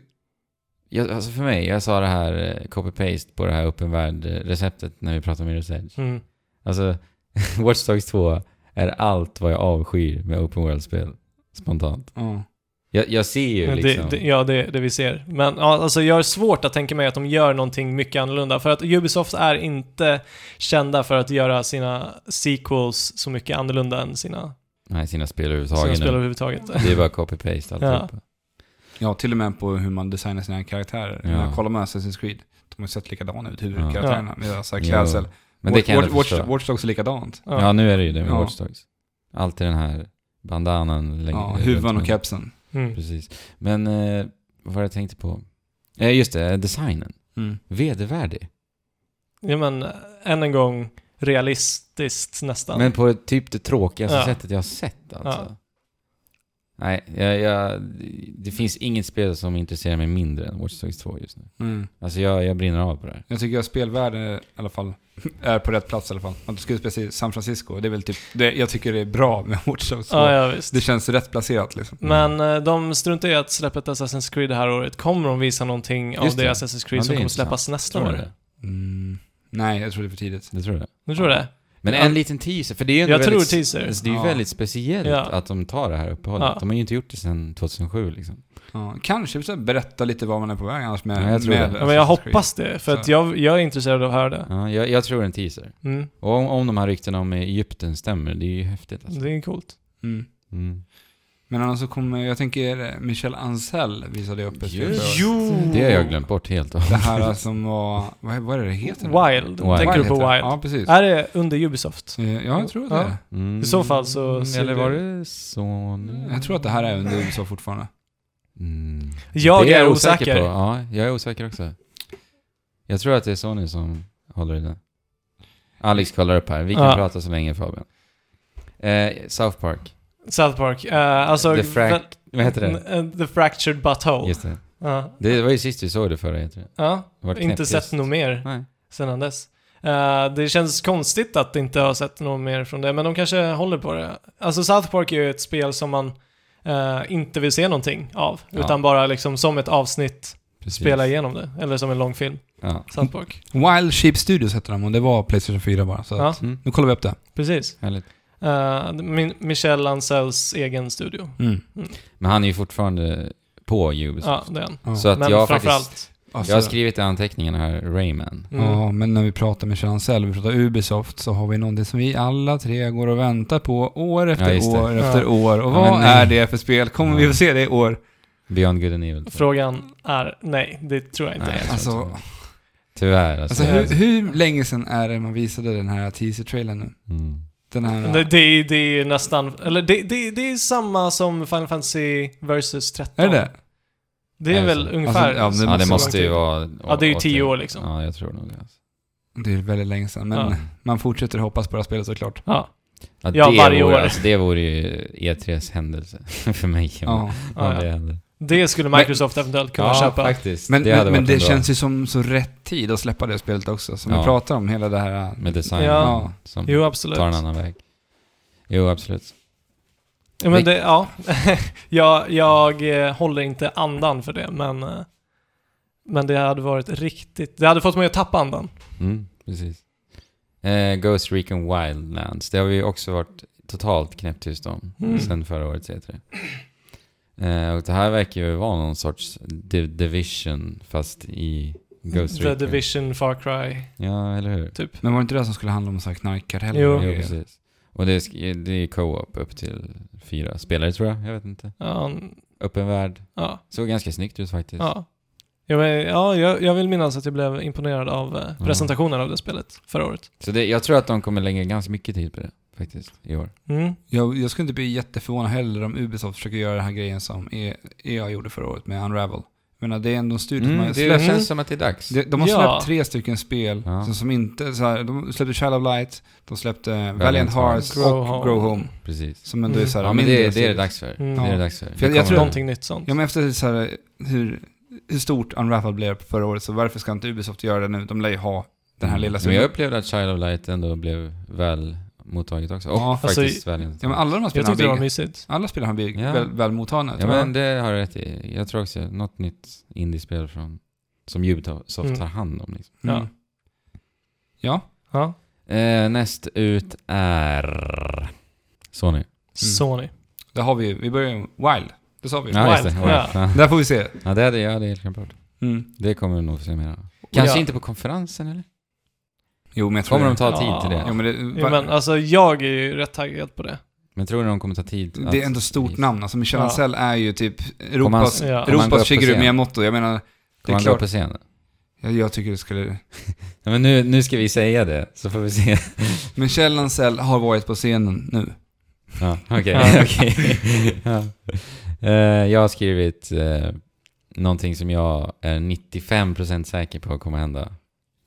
[SPEAKER 3] Jag, alltså för mig, jag sa det här eh, copy-paste på det här öppen värld-receptet när vi pratade om Mirror's Edge.
[SPEAKER 2] Mm.
[SPEAKER 3] Alltså, Watch Dogs 2 är allt vad jag avskyr med open world-spel. Spontant.
[SPEAKER 1] ja.
[SPEAKER 3] Jag, jag ser ju
[SPEAKER 2] Men
[SPEAKER 3] liksom...
[SPEAKER 2] det, det, ja, det, det vi ser. Men ja, alltså, jag har svårt att tänka mig att de gör någonting mycket annorlunda. För att Ubisoft är inte kända för att göra sina sequels så mycket annorlunda än sina,
[SPEAKER 3] Nej, sina spel
[SPEAKER 2] sina
[SPEAKER 3] överhuvudtaget
[SPEAKER 2] spel
[SPEAKER 3] nu.
[SPEAKER 2] överhuvudtaget.
[SPEAKER 3] Det är bara copy-paste alltihopa.
[SPEAKER 1] ja, till och med på hur man designar sina karaktärer.
[SPEAKER 3] Ja.
[SPEAKER 1] När jag kollar med Assassin's Creed, de har ju sett likadana ut,
[SPEAKER 2] Ja.
[SPEAKER 1] huvudkaraktärerna. Med alltså
[SPEAKER 3] Jo.
[SPEAKER 1] klädsel.
[SPEAKER 3] Men det kan jag
[SPEAKER 1] Watch,
[SPEAKER 3] ändå
[SPEAKER 1] Watch,
[SPEAKER 3] förstå.
[SPEAKER 1] Watch Dogs är likadant.
[SPEAKER 2] Ja.
[SPEAKER 3] Ja, nu är det ju det med
[SPEAKER 1] Ja.
[SPEAKER 3] Watch Dogs. Alltid den här bandanan längre
[SPEAKER 1] Ja,
[SPEAKER 3] runt
[SPEAKER 1] huvan
[SPEAKER 3] munnen.
[SPEAKER 1] och kepsen.
[SPEAKER 2] Mm.
[SPEAKER 3] Precis. Men eh, vad var det jag tänkte på? Eh, just det, eh, designen.
[SPEAKER 1] Mm.
[SPEAKER 3] Vedervärdig.
[SPEAKER 2] ja, men än en gång realistiskt nästan.
[SPEAKER 3] Men på ett typ det tråkigaste
[SPEAKER 2] Ja.
[SPEAKER 3] sättet jag har sett alltså. Nej, jag, jag, det finns inget spel som intresserar mig mindre än Watch Dogs 2 just nu.
[SPEAKER 1] Mm.
[SPEAKER 3] Alltså jag, jag brinner av på det här.
[SPEAKER 1] Jag tycker att spelvärlden är- i alla fall är på rätt plats i alla fall. Att du ska utspela sig i San Francisco, det är väl typ, det, jag tycker det är bra med Watch Dogs.
[SPEAKER 2] ja, ja, visst.
[SPEAKER 1] Det känns rätt placerat liksom.
[SPEAKER 3] Mm.
[SPEAKER 2] Men eh, de struntar i att släppa ett Assassin's Creed det här året. Kommer de visa någonting av
[SPEAKER 3] Just
[SPEAKER 2] det
[SPEAKER 3] det.
[SPEAKER 2] Assassin's Creed
[SPEAKER 3] Ja,
[SPEAKER 2] som
[SPEAKER 3] det är
[SPEAKER 2] kommer släppas nästa
[SPEAKER 3] Tror du
[SPEAKER 2] år?
[SPEAKER 3] det?
[SPEAKER 1] Mm. Nej, jag tror det är för tidigt.
[SPEAKER 3] Det tror jag.
[SPEAKER 2] Du tror det?
[SPEAKER 3] Men
[SPEAKER 2] Ja.
[SPEAKER 3] en liten teaser, för det är ju ändå
[SPEAKER 2] Jag tror
[SPEAKER 3] väldigt,
[SPEAKER 2] teaser.
[SPEAKER 3] alltså, Det är ju
[SPEAKER 1] Ja.
[SPEAKER 3] väldigt speciellt
[SPEAKER 2] Ja.
[SPEAKER 3] att de tar det här uppehållet.
[SPEAKER 2] Ja.
[SPEAKER 3] De har ju inte gjort det sedan 2007 liksom.
[SPEAKER 1] Ja, kanske så här berätta lite var man är på väg annars med...
[SPEAKER 3] Ja, jag tror
[SPEAKER 1] med Alltså,
[SPEAKER 3] det.
[SPEAKER 2] Ja, men jag
[SPEAKER 1] Assassin's Creed.
[SPEAKER 2] hoppas det, för att
[SPEAKER 1] Så.
[SPEAKER 2] jag, jag är intresserad av att höra det.
[SPEAKER 3] Ja, jag, jag tror en teaser.
[SPEAKER 2] Mm.
[SPEAKER 3] Och om, om de här ryktena om Egypten stämmer, det är ju häftigt alltså.
[SPEAKER 2] Det är coolt.
[SPEAKER 1] Mm.
[SPEAKER 3] Mm.
[SPEAKER 1] Men annars så kommer, jag tänker eh, Michel Ancel visade upp ett spel
[SPEAKER 3] Just
[SPEAKER 1] förra året.
[SPEAKER 2] Jo!
[SPEAKER 3] Det har jag glömt bort helt och
[SPEAKER 1] Det
[SPEAKER 3] hållet.
[SPEAKER 1] här som var, vad, vad är det det heter?
[SPEAKER 2] Wild.
[SPEAKER 3] Wild.
[SPEAKER 2] Tänker du
[SPEAKER 1] heter
[SPEAKER 2] på Wild?
[SPEAKER 1] det. Ja, precis.
[SPEAKER 2] Är det under Ubisoft?
[SPEAKER 1] Eh, Ja, jag tror att det
[SPEAKER 2] Ja.
[SPEAKER 1] är.
[SPEAKER 3] Mm.
[SPEAKER 2] I så fall så
[SPEAKER 3] Mm,
[SPEAKER 2] ser
[SPEAKER 3] Eller
[SPEAKER 2] det-
[SPEAKER 3] var det Sony?
[SPEAKER 1] Jag tror att det här är under USA fortfarande.
[SPEAKER 3] Mm.
[SPEAKER 2] Jag
[SPEAKER 3] Det
[SPEAKER 2] är osäker.
[SPEAKER 3] på. Ja, jag är osäker också. Jag tror att det är Sony som håller i det. Alex kollar upp här. Vi kan
[SPEAKER 2] Ja.
[SPEAKER 3] prata så länge Fabian. Eh, South Park.
[SPEAKER 2] South Park. Eh, alltså...
[SPEAKER 3] The Frac- Vad heter det?
[SPEAKER 2] eh, The Fractured Butthole.
[SPEAKER 3] Just det.
[SPEAKER 2] Ja.
[SPEAKER 3] Det var ju sist vi såg det förra, heter det.
[SPEAKER 2] Ja.
[SPEAKER 3] Det var
[SPEAKER 2] Inte
[SPEAKER 3] knäpptyst.
[SPEAKER 2] sett något mer
[SPEAKER 3] Nej.
[SPEAKER 2] sedan dess. Eh, det känns konstigt att inte ha sett något mer från det, men de kanske håller på det. Alltså South Park är ju ett spel som man eh, inte vill se någonting av,
[SPEAKER 3] Ja.
[SPEAKER 2] utan bara liksom som ett avsnitt
[SPEAKER 3] Precis.
[SPEAKER 2] spela igenom det, eller som en lång film.
[SPEAKER 3] Ja.
[SPEAKER 2] South Park.
[SPEAKER 1] Wild Sheep Studios hette de och det var Playstation 4 bara. Så
[SPEAKER 2] Ja.
[SPEAKER 1] att,
[SPEAKER 3] Mm.
[SPEAKER 1] nu kollar vi upp det.
[SPEAKER 2] Precis.
[SPEAKER 3] Härligt.
[SPEAKER 2] Eh, min, Michel Ansells egen studio.
[SPEAKER 1] Mm.
[SPEAKER 3] Men han är ju fortfarande på Ubisoft.
[SPEAKER 2] Ja, det är han.
[SPEAKER 1] Ja.
[SPEAKER 3] Så att
[SPEAKER 2] Men
[SPEAKER 3] jag faktiskt...
[SPEAKER 2] framförallt,
[SPEAKER 1] Alltså,
[SPEAKER 3] Jag har skrivit i anteckningarna här, Rayman.
[SPEAKER 2] Mm.
[SPEAKER 1] Ja, men när vi pratar med Chancel, vi pratar Ubisoft, så har vi någonting som vi alla tre går och väntar på år efter
[SPEAKER 3] Ja, just det.
[SPEAKER 1] år efter
[SPEAKER 2] Ja.
[SPEAKER 1] år. Och
[SPEAKER 3] Ja,
[SPEAKER 1] vad
[SPEAKER 3] men nej.
[SPEAKER 1] är det för spel? Kommer
[SPEAKER 3] Ja.
[SPEAKER 1] vi få se det i år?
[SPEAKER 3] Beyond Good and Evil.
[SPEAKER 2] Frågan är, nej, det tror jag inte. är.
[SPEAKER 3] Nej. tror inte
[SPEAKER 1] Alltså,
[SPEAKER 3] det. Tyvärr alltså.
[SPEAKER 1] alltså hur, hur länge sedan är det man visade den här teaser-trailern nu?
[SPEAKER 3] Mm.
[SPEAKER 1] Den här...
[SPEAKER 2] Det, det, är- det är nästan, eller det, det, det är samma som Final Fantasy Versus 13.
[SPEAKER 1] Är det det?
[SPEAKER 2] Det är
[SPEAKER 3] Är det
[SPEAKER 2] väl
[SPEAKER 3] så?
[SPEAKER 2] ungefär
[SPEAKER 1] Alltså, ja,
[SPEAKER 3] Ja, det
[SPEAKER 2] så
[SPEAKER 3] måste
[SPEAKER 2] lång
[SPEAKER 3] ju
[SPEAKER 2] tid.
[SPEAKER 3] vara...
[SPEAKER 2] Ja, det är ju
[SPEAKER 3] åt-
[SPEAKER 2] tio år liksom.
[SPEAKER 3] Ja, jag tror nog det. Alltså.
[SPEAKER 1] Det är väldigt länge sedan, men
[SPEAKER 2] Ja.
[SPEAKER 1] man fortsätter hoppas på det här spelet såklart.
[SPEAKER 2] Ja.
[SPEAKER 3] Ja,
[SPEAKER 2] Ja,
[SPEAKER 3] det
[SPEAKER 2] varje
[SPEAKER 3] vore,
[SPEAKER 2] år.
[SPEAKER 3] Alltså, det vore ju E3s händelse för mig. om-
[SPEAKER 1] Ja.
[SPEAKER 3] om
[SPEAKER 2] Ja,
[SPEAKER 3] det
[SPEAKER 2] ja.
[SPEAKER 3] händer.
[SPEAKER 2] Det skulle Microsoft eventuellt kunna
[SPEAKER 3] ja,
[SPEAKER 2] köpa.
[SPEAKER 3] faktiskt.
[SPEAKER 1] Men
[SPEAKER 3] det
[SPEAKER 1] det,
[SPEAKER 3] hade
[SPEAKER 1] men
[SPEAKER 3] varit
[SPEAKER 1] det
[SPEAKER 3] en bra-
[SPEAKER 1] känns ju som så rätt tid att släppa det spelet också, som vi
[SPEAKER 3] Ja.
[SPEAKER 1] pratar om, hela det här...
[SPEAKER 3] Med designen
[SPEAKER 2] Ja.
[SPEAKER 1] Ja.
[SPEAKER 3] som
[SPEAKER 2] Jo, absolut.
[SPEAKER 3] tar en annan väg. Jo, absolut.
[SPEAKER 2] Ja, men det, ja. jag, jag eh, håller inte andan för det, men, eh, men det hade varit riktigt... Det hade fått mig att tappa andan.
[SPEAKER 3] Mm, precis. Eh, Ghost Recon Wildlands, det har vi ju också varit totalt knäpptyst om
[SPEAKER 2] Mm.
[SPEAKER 3] sen förra årets E3. Eh, och det här verkar ju vara någon sorts The Division fast i Ghost
[SPEAKER 2] The
[SPEAKER 3] Recon.
[SPEAKER 2] Division, Far Cry.
[SPEAKER 3] Ja, eller hur?
[SPEAKER 1] Men var det inte det som skulle handla om så här knarkarhelger?
[SPEAKER 2] Jo.
[SPEAKER 1] och
[SPEAKER 3] Jo,
[SPEAKER 1] grejer?
[SPEAKER 3] precis. Och det är, sk- det är co-op upp till fyra spelare tror jag, jag vet inte.
[SPEAKER 2] Ja, n-
[SPEAKER 3] Öppen värld.
[SPEAKER 2] ja,
[SPEAKER 3] Såg ganska snyggt ut faktiskt.
[SPEAKER 2] ja. Ja, men, ja, jag, jag vill minnas att jag blev imponerad av eh, presentationen av det spelet förra året.
[SPEAKER 3] Så det, jag tror att de kommer lägga ganska mycket tid på det faktiskt i år.
[SPEAKER 2] Mm.
[SPEAKER 1] Jag, jag skulle inte bli jätteförvånad heller om Ubisoft försöker göra den här grejen som E- EA gjorde förra året med Unravel. Jag menar, det är ändå en studio som
[SPEAKER 2] Mm.
[SPEAKER 1] har
[SPEAKER 3] Mm, det
[SPEAKER 1] släppt...
[SPEAKER 3] känns som att det är dags.
[SPEAKER 1] De, de har
[SPEAKER 2] Ja.
[SPEAKER 1] släppt tre stycken spel
[SPEAKER 3] Ja.
[SPEAKER 1] som, som inte... Så här, de släppte Child of Light, de släppte Valiant,
[SPEAKER 3] Hearts.
[SPEAKER 1] Hearts
[SPEAKER 2] Grow
[SPEAKER 1] och
[SPEAKER 2] Home.
[SPEAKER 1] Grow Home.
[SPEAKER 3] Precis.
[SPEAKER 1] Som ändå är så här,
[SPEAKER 3] Ja men
[SPEAKER 1] mindre
[SPEAKER 3] det, det är det
[SPEAKER 1] studios.
[SPEAKER 3] dags för.
[SPEAKER 2] Mm.
[SPEAKER 3] Det är
[SPEAKER 1] Ja.
[SPEAKER 3] det dags för.
[SPEAKER 1] För jag-
[SPEAKER 3] Det
[SPEAKER 1] jag
[SPEAKER 3] kommer.
[SPEAKER 1] tror-
[SPEAKER 2] Någonting nytt sånt.
[SPEAKER 1] Ja men efter så här, hur, hur stort Unravel blev förra året, så varför ska inte Ubisoft göra det nu? De lär ju ha den här lilla...
[SPEAKER 3] Mm. Men jag upplevde att Child of Light ändå blev väl mottaget också. Och
[SPEAKER 1] Ja,
[SPEAKER 2] alltså,
[SPEAKER 3] faktiskt väl
[SPEAKER 1] Ja men alla de här
[SPEAKER 2] jag
[SPEAKER 1] spelarna har
[SPEAKER 2] tyckte det var
[SPEAKER 1] blivit...
[SPEAKER 2] mysigt.
[SPEAKER 1] Alla spelare har blivit
[SPEAKER 3] Ja.
[SPEAKER 1] väl, väl mottagna.
[SPEAKER 3] Ja
[SPEAKER 1] tror jag.
[SPEAKER 3] men det har du rätt i. Jag tror också något nytt indiespel från, som Ubisoft
[SPEAKER 2] Mm.
[SPEAKER 3] tar hand om. Liksom.
[SPEAKER 2] ja.
[SPEAKER 1] Mm. Ja.
[SPEAKER 2] Ja.
[SPEAKER 3] Eh, näst ut är Sony.
[SPEAKER 2] Sony.
[SPEAKER 1] Det har vi ju. Vi börjar med Wild. Det sa vi ju.
[SPEAKER 3] Ja, just det.
[SPEAKER 2] Wild.
[SPEAKER 3] Ja. Ja.
[SPEAKER 1] Där får vi se.
[SPEAKER 3] Ja, det hade jag, det är helt klart.
[SPEAKER 1] Mm.
[SPEAKER 3] Det kommer vi nog få se mer av. Kanske
[SPEAKER 2] Ja.
[SPEAKER 3] inte på konferensen eller?
[SPEAKER 1] Jo, men jag tror
[SPEAKER 3] Kommer de
[SPEAKER 1] det.
[SPEAKER 3] ta tid till
[SPEAKER 2] Ja.
[SPEAKER 1] Jo,
[SPEAKER 3] det?
[SPEAKER 1] men det,
[SPEAKER 2] Jo, men alltså jag är ju rätt taggad på det.
[SPEAKER 3] Men tror du de kommer ta tid?
[SPEAKER 1] det
[SPEAKER 3] att-
[SPEAKER 1] är ändå stort namn. Alltså Michel
[SPEAKER 2] Ja.
[SPEAKER 1] Ancel är ju typ Europas,
[SPEAKER 2] Ja. Kommer
[SPEAKER 3] han gå upp på
[SPEAKER 1] Europas Shigeru
[SPEAKER 3] scen?
[SPEAKER 1] Miyamoto. Jag menar, det
[SPEAKER 3] Kommer
[SPEAKER 1] är
[SPEAKER 3] han gå
[SPEAKER 1] klart.
[SPEAKER 3] upp på scenen?
[SPEAKER 1] Jag, jag tycker det skulle...
[SPEAKER 3] Ja, men nu, nu ska vi säga det, så får vi se.
[SPEAKER 1] Michel Ancel har varit på scenen nu.
[SPEAKER 3] Ja, okej.
[SPEAKER 2] Ja.
[SPEAKER 3] okej. ja. Eh, jag har skrivit eh, någonting som jag är 95% säker på kommer hända.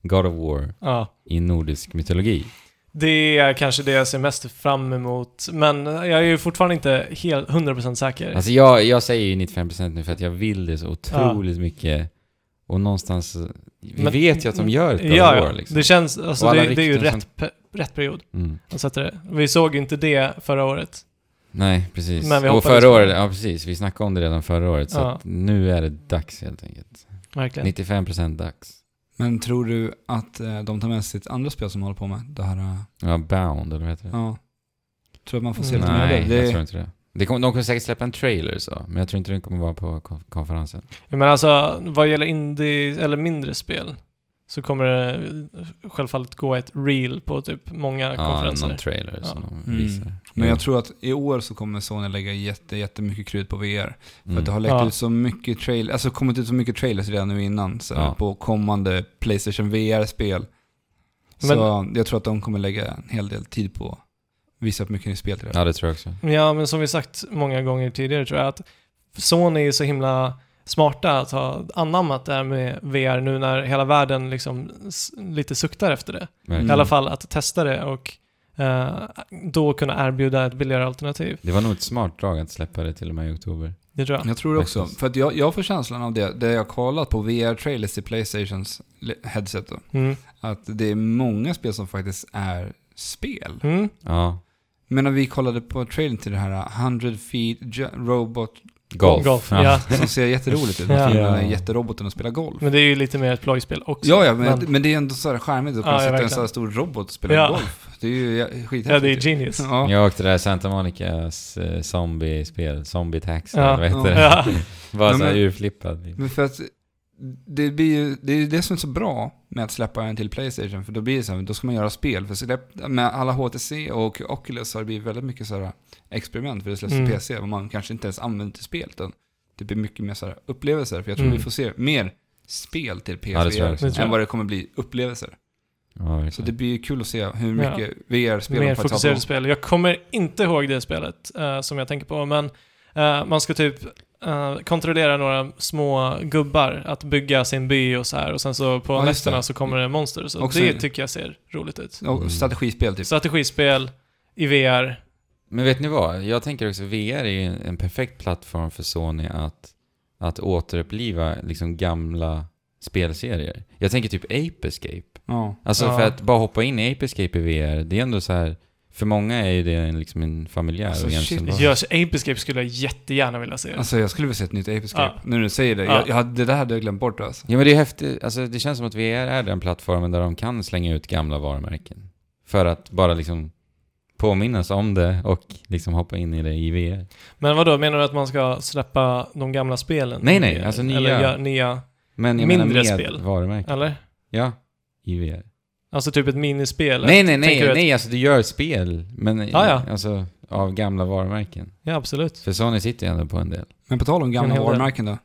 [SPEAKER 3] God of War
[SPEAKER 2] Ja.
[SPEAKER 3] i nordisk mytologi.
[SPEAKER 2] Det är kanske det jag ser mest fram emot, men jag är ju fortfarande inte helt 100% säker.
[SPEAKER 3] Alltså jag, jag säger ju 95% nu för att jag vill det så otroligt mycket. Och någonstans, eh, vi
[SPEAKER 2] Men-
[SPEAKER 3] vet ju att de gör ett God
[SPEAKER 2] ja,
[SPEAKER 3] of
[SPEAKER 2] ja.
[SPEAKER 3] War liksom.
[SPEAKER 2] Det känns, alltså
[SPEAKER 3] Och alla
[SPEAKER 2] det, det är ju
[SPEAKER 3] rykten
[SPEAKER 2] rätt, pe- rätt period.
[SPEAKER 3] Mm.
[SPEAKER 2] att sätta det. Vi såg ju inte det förra året.
[SPEAKER 3] Nej, precis.
[SPEAKER 2] Men vi
[SPEAKER 3] och
[SPEAKER 2] hoppades
[SPEAKER 3] förra
[SPEAKER 2] på
[SPEAKER 3] året,
[SPEAKER 2] det.
[SPEAKER 3] ja precis, vi snackade om det redan förra året. Så
[SPEAKER 2] Ja.
[SPEAKER 3] att nu är det dags helt enkelt.
[SPEAKER 2] Verkligen.
[SPEAKER 3] 95% dags.
[SPEAKER 1] Men tror du att eh, de tar med sitt andra spel som de håller på med? Det här... eh,
[SPEAKER 3] Ja, Bound eller vad heter det?
[SPEAKER 1] Ja. Tror att man får se lite mer av det?
[SPEAKER 3] Nej, jag
[SPEAKER 1] det
[SPEAKER 3] tror inte det. det kommer- de kommer säkert släppa en trailer så, men jag tror inte den kommer vara på kon- konferensen.
[SPEAKER 2] Men alltså, vad gäller indie eller mindre spel så kommer det självfallet gå ett reel på typ många
[SPEAKER 3] Ja, någon
[SPEAKER 2] konferenser.
[SPEAKER 3] trailer som
[SPEAKER 2] Ja.
[SPEAKER 3] de
[SPEAKER 1] Mm.
[SPEAKER 3] visar.
[SPEAKER 1] Men
[SPEAKER 3] Jo.
[SPEAKER 1] jag tror att i år så kommer Sony lägga jätte, jättemycket krut på VR. För
[SPEAKER 3] Mm.
[SPEAKER 1] att det har läckt
[SPEAKER 2] Ja.
[SPEAKER 1] ut så mycket trailers, alltså kommit ut så mycket trailers redan nu innan så
[SPEAKER 3] Ja.
[SPEAKER 1] på kommande Playstation VR-spel. Så jag tror att de kommer lägga en hel del tid på att visa upp mycket nytt spel till det.
[SPEAKER 3] Mm. Ja, det tror jag också.
[SPEAKER 2] Ja, men som vi sagt många gånger tidigare tror jag att Sony är så himla smarta att ha anammat det här med VR nu när hela världen liksom s- lite suktar efter det.
[SPEAKER 3] Verkligen.
[SPEAKER 2] I
[SPEAKER 1] Mm.
[SPEAKER 2] alla fall att testa det och eh, då kunna erbjuda ett billigare alternativ.
[SPEAKER 3] Det var nog ett smart drag att släppa det till och med i oktober.
[SPEAKER 2] Det tror jag.
[SPEAKER 1] Jag tror det också,
[SPEAKER 3] Faktiskt.
[SPEAKER 1] för att jag, jag får känslan av det, det jag kollat på VR-trailers i Playstations le- headset då,
[SPEAKER 2] Mm.
[SPEAKER 1] att det är många spel som faktiskt är spel.
[SPEAKER 2] Mm.
[SPEAKER 3] Ja.
[SPEAKER 1] Men när vi kollade på trailern till det här 100 feet Ju- robot,
[SPEAKER 3] Golf.
[SPEAKER 2] Golf,
[SPEAKER 3] Ja.
[SPEAKER 2] ja.
[SPEAKER 1] som ser jätteroligt ut,
[SPEAKER 2] Ja.
[SPEAKER 1] den här jätteroboten och spelar golf.
[SPEAKER 2] Men det är ju lite mer ett plojspel också.
[SPEAKER 1] Ja, ja men, men det är ändå så här charmigt att kunna
[SPEAKER 2] Ja, ja,
[SPEAKER 1] sätta en
[SPEAKER 2] verkligen.
[SPEAKER 1] så här stor robot och spela
[SPEAKER 2] Ja.
[SPEAKER 1] golf. Det är ju ja, skithäftigt.
[SPEAKER 2] ja, det är genius.
[SPEAKER 1] Ja.
[SPEAKER 3] Jag åkte det där Santa Monicas eh, zombiespel, Zombie Taxi,
[SPEAKER 2] Ja.
[SPEAKER 3] vad heter
[SPEAKER 1] Ja.
[SPEAKER 3] det?
[SPEAKER 2] Ja.
[SPEAKER 3] Bara
[SPEAKER 1] Ja,
[SPEAKER 3] såhär
[SPEAKER 1] men-
[SPEAKER 3] urflippad.
[SPEAKER 1] Men för att det, blir ju, det är ju det som är så bra med att släppa en till Playstation, för då blir det så här, då ska man göra spel. För släpp, med alla HTC och Oculus har det blivit väldigt mycket så här experiment för det släpps
[SPEAKER 2] Mm.
[SPEAKER 1] till PC, och man kanske inte ens använder till spel, utan det blir mycket mer så här upplevelser. För jag tror
[SPEAKER 2] Mm.
[SPEAKER 1] vi får se mer spel till PS
[SPEAKER 3] Ja, det tror jag också.
[SPEAKER 2] Det tror jag.
[SPEAKER 1] än vad det kommer bli upplevelser.
[SPEAKER 3] Ja,
[SPEAKER 1] Så
[SPEAKER 3] verkligen.
[SPEAKER 1] det blir ju kul att se hur
[SPEAKER 2] Ja.
[SPEAKER 1] mycket VR-spel
[SPEAKER 2] Mer
[SPEAKER 1] de faktiskt har
[SPEAKER 2] fokuserade
[SPEAKER 1] på.
[SPEAKER 2] spel. Jag kommer inte ihåg det spelet eh, som jag tänker på, men eh, man ska typ eh, kontrollera några små gubbar att bygga sin by och så här och sen så på
[SPEAKER 1] Ja, just
[SPEAKER 2] nätterna
[SPEAKER 1] det.
[SPEAKER 2] så kommer det monster. Så
[SPEAKER 1] Också-
[SPEAKER 2] det tycker jag ser roligt ut.
[SPEAKER 3] Mm.
[SPEAKER 1] Och strategispel typ.
[SPEAKER 2] Strategispel i VR.
[SPEAKER 3] Men vet ni vad? Jag tänker också VR är ju en perfekt plattform för Sony att, att återuppliva liksom gamla spelserier. Jag tänker typ Ape Escape.
[SPEAKER 1] Ja.
[SPEAKER 3] Alltså
[SPEAKER 2] Ja.
[SPEAKER 3] för att bara hoppa in i Ape Escape i VR, det är ändå så här... För många är ju det en- liksom en familjär
[SPEAKER 1] Alltså,
[SPEAKER 3] och
[SPEAKER 1] shit.
[SPEAKER 3] egentligen bara...
[SPEAKER 2] Görs Ape Escape skulle jag jättegärna vilja se.
[SPEAKER 1] Alltså jag skulle vilja se ett nytt Ape Escape.
[SPEAKER 2] Ja.
[SPEAKER 1] Nu när du säger det.
[SPEAKER 2] Ja.
[SPEAKER 1] Jag, jag, hade- det där hade jag glömt bort alltså.
[SPEAKER 3] Ja men det är häftigt, alltså det känns som att VR är den plattformen där de kan slänga ut gamla varumärken. För att bara liksom påminnas om det och liksom hoppa in i det i VR.
[SPEAKER 2] Men vad då menar du att man ska släppa de gamla spelen?
[SPEAKER 3] Nej, nej,
[SPEAKER 2] i-
[SPEAKER 3] alltså nya-
[SPEAKER 2] Eller gö- nya,
[SPEAKER 3] Men jag
[SPEAKER 2] Mindre
[SPEAKER 3] menar med
[SPEAKER 2] spel.
[SPEAKER 3] varumärken.
[SPEAKER 2] eller?
[SPEAKER 3] Ja, i VR.
[SPEAKER 2] Alltså typ ett minispel?
[SPEAKER 3] Nej, nej, nej,
[SPEAKER 2] tänker du att-
[SPEAKER 3] nej, alltså du gör spel, men
[SPEAKER 2] Ja, ja.
[SPEAKER 3] alltså av gamla varumärken.
[SPEAKER 2] Ja, absolut.
[SPEAKER 3] För Sony sitter ju ändå på en del.
[SPEAKER 1] Men på tal om gamla
[SPEAKER 2] En hel del.
[SPEAKER 1] varumärken då. Vi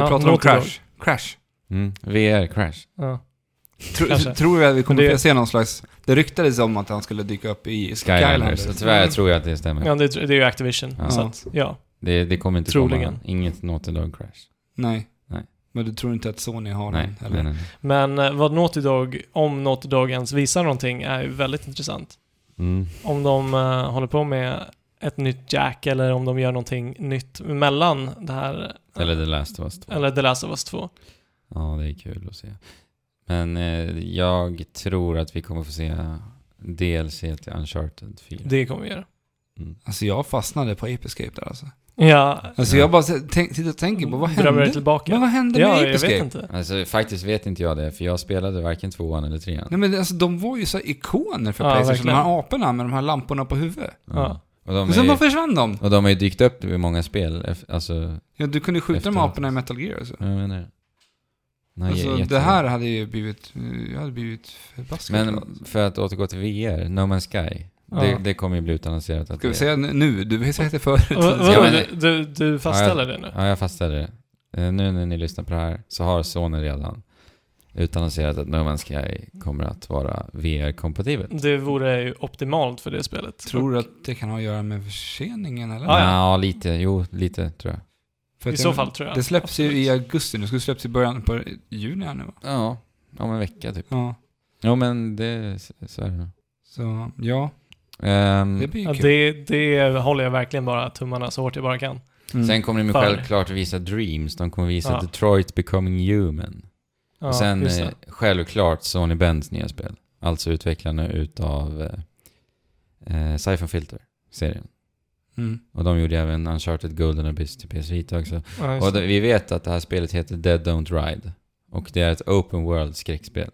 [SPEAKER 2] Ja,
[SPEAKER 1] pratar om
[SPEAKER 2] låter bra.
[SPEAKER 1] Crash. Crash.
[SPEAKER 3] Mm. VR crash.
[SPEAKER 2] Ja.
[SPEAKER 1] Tro,
[SPEAKER 2] Kanske.
[SPEAKER 1] tror vi att vi kommer
[SPEAKER 2] Men det-
[SPEAKER 1] få se någon slags... Det ryktades om att han skulle dyka upp i
[SPEAKER 3] Skylanders.
[SPEAKER 1] Skylanders.
[SPEAKER 3] Så tyvärr tror jag att det stämmer.
[SPEAKER 2] Ja, det, det är ju Activision.
[SPEAKER 3] Ja.
[SPEAKER 2] Så att, ja.
[SPEAKER 3] Det, det kommer inte
[SPEAKER 2] Troligen.
[SPEAKER 3] komma. Inget Naughty Dog crash.
[SPEAKER 1] Nej.
[SPEAKER 3] Nej.
[SPEAKER 1] Men du tror inte att Sony har
[SPEAKER 3] Nej,
[SPEAKER 1] den?
[SPEAKER 3] nej, nej.
[SPEAKER 2] Men eh, vad Naughty Dog, om Naughty Dog ens visar någonting, är ju väldigt intressant.
[SPEAKER 3] Mm.
[SPEAKER 2] Om de eh, håller på med ett nytt Jack eller om de gör någonting nytt mellan det här eh,
[SPEAKER 3] Eller The Last of Us 2.
[SPEAKER 2] eller The Last of Us 2.
[SPEAKER 3] Ja, det är kul att se. Men eh, jag tror att vi kommer få se DLC till Uncharted 4.
[SPEAKER 2] Det kommer vi göra.
[SPEAKER 3] Mm.
[SPEAKER 1] Alltså jag fastnade på Ape Escape där alltså.
[SPEAKER 2] Ja,
[SPEAKER 1] Alltså
[SPEAKER 3] Ja.
[SPEAKER 1] jag bara se- tänk, sitter och tänker på vad
[SPEAKER 2] drömmer dig
[SPEAKER 1] hände?
[SPEAKER 2] tillbaka.
[SPEAKER 1] Men vad hände med
[SPEAKER 2] ja,
[SPEAKER 1] Ape
[SPEAKER 2] jag vet
[SPEAKER 1] Escape?
[SPEAKER 2] inte.
[SPEAKER 3] Alltså faktiskt vet inte jag det, för jag spelade varken tvåan eller trean.
[SPEAKER 1] Nej men alltså de var ju så här ikoner för
[SPEAKER 2] Ja,
[SPEAKER 1] Playstation.
[SPEAKER 2] verkligen.
[SPEAKER 1] De här aporna med de här lamporna på huvudet.
[SPEAKER 2] Ja.
[SPEAKER 3] Och, de
[SPEAKER 1] Men sen bara
[SPEAKER 3] är,
[SPEAKER 1] försvann de.
[SPEAKER 3] och de har ju dykt upp i många spel, eff- alltså,
[SPEAKER 1] Ja, du kunde skjuta de
[SPEAKER 3] Efteråt.
[SPEAKER 1] aporna i Metal Gear alltså.
[SPEAKER 3] jag menar det. Nej,
[SPEAKER 1] Alltså,
[SPEAKER 3] jätte-
[SPEAKER 1] det här hade ju blivit... eh, Jag hade blivit förbaskat
[SPEAKER 3] Men
[SPEAKER 1] glad.
[SPEAKER 3] för att återgå till VR, No Man's Sky.
[SPEAKER 2] Ja.
[SPEAKER 3] Det, det kommer ju bli utannonserat att
[SPEAKER 1] Ska vi
[SPEAKER 3] det-
[SPEAKER 1] säga nu? Du har sagt det förut.
[SPEAKER 2] Vad-
[SPEAKER 3] Ja,
[SPEAKER 2] vadå,
[SPEAKER 3] men-
[SPEAKER 2] du, du, du fastställer det nu?
[SPEAKER 3] Ja, jag fastställer det. Eh, Nu när ni lyssnar på det här så har Sony redan utannonserat att No Man's Sky kommer att vara VR-kompatibelt.
[SPEAKER 2] Det vore ju optimalt för det spelet.
[SPEAKER 1] Tror du att det kan ha att göra med förseningen eller?
[SPEAKER 2] Ja, ja.
[SPEAKER 3] ja, lite. Jo, lite tror jag.
[SPEAKER 1] För att
[SPEAKER 2] I
[SPEAKER 1] det-
[SPEAKER 2] så fall tror jag.
[SPEAKER 1] Det släpps ju
[SPEAKER 2] absolut.
[SPEAKER 1] i augusti nu. Det skulle släppas i början på juni här nu va?
[SPEAKER 3] Ja, om en vecka typ.
[SPEAKER 1] Ja.
[SPEAKER 3] Jo, men det så är det nog.
[SPEAKER 1] Så ja,
[SPEAKER 3] Ehm,
[SPEAKER 1] det blir ju
[SPEAKER 2] Ja,
[SPEAKER 1] kul.
[SPEAKER 2] det, det håller jag verkligen bara tummarna så hårt jag bara kan.
[SPEAKER 1] Mm.
[SPEAKER 3] Sen kommer de ju
[SPEAKER 2] Fan.
[SPEAKER 3] självklart visa Dreams. De kommer visa
[SPEAKER 2] Ja.
[SPEAKER 3] Detroit Becoming Human.
[SPEAKER 2] Ja,
[SPEAKER 3] och sen
[SPEAKER 2] just det.
[SPEAKER 3] eh, självklart Sony Bends nya spel. Alltså utvecklarna utav eh, eh, Siphon Filter-serien.
[SPEAKER 1] Mm.
[SPEAKER 3] Och de gjorde även Uncharted Golden Abyss till PS Vita också.
[SPEAKER 2] Ja, just
[SPEAKER 3] Och
[SPEAKER 2] det.
[SPEAKER 3] det, vi vet att det här spelet heter Dead Don't Ride. Och det är ett open world skräckspel.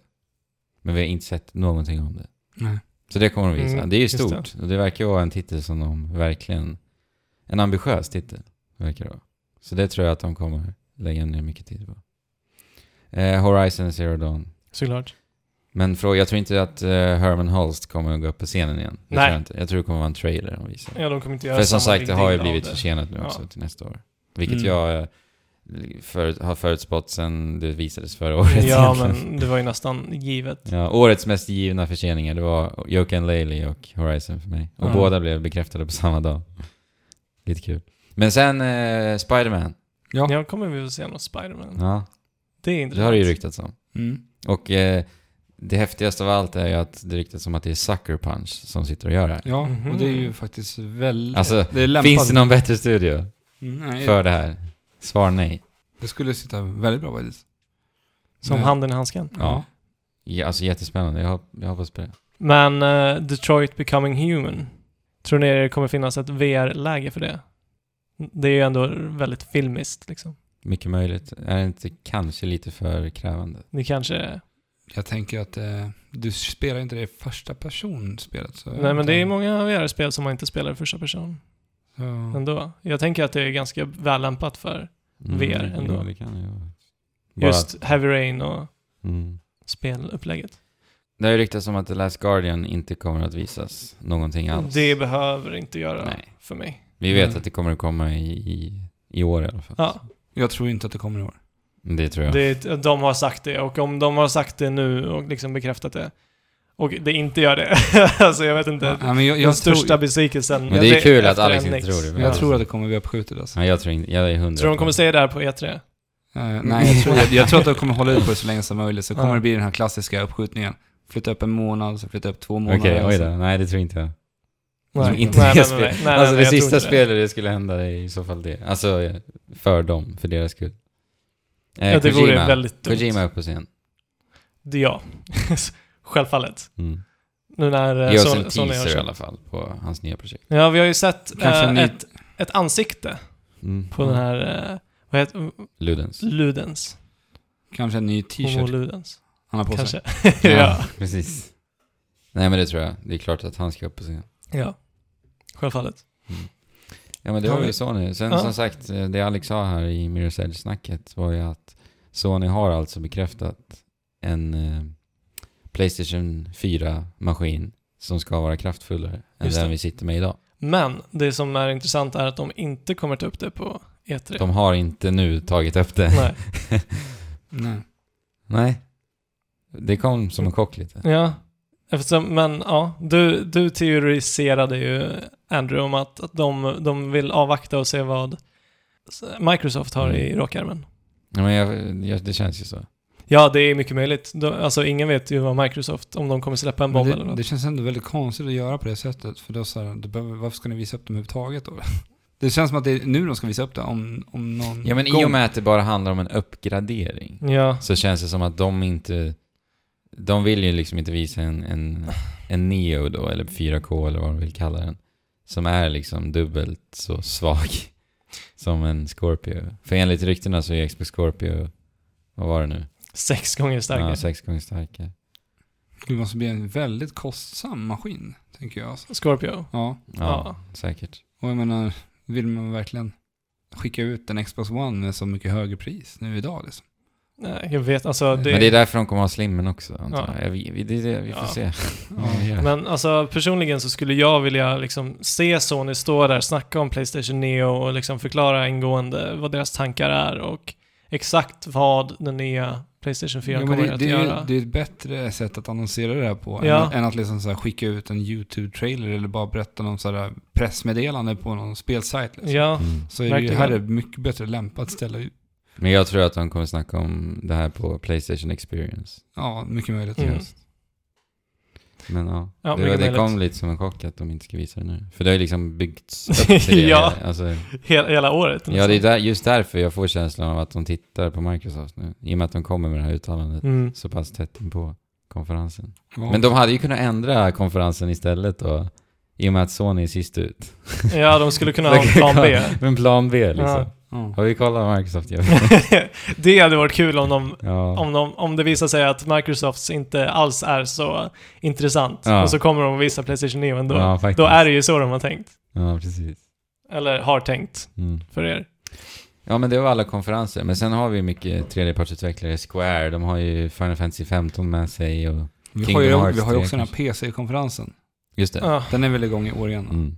[SPEAKER 3] Men vi har inte sett någonting om det.
[SPEAKER 1] Nej.
[SPEAKER 3] Så det kommer de visa.
[SPEAKER 2] Mm,
[SPEAKER 3] det är ju
[SPEAKER 2] just det.
[SPEAKER 3] stort. Och det verkar vara en titel som de verkligen... En ambitiös titel, verkar det vara. Så det tror jag att de kommer lägga ner mycket tid på. Eh, Horizon Zero Dawn.
[SPEAKER 2] Såklart.
[SPEAKER 3] Men fråga, jag tror inte att eh, Herman Holst kommer att gå upp på scenen igen. Det
[SPEAKER 2] Nej.
[SPEAKER 3] Tror jag, inte. jag tror det kommer vara en trailer de visar.
[SPEAKER 2] Ja, de kommer inte göra
[SPEAKER 3] För som
[SPEAKER 2] samma
[SPEAKER 3] sagt, det har ju
[SPEAKER 2] riktigt
[SPEAKER 3] blivit
[SPEAKER 2] av det.
[SPEAKER 3] försenat nu
[SPEAKER 2] Ja.
[SPEAKER 3] också till nästa år. Vilket
[SPEAKER 1] Mm.
[SPEAKER 3] jag eh, förut, har förutspått sedan det visades förra året.
[SPEAKER 2] Ja,
[SPEAKER 3] egentligen.
[SPEAKER 2] men det var ju nästan givet.
[SPEAKER 3] ja, årets mest givna förseningar, det var Joken Laley och Horizon för mig. Och
[SPEAKER 1] Ja.
[SPEAKER 3] båda blev bekräftade på samma dag. Lite kul. Men sen eh, Spiderman.
[SPEAKER 1] Ja.
[SPEAKER 2] Ja, kommer vi att se något Spider-Man.
[SPEAKER 3] Ja,
[SPEAKER 2] Det är
[SPEAKER 3] det
[SPEAKER 2] intressant.
[SPEAKER 3] har det ju ryktats om.
[SPEAKER 1] Mm.
[SPEAKER 3] Och eh, det häftigaste av allt är ju att det ryktas om att det är Sucker Punch som sitter och gör det här.
[SPEAKER 1] Ja,
[SPEAKER 2] Mhm.
[SPEAKER 1] och det är ju faktiskt väldigt...
[SPEAKER 3] Alltså,
[SPEAKER 1] det är lämpat.
[SPEAKER 3] Finns det någon bättre studio
[SPEAKER 1] Mm, nej,
[SPEAKER 3] för det här? Svar nej.
[SPEAKER 1] Det skulle sitta väldigt bra faktiskt.
[SPEAKER 2] Som
[SPEAKER 1] Men-
[SPEAKER 2] handen i handsken.
[SPEAKER 1] Ja.
[SPEAKER 3] Ja, alltså jättespännande, jag, hop- jag hoppas på det.
[SPEAKER 2] Men eh, Detroit Becoming Human. Tror ni det kommer finnas ett VR-läge för det? Det är ju ändå väldigt filmiskt liksom.
[SPEAKER 3] Mycket möjligt. Är det inte kanske lite för krävande?
[SPEAKER 2] Det kanske är...
[SPEAKER 1] Jag tänker att eh, du spelar inte det i första person spelet. Så
[SPEAKER 2] Nej, men det är många VR-spel som man inte spelar i första person
[SPEAKER 1] Så...
[SPEAKER 3] Mm,
[SPEAKER 2] ändå. Jag tänker att det är ganska väl lämpat för VR ändå.
[SPEAKER 3] Jo, det kan ju vara. Bara
[SPEAKER 2] Just
[SPEAKER 3] att-
[SPEAKER 2] Heavy Rain och
[SPEAKER 3] Mm.
[SPEAKER 2] spelupplägget.
[SPEAKER 3] Det har ju ryktats om att The Last Guardian inte kommer att visas någonting alls.
[SPEAKER 2] Det behöver inte göra
[SPEAKER 3] Nej.
[SPEAKER 2] för mig.
[SPEAKER 3] Vi vet
[SPEAKER 1] Mm.
[SPEAKER 3] att det kommer att komma i, i, i år i alla fall.
[SPEAKER 2] Ja,
[SPEAKER 1] Jag tror inte att det kommer i år.
[SPEAKER 3] Det tror jag.
[SPEAKER 2] det, de har sagt det och om de har sagt det nu och liksom bekräftat det och det inte gör det, alltså jag vet inte.
[SPEAKER 1] Ja, men jag,
[SPEAKER 2] den
[SPEAKER 1] jag,
[SPEAKER 2] största
[SPEAKER 1] tror,
[SPEAKER 2] besvikelsen.
[SPEAKER 3] Men det är kul att
[SPEAKER 2] efter
[SPEAKER 3] Alex
[SPEAKER 2] en
[SPEAKER 3] inte
[SPEAKER 2] Nix.
[SPEAKER 3] tror det.
[SPEAKER 1] jag tror att det kommer bli uppskjutet alltså.
[SPEAKER 3] Ja, jag tror inte, jag är hundra.
[SPEAKER 2] Tror du de kommer
[SPEAKER 3] på det.
[SPEAKER 2] säga det här på E E3?
[SPEAKER 1] Eh, nej, jag tror, jag, jag tror att de kommer hålla ut på det så länge som möjligt. Så kommer
[SPEAKER 2] Ja.
[SPEAKER 1] det bli den här klassiska uppskjutningen. Flytta upp en månad, så flytta upp två månader.
[SPEAKER 3] Okej, oj
[SPEAKER 1] alltså.
[SPEAKER 3] då. Nej, det tror inte jag. Jag tror
[SPEAKER 2] Nej.
[SPEAKER 3] inte
[SPEAKER 2] Nej,
[SPEAKER 3] det
[SPEAKER 2] nej, nej,
[SPEAKER 3] spel-
[SPEAKER 2] nej,
[SPEAKER 3] alltså
[SPEAKER 2] nej, jag
[SPEAKER 3] det
[SPEAKER 2] tror
[SPEAKER 3] sista
[SPEAKER 2] inte det.
[SPEAKER 3] spelet det skulle hända är i så fall det. Alltså för dem, för deras skull. Eh,
[SPEAKER 2] Ja, det
[SPEAKER 3] Kojima.
[SPEAKER 2] vore väldigt dumt.
[SPEAKER 3] Kojima är uppe på scen.
[SPEAKER 2] Det, ja, självfallet.
[SPEAKER 3] Mm.
[SPEAKER 2] Nu när eh,
[SPEAKER 3] Ge oss
[SPEAKER 2] Son-
[SPEAKER 3] en
[SPEAKER 2] Sony har
[SPEAKER 3] teaser i
[SPEAKER 2] köpt.
[SPEAKER 3] alla fall på hans nya projekt.
[SPEAKER 2] Ja, vi har ju sett
[SPEAKER 1] Kanske en
[SPEAKER 2] eh,
[SPEAKER 1] ny-
[SPEAKER 2] ett, ett ansikte
[SPEAKER 3] Mm.
[SPEAKER 2] på den här, eh, vad heter
[SPEAKER 3] Ludens.
[SPEAKER 2] Ludens.
[SPEAKER 1] Kanske en ny
[SPEAKER 2] Homo
[SPEAKER 1] t-shirt
[SPEAKER 2] Ludens.
[SPEAKER 1] han har på sig.
[SPEAKER 2] Kanske. ja.
[SPEAKER 3] precis. Nej men det tror jag. Det är klart att han ska upp på scen.
[SPEAKER 2] ja. Självfallet.
[SPEAKER 3] Ja men det
[SPEAKER 2] Har
[SPEAKER 3] var
[SPEAKER 2] vi-
[SPEAKER 3] ju Sony. Sen
[SPEAKER 2] Ja.
[SPEAKER 3] som sagt, eh, det Alex sa här i Mirror's Edge-snacket var ju att Sony har alltså bekräftat en eh, Playstation 4-maskin som ska vara kraftfullare än
[SPEAKER 2] Just det.
[SPEAKER 3] den vi sitter med idag.
[SPEAKER 2] Men det som är intressant är att de inte kommer ta upp det på E3.
[SPEAKER 3] De har inte nu tagit upp det.
[SPEAKER 2] Nej.
[SPEAKER 1] Nej.
[SPEAKER 3] Nej. Det kom som en chock lite.
[SPEAKER 2] Ja. Eftersom, men ja, du, du teoriserade ju Andrew om att, att de, de vill avvakta och se vad Microsoft har i
[SPEAKER 3] Mm.
[SPEAKER 2] rockärmen.
[SPEAKER 3] Ja, men jag, jag, det känns ju så.
[SPEAKER 2] Ja, det är mycket möjligt. De, alltså ingen vet ju vad Microsoft, om de kommer släppa en
[SPEAKER 1] Men
[SPEAKER 2] bomb eller
[SPEAKER 1] det,
[SPEAKER 2] något.
[SPEAKER 1] det känns ändå väldigt konstigt att göra på det sättet. För då så här, det behöver, varför ska ni visa upp dem överhuvudtaget då? Det känns som att det är nu de ska visa upp det, om, om någon
[SPEAKER 3] Ja men i och med att det bara handlar om en uppgradering
[SPEAKER 2] Ja,
[SPEAKER 3] så känns det som att de inte... De vill ju liksom inte visa en, en, en Neo då, eller 4K eller vad de vill kalla den. Som är liksom dubbelt så svag som en Scorpio. För enligt ryktena så är Xbox Scorpio, vad var det nu?
[SPEAKER 2] sex gånger starkare.
[SPEAKER 3] Ja, sex gånger starkare.
[SPEAKER 1] Det måste bli en väldigt kostsam maskin, tänker jag. Alltså.
[SPEAKER 2] Scorpio.
[SPEAKER 1] Ja,
[SPEAKER 3] Ja, säkert.
[SPEAKER 1] och jag menar, vill man verkligen skicka ut en Xbox One med så mycket högre pris nu idag liksom?
[SPEAKER 2] Nej, jag vet, alltså det...
[SPEAKER 3] Men det är därför de kommer ha slimmen också, antar
[SPEAKER 2] Ja.
[SPEAKER 3] jag. Vi, vi, det, det, vi får
[SPEAKER 2] Ja.
[SPEAKER 3] se.
[SPEAKER 1] Ja.
[SPEAKER 2] Men alltså personligen så skulle jag vilja liksom se Sony stå där, snacka om Playstation Neo och liksom förklara ingående vad deras tankar är och exakt vad den nya Playstation 4
[SPEAKER 1] Jo, men
[SPEAKER 2] kommer
[SPEAKER 1] det,
[SPEAKER 2] att
[SPEAKER 1] det, är,
[SPEAKER 2] göra.
[SPEAKER 1] ju- det är ett bättre sätt att annonsera det här på än,
[SPEAKER 2] Ja.
[SPEAKER 1] att- än att liksom så här skicka ut en YouTube-trailer eller bara berätta någon så här pressmeddelande på någon spelsajt. Liksom.
[SPEAKER 2] Ja,
[SPEAKER 3] Mm.
[SPEAKER 1] Så är det ju,
[SPEAKER 2] verkligen.
[SPEAKER 1] här är mycket bättre lämpat ställe.
[SPEAKER 3] Men jag tror att de kommer snacka om det här på Playstation Experience.
[SPEAKER 1] Ja, mycket möjligt.
[SPEAKER 2] Mm.
[SPEAKER 1] Just.
[SPEAKER 3] Men ja,
[SPEAKER 2] Ja,
[SPEAKER 3] det,
[SPEAKER 2] mycket
[SPEAKER 3] det kom
[SPEAKER 2] möjligt.
[SPEAKER 3] lite som en chock att de inte ska visa det nu. För det har ju liksom byggts upp till det.
[SPEAKER 2] Ja.
[SPEAKER 3] Alltså,
[SPEAKER 2] hela, hela året.
[SPEAKER 3] ja, det är
[SPEAKER 2] nästan.
[SPEAKER 3] där, just därför jag får känslan av att de tittar på Microsoft nu. I och med att de kommer med det här uttalandet
[SPEAKER 2] Mm.
[SPEAKER 3] så pass tätt på konferensen.
[SPEAKER 1] Ja.
[SPEAKER 3] Men de hade ju kunnat ändra konferensen istället då. I och med att Sony är sist ut.
[SPEAKER 2] Ja, de skulle kunna ha en plan B.
[SPEAKER 3] Men plan B liksom.
[SPEAKER 2] Ja.
[SPEAKER 1] ja.
[SPEAKER 3] Har vi kollat vad Microsoft gör?
[SPEAKER 2] det hade varit kul om de
[SPEAKER 3] Ja.
[SPEAKER 2] om, de, om det visar sig att Microsofts inte alls är så intressant
[SPEAKER 3] Ja.
[SPEAKER 2] och så kommer de att visa Playstation Neo ändå.
[SPEAKER 3] ja, faktiskt.
[SPEAKER 2] Då är det ju så de har tänkt.
[SPEAKER 3] Ja, precis.
[SPEAKER 2] Eller har tänkt
[SPEAKER 3] Mm.
[SPEAKER 2] för er.
[SPEAKER 3] Ja men det var alla konferenser, men sen har vi mycket tredjepartsutvecklare, Square, de har ju Final Fantasy 15 med sig och...
[SPEAKER 1] Vi, har
[SPEAKER 3] Kingdom
[SPEAKER 1] ju,
[SPEAKER 3] Hearts
[SPEAKER 1] vi har ju
[SPEAKER 3] 3
[SPEAKER 1] också den här PC-konferensen.
[SPEAKER 3] Just det.
[SPEAKER 2] Ja.
[SPEAKER 1] Den är väl igång i år igen?
[SPEAKER 3] Mm.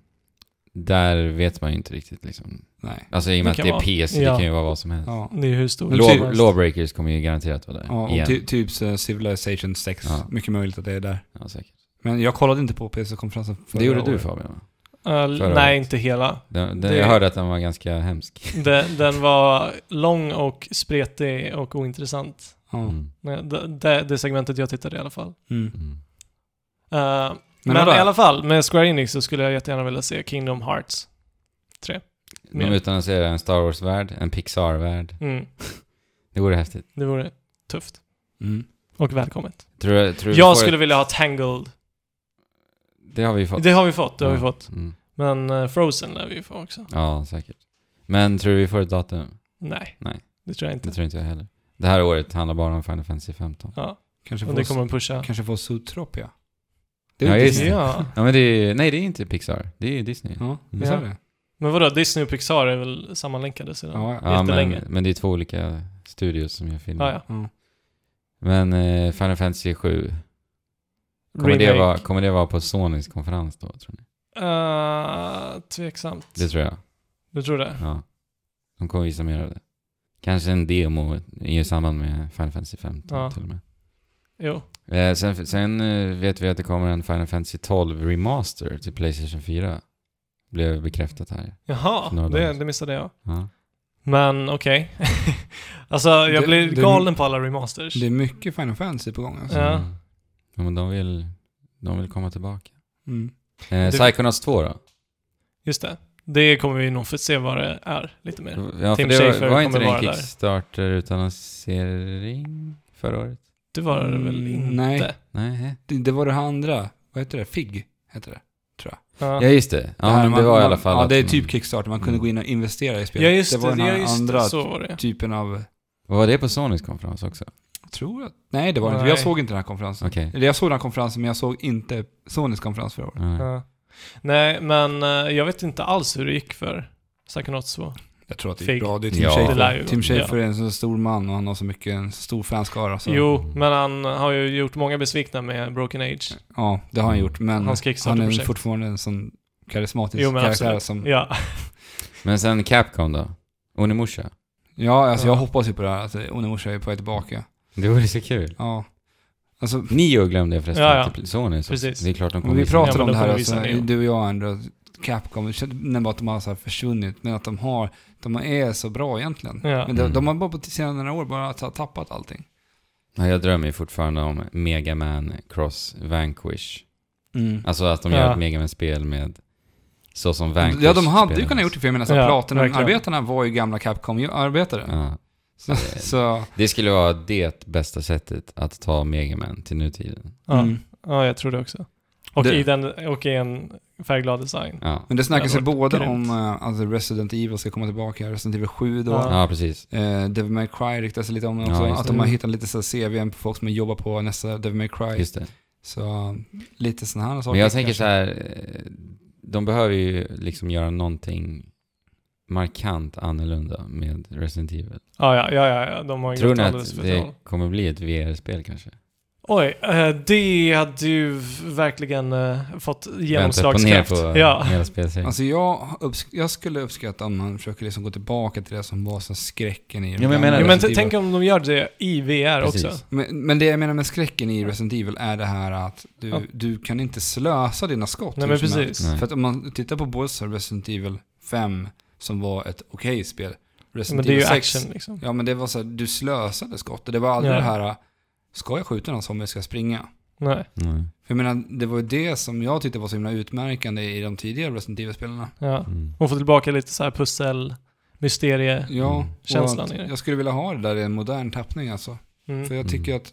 [SPEAKER 3] Där vet man ju inte riktigt liksom.
[SPEAKER 1] Nej.
[SPEAKER 3] Alltså i och med
[SPEAKER 2] Det
[SPEAKER 3] att
[SPEAKER 2] kan
[SPEAKER 3] det är
[SPEAKER 2] vara-
[SPEAKER 3] PC,
[SPEAKER 2] ja.
[SPEAKER 3] det kan ju vara vad som helst.
[SPEAKER 1] Ja.
[SPEAKER 2] Det är hur stor
[SPEAKER 1] Men
[SPEAKER 2] som
[SPEAKER 3] Law,
[SPEAKER 1] typ-
[SPEAKER 2] helst.
[SPEAKER 3] Lawbreakers kommer ju garanterat vara där.
[SPEAKER 1] Ja, och
[SPEAKER 3] igen.
[SPEAKER 1] ty, typ så Civilization 6.
[SPEAKER 3] Ja.
[SPEAKER 1] Mycket möjligt att det är där.
[SPEAKER 3] ja, säkert.
[SPEAKER 1] Men jag kollade inte på PC-konferensen förra
[SPEAKER 3] Det gjorde du
[SPEAKER 1] året.
[SPEAKER 3] Fabian va?
[SPEAKER 2] Eh,
[SPEAKER 3] förra
[SPEAKER 2] nej,
[SPEAKER 3] året.
[SPEAKER 2] inte hela.
[SPEAKER 3] Den, den,
[SPEAKER 2] Det-
[SPEAKER 3] Jag hörde att den var ganska hemsk.
[SPEAKER 2] Den, den var lång och spretig och ointressant.
[SPEAKER 1] Ja. Mm.
[SPEAKER 3] Mm.
[SPEAKER 2] Nej, Det, det, det segmentet jag tittade i alla fall.
[SPEAKER 3] Mm.
[SPEAKER 2] Eh,
[SPEAKER 1] Men
[SPEAKER 2] men
[SPEAKER 1] vadå?
[SPEAKER 2] i alla fall, med Square Enix så skulle jag jättegärna vilja se Kingdom Hearts.
[SPEAKER 3] Men utan att säga det, en Star Wars-värld, en Pixar-värld.
[SPEAKER 2] Mm,
[SPEAKER 3] Det vore häftigt.
[SPEAKER 2] det vore tufft.
[SPEAKER 1] Mm.
[SPEAKER 2] Och välkommet.
[SPEAKER 3] Tror, du- tror du vi
[SPEAKER 2] Jag
[SPEAKER 3] får
[SPEAKER 2] skulle
[SPEAKER 3] ett...
[SPEAKER 2] vilja ha Tangled.
[SPEAKER 3] Det har vi ju fått.
[SPEAKER 2] Det har vi fått, det har vi
[SPEAKER 3] Ja.
[SPEAKER 2] fått.
[SPEAKER 3] Mm.
[SPEAKER 2] Men eh, Frozen lär vi ju få också.
[SPEAKER 3] Ja, säkert. Men tror du vi får ett datum?
[SPEAKER 2] Nej.
[SPEAKER 3] Nej.
[SPEAKER 2] Det tror jag
[SPEAKER 3] Det
[SPEAKER 2] inte.
[SPEAKER 3] tror inte jag heller. Det här året handlar bara om Final Fantasy 15.
[SPEAKER 2] Ja,
[SPEAKER 1] Kanske
[SPEAKER 2] och
[SPEAKER 1] får,
[SPEAKER 2] det kommer pusha.
[SPEAKER 1] kanske får Zootropia.
[SPEAKER 3] Ja,
[SPEAKER 1] ju
[SPEAKER 3] just
[SPEAKER 1] Disney.
[SPEAKER 2] Ja.
[SPEAKER 3] Ja men det är, nej det är inte Pixar, det är Disney.
[SPEAKER 1] Ja, det sa
[SPEAKER 2] Ja.
[SPEAKER 1] det.
[SPEAKER 2] Men vadå, Disney och Pixar är väl sammanlänkade sedan?
[SPEAKER 1] Ja, ja.
[SPEAKER 3] Ja, men,
[SPEAKER 2] Jättelänge.
[SPEAKER 3] men det är två olika Studios som gör filmen.
[SPEAKER 2] Ah, ja.
[SPEAKER 1] Ja.
[SPEAKER 3] Men eh, Final Fantasy 7, kommer det,
[SPEAKER 2] Remake.
[SPEAKER 3] vara, kommer det vara på Sonys konferens då tror ni?
[SPEAKER 2] Eh, tveksamt.
[SPEAKER 3] Det tror jag.
[SPEAKER 2] Du tror det?
[SPEAKER 3] Ja. De kommer visa mer av det. Kanske en demo i samband med Final Fantasy 15
[SPEAKER 2] Ja.
[SPEAKER 3] till och med.
[SPEAKER 2] Jo.
[SPEAKER 3] Eh, sen sen eh, vet vi att det kommer en Final Fantasy 12 Remaster till Playstation 4. Blev bekräftat här.
[SPEAKER 2] Jaha,
[SPEAKER 3] Snarare
[SPEAKER 2] det,
[SPEAKER 3] dags.
[SPEAKER 2] det missade jag.
[SPEAKER 3] Ja.
[SPEAKER 2] Men okej. alltså, jag
[SPEAKER 1] Det-
[SPEAKER 2] blir
[SPEAKER 1] det-
[SPEAKER 2] galen på alla remasters.
[SPEAKER 1] Det är mycket Final Fantasy på gång alltså.
[SPEAKER 2] Ja.
[SPEAKER 3] Mm. ja men de vill, de vill komma tillbaka.
[SPEAKER 1] Mm.
[SPEAKER 3] Eh, Psychonauts 2 då?
[SPEAKER 2] Just det. Det kommer vi nog få se vad det är lite mer.
[SPEAKER 3] Ja,
[SPEAKER 2] Tim
[SPEAKER 3] för det
[SPEAKER 2] Schafer
[SPEAKER 3] var, var
[SPEAKER 2] kommer
[SPEAKER 3] inte det
[SPEAKER 2] vara
[SPEAKER 3] en
[SPEAKER 2] där.
[SPEAKER 3] Kickstarter utannonsering förra året?
[SPEAKER 2] Det var det väl
[SPEAKER 1] Mm,
[SPEAKER 2] inte?
[SPEAKER 1] nej.
[SPEAKER 3] Nej.
[SPEAKER 1] Det, det var det här andra, vad heter det? FIG heter det.
[SPEAKER 2] Ja.
[SPEAKER 3] Ja, just det. Ja,
[SPEAKER 1] det, här
[SPEAKER 3] men
[SPEAKER 1] Äh, man-
[SPEAKER 3] det var i
[SPEAKER 1] man-
[SPEAKER 3] alla fall
[SPEAKER 1] Ja,
[SPEAKER 3] att Mm.
[SPEAKER 1] det är
[SPEAKER 3] de-
[SPEAKER 1] typ Kickstarter. Man kunde gå in och investera i spelet.
[SPEAKER 2] ja, just det.
[SPEAKER 1] det var den
[SPEAKER 2] ja,
[SPEAKER 1] här
[SPEAKER 2] just
[SPEAKER 1] andra
[SPEAKER 2] det. Så var det.
[SPEAKER 1] typen av...
[SPEAKER 3] Var det på Sonys konferens också?
[SPEAKER 1] Tror jag. Nej, det var det inte.
[SPEAKER 2] Nej.
[SPEAKER 1] Jag såg inte den här konferensen.
[SPEAKER 3] Okej.
[SPEAKER 1] Eller jag såg den här konferensen, men jag såg inte Sonys konferens förra året.
[SPEAKER 3] Ja.
[SPEAKER 2] Ja. Nej, men eh, jag vet inte alls hur det gick för Psychonauts 2.
[SPEAKER 1] Jag tror att det
[SPEAKER 2] Fig.
[SPEAKER 1] gick bra. Det är Tim
[SPEAKER 3] Ja.
[SPEAKER 2] Det lär ju
[SPEAKER 1] Schafer. Tim
[SPEAKER 2] vara.
[SPEAKER 1] Schafer är en så stor man och han har så mycket, en så stor fanskara. Så,
[SPEAKER 2] Jo, men han har ju gjort många besvikna med Broken Age.
[SPEAKER 1] Ja, det har han gjort. Men
[SPEAKER 2] Hans
[SPEAKER 1] han är
[SPEAKER 2] Kickstarter-projekt.
[SPEAKER 1] fortfarande en sån karismatisk
[SPEAKER 2] Jo, men
[SPEAKER 1] karaktär
[SPEAKER 2] absolut.
[SPEAKER 1] som... Ja,
[SPEAKER 2] Ja.
[SPEAKER 3] Men sen Capcom då? Onimusha?
[SPEAKER 1] alltså
[SPEAKER 2] Ja.
[SPEAKER 1] jag hoppas ju på det här. Att Onimusha är på väg tillbaka.
[SPEAKER 3] Det vore så kul.
[SPEAKER 1] Ja. Alltså,
[SPEAKER 3] Nio glömde jag förresten.
[SPEAKER 2] Ja, ja.
[SPEAKER 3] till Sonys också.
[SPEAKER 2] Precis.
[SPEAKER 3] Det är klart de kommer
[SPEAKER 1] Men vi
[SPEAKER 3] visa
[SPEAKER 2] Ja,
[SPEAKER 1] pratar
[SPEAKER 2] men
[SPEAKER 1] om
[SPEAKER 2] då
[SPEAKER 1] det här,
[SPEAKER 2] får vi visa
[SPEAKER 1] alltså,
[SPEAKER 2] Neo.
[SPEAKER 1] du och jag ändå, Capcom, jag kände- nämnde bara att de har så här försvunnit, men att de har, de är så bra egentligen.
[SPEAKER 2] Ja.
[SPEAKER 1] Men de,
[SPEAKER 3] Mm.
[SPEAKER 1] de har bara på senare år bara ta- tappat allting.
[SPEAKER 3] Ja, jag drömmer ju fortfarande om Mega Man Cross Vanquish.
[SPEAKER 1] Mm.
[SPEAKER 3] Alltså att de
[SPEAKER 2] Ja.
[SPEAKER 3] gör ett Mega man spel med så som Vanquish
[SPEAKER 1] Ja, de hade ju
[SPEAKER 3] spelas.
[SPEAKER 1] kunnat gjort det, för jag menar,
[SPEAKER 2] Ja,
[SPEAKER 1] ja, Platinum-arbetarna
[SPEAKER 2] verkligen.
[SPEAKER 1] var ju gamla Capcom-arbetare.
[SPEAKER 3] Ja.
[SPEAKER 1] Så, så
[SPEAKER 3] Det skulle vara det bästa sättet att ta Mega Man till nutiden.
[SPEAKER 2] Ja.
[SPEAKER 1] mm.
[SPEAKER 2] ja, jag tror det också. Och,
[SPEAKER 1] Det-
[SPEAKER 2] I den, och i en färgglad design.
[SPEAKER 3] Ja,
[SPEAKER 1] Men det snackas ju
[SPEAKER 2] Det hade varit
[SPEAKER 1] både
[SPEAKER 2] grymt.
[SPEAKER 1] om eh, alltså Resident Evil ska komma tillbaka, Resident Evil 7 då.
[SPEAKER 2] Ja.
[SPEAKER 3] ja. precis.
[SPEAKER 1] Eh, Devil May Cry ryktas det lite om
[SPEAKER 3] Ja,
[SPEAKER 1] också.
[SPEAKER 3] just
[SPEAKER 1] att
[SPEAKER 2] det.
[SPEAKER 1] de har hittat lite så här CVn på folk som jobbar på nästa Devil May Cry.
[SPEAKER 3] Just det.
[SPEAKER 1] Så lite sådana här saker.
[SPEAKER 3] Men jag tänker
[SPEAKER 1] kanske.
[SPEAKER 3] så här, eh, de behöver ju liksom göra någonting markant annorlunda med Resident Evil.
[SPEAKER 2] Ja, ja, ja, ja, ja. de har ju
[SPEAKER 3] Tror
[SPEAKER 2] gått
[SPEAKER 3] ni
[SPEAKER 2] alldeles
[SPEAKER 3] att
[SPEAKER 2] för
[SPEAKER 3] det
[SPEAKER 2] det...
[SPEAKER 3] kommer bli ett VR-spel kanske?
[SPEAKER 2] Oj, eh, det hade ju verkligen eh, fått
[SPEAKER 3] Vänta upp och ner
[SPEAKER 2] genomslagskraft.
[SPEAKER 3] på
[SPEAKER 2] ja.
[SPEAKER 3] hela spelserien.
[SPEAKER 1] Alltså jag, uppsk- jag skulle uppskatta om man försöker liksom gå tillbaka till det som var så skräcken i
[SPEAKER 3] men jag
[SPEAKER 1] gamla
[SPEAKER 3] menar
[SPEAKER 2] Ja,
[SPEAKER 3] det.
[SPEAKER 2] men
[SPEAKER 1] Resident
[SPEAKER 2] t-
[SPEAKER 1] Evil.
[SPEAKER 2] tänk om de gör det i VR
[SPEAKER 3] Precis.
[SPEAKER 2] också.
[SPEAKER 1] men, men det jag menar med skräcken i Resident Evil är det här att du,
[SPEAKER 2] Ja.
[SPEAKER 1] du kan inte slösa dina skott. liksom.
[SPEAKER 2] Nej
[SPEAKER 1] hur
[SPEAKER 2] men
[SPEAKER 1] som helst.
[SPEAKER 2] precis.
[SPEAKER 3] Nej.
[SPEAKER 1] För att om man tittar på både så här Resident Evil 5, som var ett okej spel, Resident
[SPEAKER 2] Men det är ju
[SPEAKER 1] Evil 6,
[SPEAKER 2] action liksom.
[SPEAKER 1] Ja men det var så här, du slösade skott. Och det var aldrig
[SPEAKER 2] Ja.
[SPEAKER 1] det här, ska jag skjuta någon zombie ska jag springa?
[SPEAKER 2] Nej,
[SPEAKER 3] Mm.
[SPEAKER 1] För jag menar, det var ju det som jag tyckte var så himla utmärkande i de tidigare Resident Evil-spelarna.
[SPEAKER 2] ja.
[SPEAKER 3] Mm.
[SPEAKER 2] Och få tillbaka lite så här pussel, mysterie.
[SPEAKER 1] Ja,
[SPEAKER 3] Mm.
[SPEAKER 1] och
[SPEAKER 2] Känslan
[SPEAKER 1] att
[SPEAKER 2] i det.
[SPEAKER 1] Jag skulle vilja ha det där i en modern tappning alltså. För
[SPEAKER 2] Mm.
[SPEAKER 1] jag
[SPEAKER 3] Mm.
[SPEAKER 1] tycker att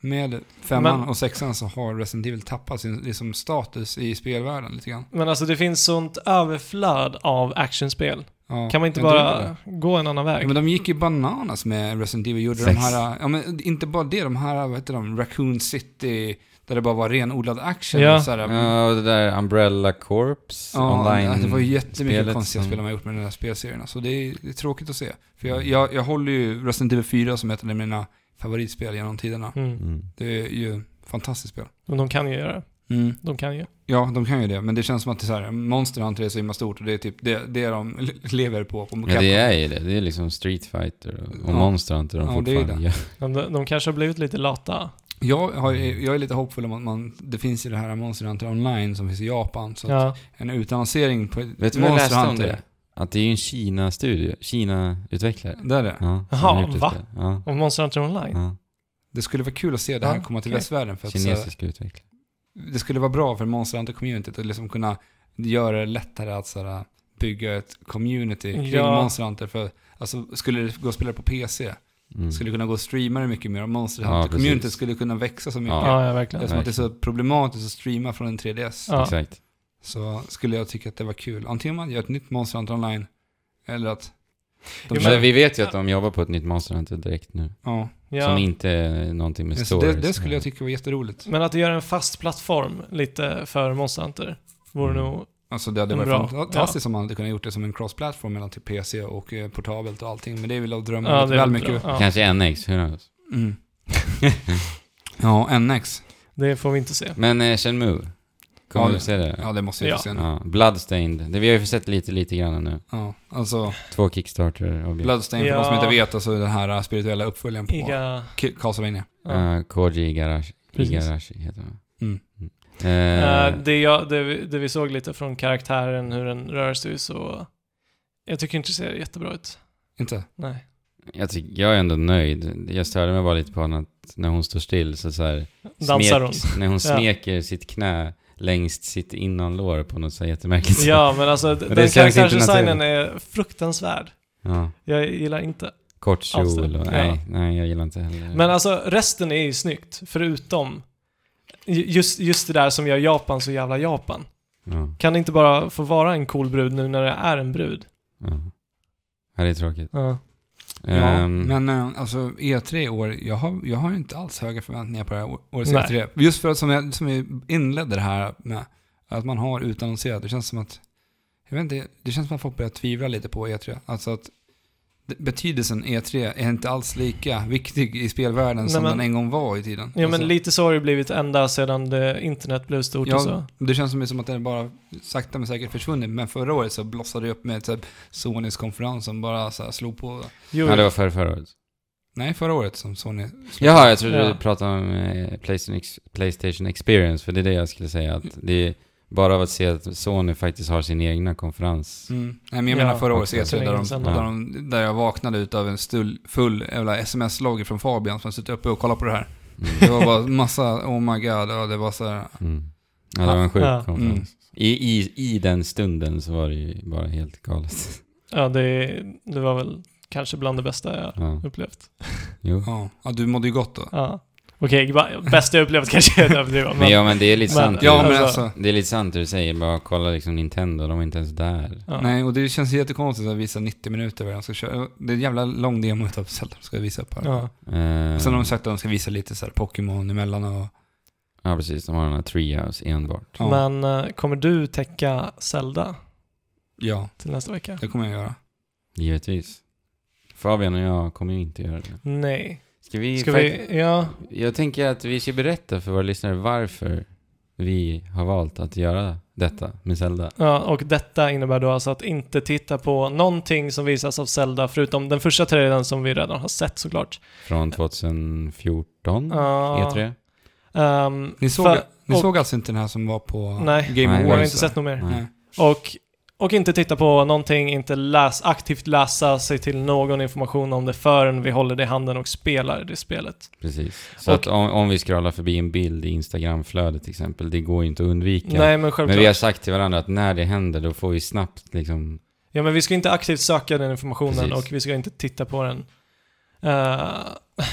[SPEAKER 1] med femman
[SPEAKER 2] Men-
[SPEAKER 1] och sexan så har Resident Evil tappat sin liksom, status i spelvärlden lite grann.
[SPEAKER 2] Men alltså det finns sånt överflöd av actionspel.
[SPEAKER 1] Ja,
[SPEAKER 2] Kan man inte
[SPEAKER 1] jag driver
[SPEAKER 2] bara
[SPEAKER 1] det.
[SPEAKER 2] gå en annan
[SPEAKER 1] Ja,
[SPEAKER 2] väg?
[SPEAKER 1] men de gick ju bananas med Resident Evil. Gjorde de
[SPEAKER 3] Sex.
[SPEAKER 1] här, ja men inte bara det, de här, vad heter de, Raccoon City, där det bara var renodlad action.
[SPEAKER 2] Ja.
[SPEAKER 1] Och så här,
[SPEAKER 3] Ja, och det där Umbrella Corps
[SPEAKER 1] Ja,
[SPEAKER 3] online.
[SPEAKER 1] det var ju jättemycket
[SPEAKER 3] spelet
[SPEAKER 1] konstiga
[SPEAKER 3] som-
[SPEAKER 1] spel de har gjort med den här spelserien. Så det är, det är tråkigt att se. För jag, jag, jag håller ju Resident Evil 4 som ett av mina favoritspel genom tiderna.
[SPEAKER 2] Mm.
[SPEAKER 3] Mm.
[SPEAKER 1] Det är ju ett fantastiskt spel.
[SPEAKER 2] Men de kan ju göra det.
[SPEAKER 3] Mm.
[SPEAKER 2] De kan ju.
[SPEAKER 1] Ja, de kan ju det. Men det känns som att det är så här, Monster Hunter är så himla stort och det är typ det, det de le- lever på. på
[SPEAKER 3] Ja, det är ju det. Det är liksom Street Fighter och, och
[SPEAKER 1] Ja.
[SPEAKER 3] Monster Hunter de
[SPEAKER 1] Ja, det är
[SPEAKER 3] fortfarande
[SPEAKER 1] det.
[SPEAKER 3] gör.
[SPEAKER 2] Men de, de kanske har blivit lite lata.
[SPEAKER 1] jag, har, ju- jag är lite hoppfull om att man, det finns ju det här Monster Hunter Online som finns i Japan. Så att
[SPEAKER 2] Ja.
[SPEAKER 1] en utannonsering på
[SPEAKER 3] Vet du vad jag läste om det? Att det är ju en Kina-studio, Kina-utvecklare.
[SPEAKER 1] Där det.
[SPEAKER 3] Ja, som
[SPEAKER 2] Jaha,
[SPEAKER 3] har gjort det
[SPEAKER 2] va?
[SPEAKER 3] spelet. Ja,
[SPEAKER 2] Och Monster Hunter Online.
[SPEAKER 3] ja.
[SPEAKER 1] Det skulle vara kul att se det här
[SPEAKER 2] Ja,
[SPEAKER 1] komma till
[SPEAKER 2] okej.
[SPEAKER 1] västvärlden. För att, så här,
[SPEAKER 3] Kinesiska utvecklare.
[SPEAKER 1] det skulle vara bra för Monster Hunter communityt att liksom kunna göra det lättare att så här, bygga ett community kring
[SPEAKER 2] Ja.
[SPEAKER 1] Monster Hunter. För, alltså, skulle det gå att spela på PC,
[SPEAKER 3] Mm.
[SPEAKER 1] skulle det kunna gå att streama det mycket mer och Monster
[SPEAKER 3] Ja,
[SPEAKER 1] Hunter communityt
[SPEAKER 3] precis.
[SPEAKER 1] skulle kunna växa så mycket.
[SPEAKER 3] Ja.
[SPEAKER 2] Ja, ja
[SPEAKER 1] Det
[SPEAKER 2] verkligen.
[SPEAKER 1] är som att det är så problematiskt att streama från en 3DS.
[SPEAKER 2] Ja.
[SPEAKER 3] Exakt.
[SPEAKER 1] Så skulle jag tycka att det var kul. Antingen man gör ett nytt Monster Hunter online, eller att... De
[SPEAKER 2] Jo,
[SPEAKER 3] Men vi vet ju att de jobbar på ett nytt Monster Hunter direkt nu.
[SPEAKER 1] ja.
[SPEAKER 2] Ja.
[SPEAKER 3] Som inte är någonting med
[SPEAKER 1] Så det,
[SPEAKER 3] stories.
[SPEAKER 1] det skulle jag tycka var jätteroligt.
[SPEAKER 2] Men att göra en fast plattform lite för Monster Hunter vore
[SPEAKER 3] Mm.
[SPEAKER 2] nog
[SPEAKER 1] Alltså det hade varit
[SPEAKER 2] Bra,
[SPEAKER 1] fantastiskt om man hade kunnat gjort det som en cross-platform mellan till PC och eh, portabelt och allting. Men det är väl att drömma lite
[SPEAKER 2] är
[SPEAKER 1] väl
[SPEAKER 2] bra.
[SPEAKER 1] mycket.
[SPEAKER 2] Ja,
[SPEAKER 3] Kanske NX, hur knows?
[SPEAKER 1] Mm. ja, NX.
[SPEAKER 2] det får vi inte se.
[SPEAKER 3] Men eh, Shenmue, kommer
[SPEAKER 1] Ja,
[SPEAKER 3] du se det?
[SPEAKER 1] Ja, det måste jag
[SPEAKER 2] Ja.
[SPEAKER 1] få se nu.
[SPEAKER 3] Ja, Bloodstained. Det, vi har ju sett lite, lite grann nu.
[SPEAKER 1] Ja, alltså
[SPEAKER 3] Två Kickstarter objekt.
[SPEAKER 1] Bloodstain, för
[SPEAKER 2] Ja.
[SPEAKER 1] de som inte vet, alltså den här eh, spirituella uppföljaren på Iga.
[SPEAKER 2] Iga...
[SPEAKER 1] Castlevania.
[SPEAKER 2] Ja.
[SPEAKER 3] Eh, Koji Igarashi,
[SPEAKER 2] Precis.
[SPEAKER 3] Igarashi heter han.
[SPEAKER 1] Mm.
[SPEAKER 3] Eh,
[SPEAKER 2] Eh, det, jag, det, vi- det vi såg lite från karaktären, hur den rör sig, så... Jag tycker inte det ser jättebra ut.
[SPEAKER 1] Inte?
[SPEAKER 2] Nej.
[SPEAKER 3] jag, tycker, jag är ändå nöjd. Jag störde mig bara lite på henne att när hon står still så, så här,
[SPEAKER 2] Dansar hon?
[SPEAKER 3] smek- När hon smeker sitt knä längst sitt innanlår på något så här jättemärkligt sätt.
[SPEAKER 2] Ja, men alltså
[SPEAKER 3] det
[SPEAKER 2] den
[SPEAKER 3] känns inte
[SPEAKER 2] karaktärsdesignen är fruktansvärd.
[SPEAKER 3] Ja.
[SPEAKER 2] Jag gillar inte.
[SPEAKER 3] Kort
[SPEAKER 2] Alls
[SPEAKER 3] kjol
[SPEAKER 2] det.
[SPEAKER 3] och,
[SPEAKER 2] Ja.
[SPEAKER 3] nej, nej, jag gillar inte heller.
[SPEAKER 2] Men alltså resten är ju snyggt, förutom ju- just, just det där som gör Japan så jävla Japan.
[SPEAKER 3] ja,
[SPEAKER 2] Kan det inte bara få vara en cool brud nu när det är en brud?
[SPEAKER 3] ja. ja, det är tråkigt.
[SPEAKER 2] Ja.
[SPEAKER 1] Ja,
[SPEAKER 3] Ehm,
[SPEAKER 1] men eh, alltså E3 i år, jag har, jag har inte alls höga förväntningar på det här å- årets
[SPEAKER 2] Nej.
[SPEAKER 1] E3. Just för att som, jag, som vi inledde det här med, att man har utannonserat, det känns som att, jag vet inte, det känns som att folk börjar tvivla lite på E3. Alltså att d- betydelsen E3 är inte alls lika viktig i spelvärlden
[SPEAKER 2] Nej,
[SPEAKER 1] som
[SPEAKER 2] men-
[SPEAKER 1] den en gång var i tiden.
[SPEAKER 2] Ja,
[SPEAKER 1] Alltså,
[SPEAKER 2] men lite så har det blivit ända sedan det, internet blev stort och så.
[SPEAKER 1] ja, det känns som, som att den bara sakta men säkert försvunnit, men förra året så blossade det upp med typ Sonys konferens som bara så här slog på.
[SPEAKER 2] Jo,
[SPEAKER 3] ja, det var förra, förra året.
[SPEAKER 1] Nej, förra året som Sony...
[SPEAKER 3] Jaha, jag trodde
[SPEAKER 2] Ja.
[SPEAKER 3] du pratade om eh, PlayStation, Ex- PlayStation Experience, för det är det jag skulle säga. Att det är bara av att se att Sony faktiskt har sin egna konferens.
[SPEAKER 1] Mm. Nej, men jag
[SPEAKER 2] Ja,
[SPEAKER 1] menar förra årets
[SPEAKER 3] också.
[SPEAKER 1] E3 där,
[SPEAKER 2] Länge
[SPEAKER 1] de,
[SPEAKER 2] sedan.
[SPEAKER 1] där, de, där jag vaknade utav en stull, full jävla sms-logg från Fabian som suttit uppe och kollat på det här. Det
[SPEAKER 3] Mm.
[SPEAKER 1] var bara massa oh my god och det var så här,
[SPEAKER 3] Mm. Ja, det var en sjuk
[SPEAKER 2] Ja.
[SPEAKER 3] konferens.
[SPEAKER 1] Mm.
[SPEAKER 3] I, i, I den stunden så var det ju bara helt galet.
[SPEAKER 2] ja det, det var väl kanske bland det bästa jag
[SPEAKER 3] Ja.
[SPEAKER 2] upplevt.
[SPEAKER 3] Jo.
[SPEAKER 1] ja. ja du mådde ju gott då.
[SPEAKER 2] Ja. Okej, ba- bästa jag upplevt kanske är överdrivet,
[SPEAKER 3] Men
[SPEAKER 2] men
[SPEAKER 3] ja, men det är lite
[SPEAKER 2] Men-
[SPEAKER 3] sant.
[SPEAKER 1] Ja men
[SPEAKER 2] Alltså,
[SPEAKER 1] alltså,
[SPEAKER 3] Det är lite sant det du säger, bara kolla liksom Nintendo, de var inte ens där.
[SPEAKER 2] ja.
[SPEAKER 1] nej och det känns jättekonstigt att visa 90 minuter vad de ska köra. Det är en jävla lång demo utav Zelda de ska visa upp här.
[SPEAKER 2] Ja.
[SPEAKER 3] Eh,
[SPEAKER 2] Mm.
[SPEAKER 1] Och Sen har de sagt att de ska visa lite så här Pokémon emellan och...
[SPEAKER 3] Ja, precis. De har den här Treehouse enbart.
[SPEAKER 1] Ja,
[SPEAKER 2] Men eh, kommer du täcka Zelda
[SPEAKER 1] ja
[SPEAKER 2] till nästa vecka?
[SPEAKER 1] det kommer jag göra.
[SPEAKER 3] Givetvis. Fabian och jag kommer ju inte göra det.
[SPEAKER 2] Nej.
[SPEAKER 3] Ska vi...
[SPEAKER 2] Ska
[SPEAKER 3] fakt-
[SPEAKER 2] vi, ja,
[SPEAKER 3] Jag tänker att vi ska berätta för våra lyssnare varför vi har valt att göra detta med Zelda.
[SPEAKER 2] Ja, och detta innebär då alltså att inte titta på någonting som visas av Zelda, förutom den första trailern som vi redan har sett såklart.
[SPEAKER 3] Från E 2014,
[SPEAKER 2] Ja.
[SPEAKER 3] E3.
[SPEAKER 2] Ehm,
[SPEAKER 1] Ni såg,
[SPEAKER 2] för-
[SPEAKER 1] ni
[SPEAKER 2] och-
[SPEAKER 1] såg alltså inte den här som var på
[SPEAKER 2] Nej,
[SPEAKER 1] Game
[SPEAKER 3] Nej,
[SPEAKER 1] Awards?
[SPEAKER 2] jag har inte
[SPEAKER 1] va?
[SPEAKER 2] sett något mer.
[SPEAKER 3] Nej.
[SPEAKER 1] Nej.
[SPEAKER 2] Och, och inte titta på någonting, inte läs, aktivt läsa sig till någon information om det förrän vi håller det i handen och spelar det spelet.
[SPEAKER 3] Precis. Så
[SPEAKER 2] Och-
[SPEAKER 3] att om, om vi scrollar förbi en bild i Instagramflödet till exempel, det går ju inte att undvika.
[SPEAKER 2] Nej, men självklart.
[SPEAKER 3] Men vi har sagt till varandra att när det händer, då får vi snabbt liksom...
[SPEAKER 2] Ja, men vi ska inte aktivt söka den informationen
[SPEAKER 3] Precis.
[SPEAKER 2] och vi ska inte titta på den. Eh,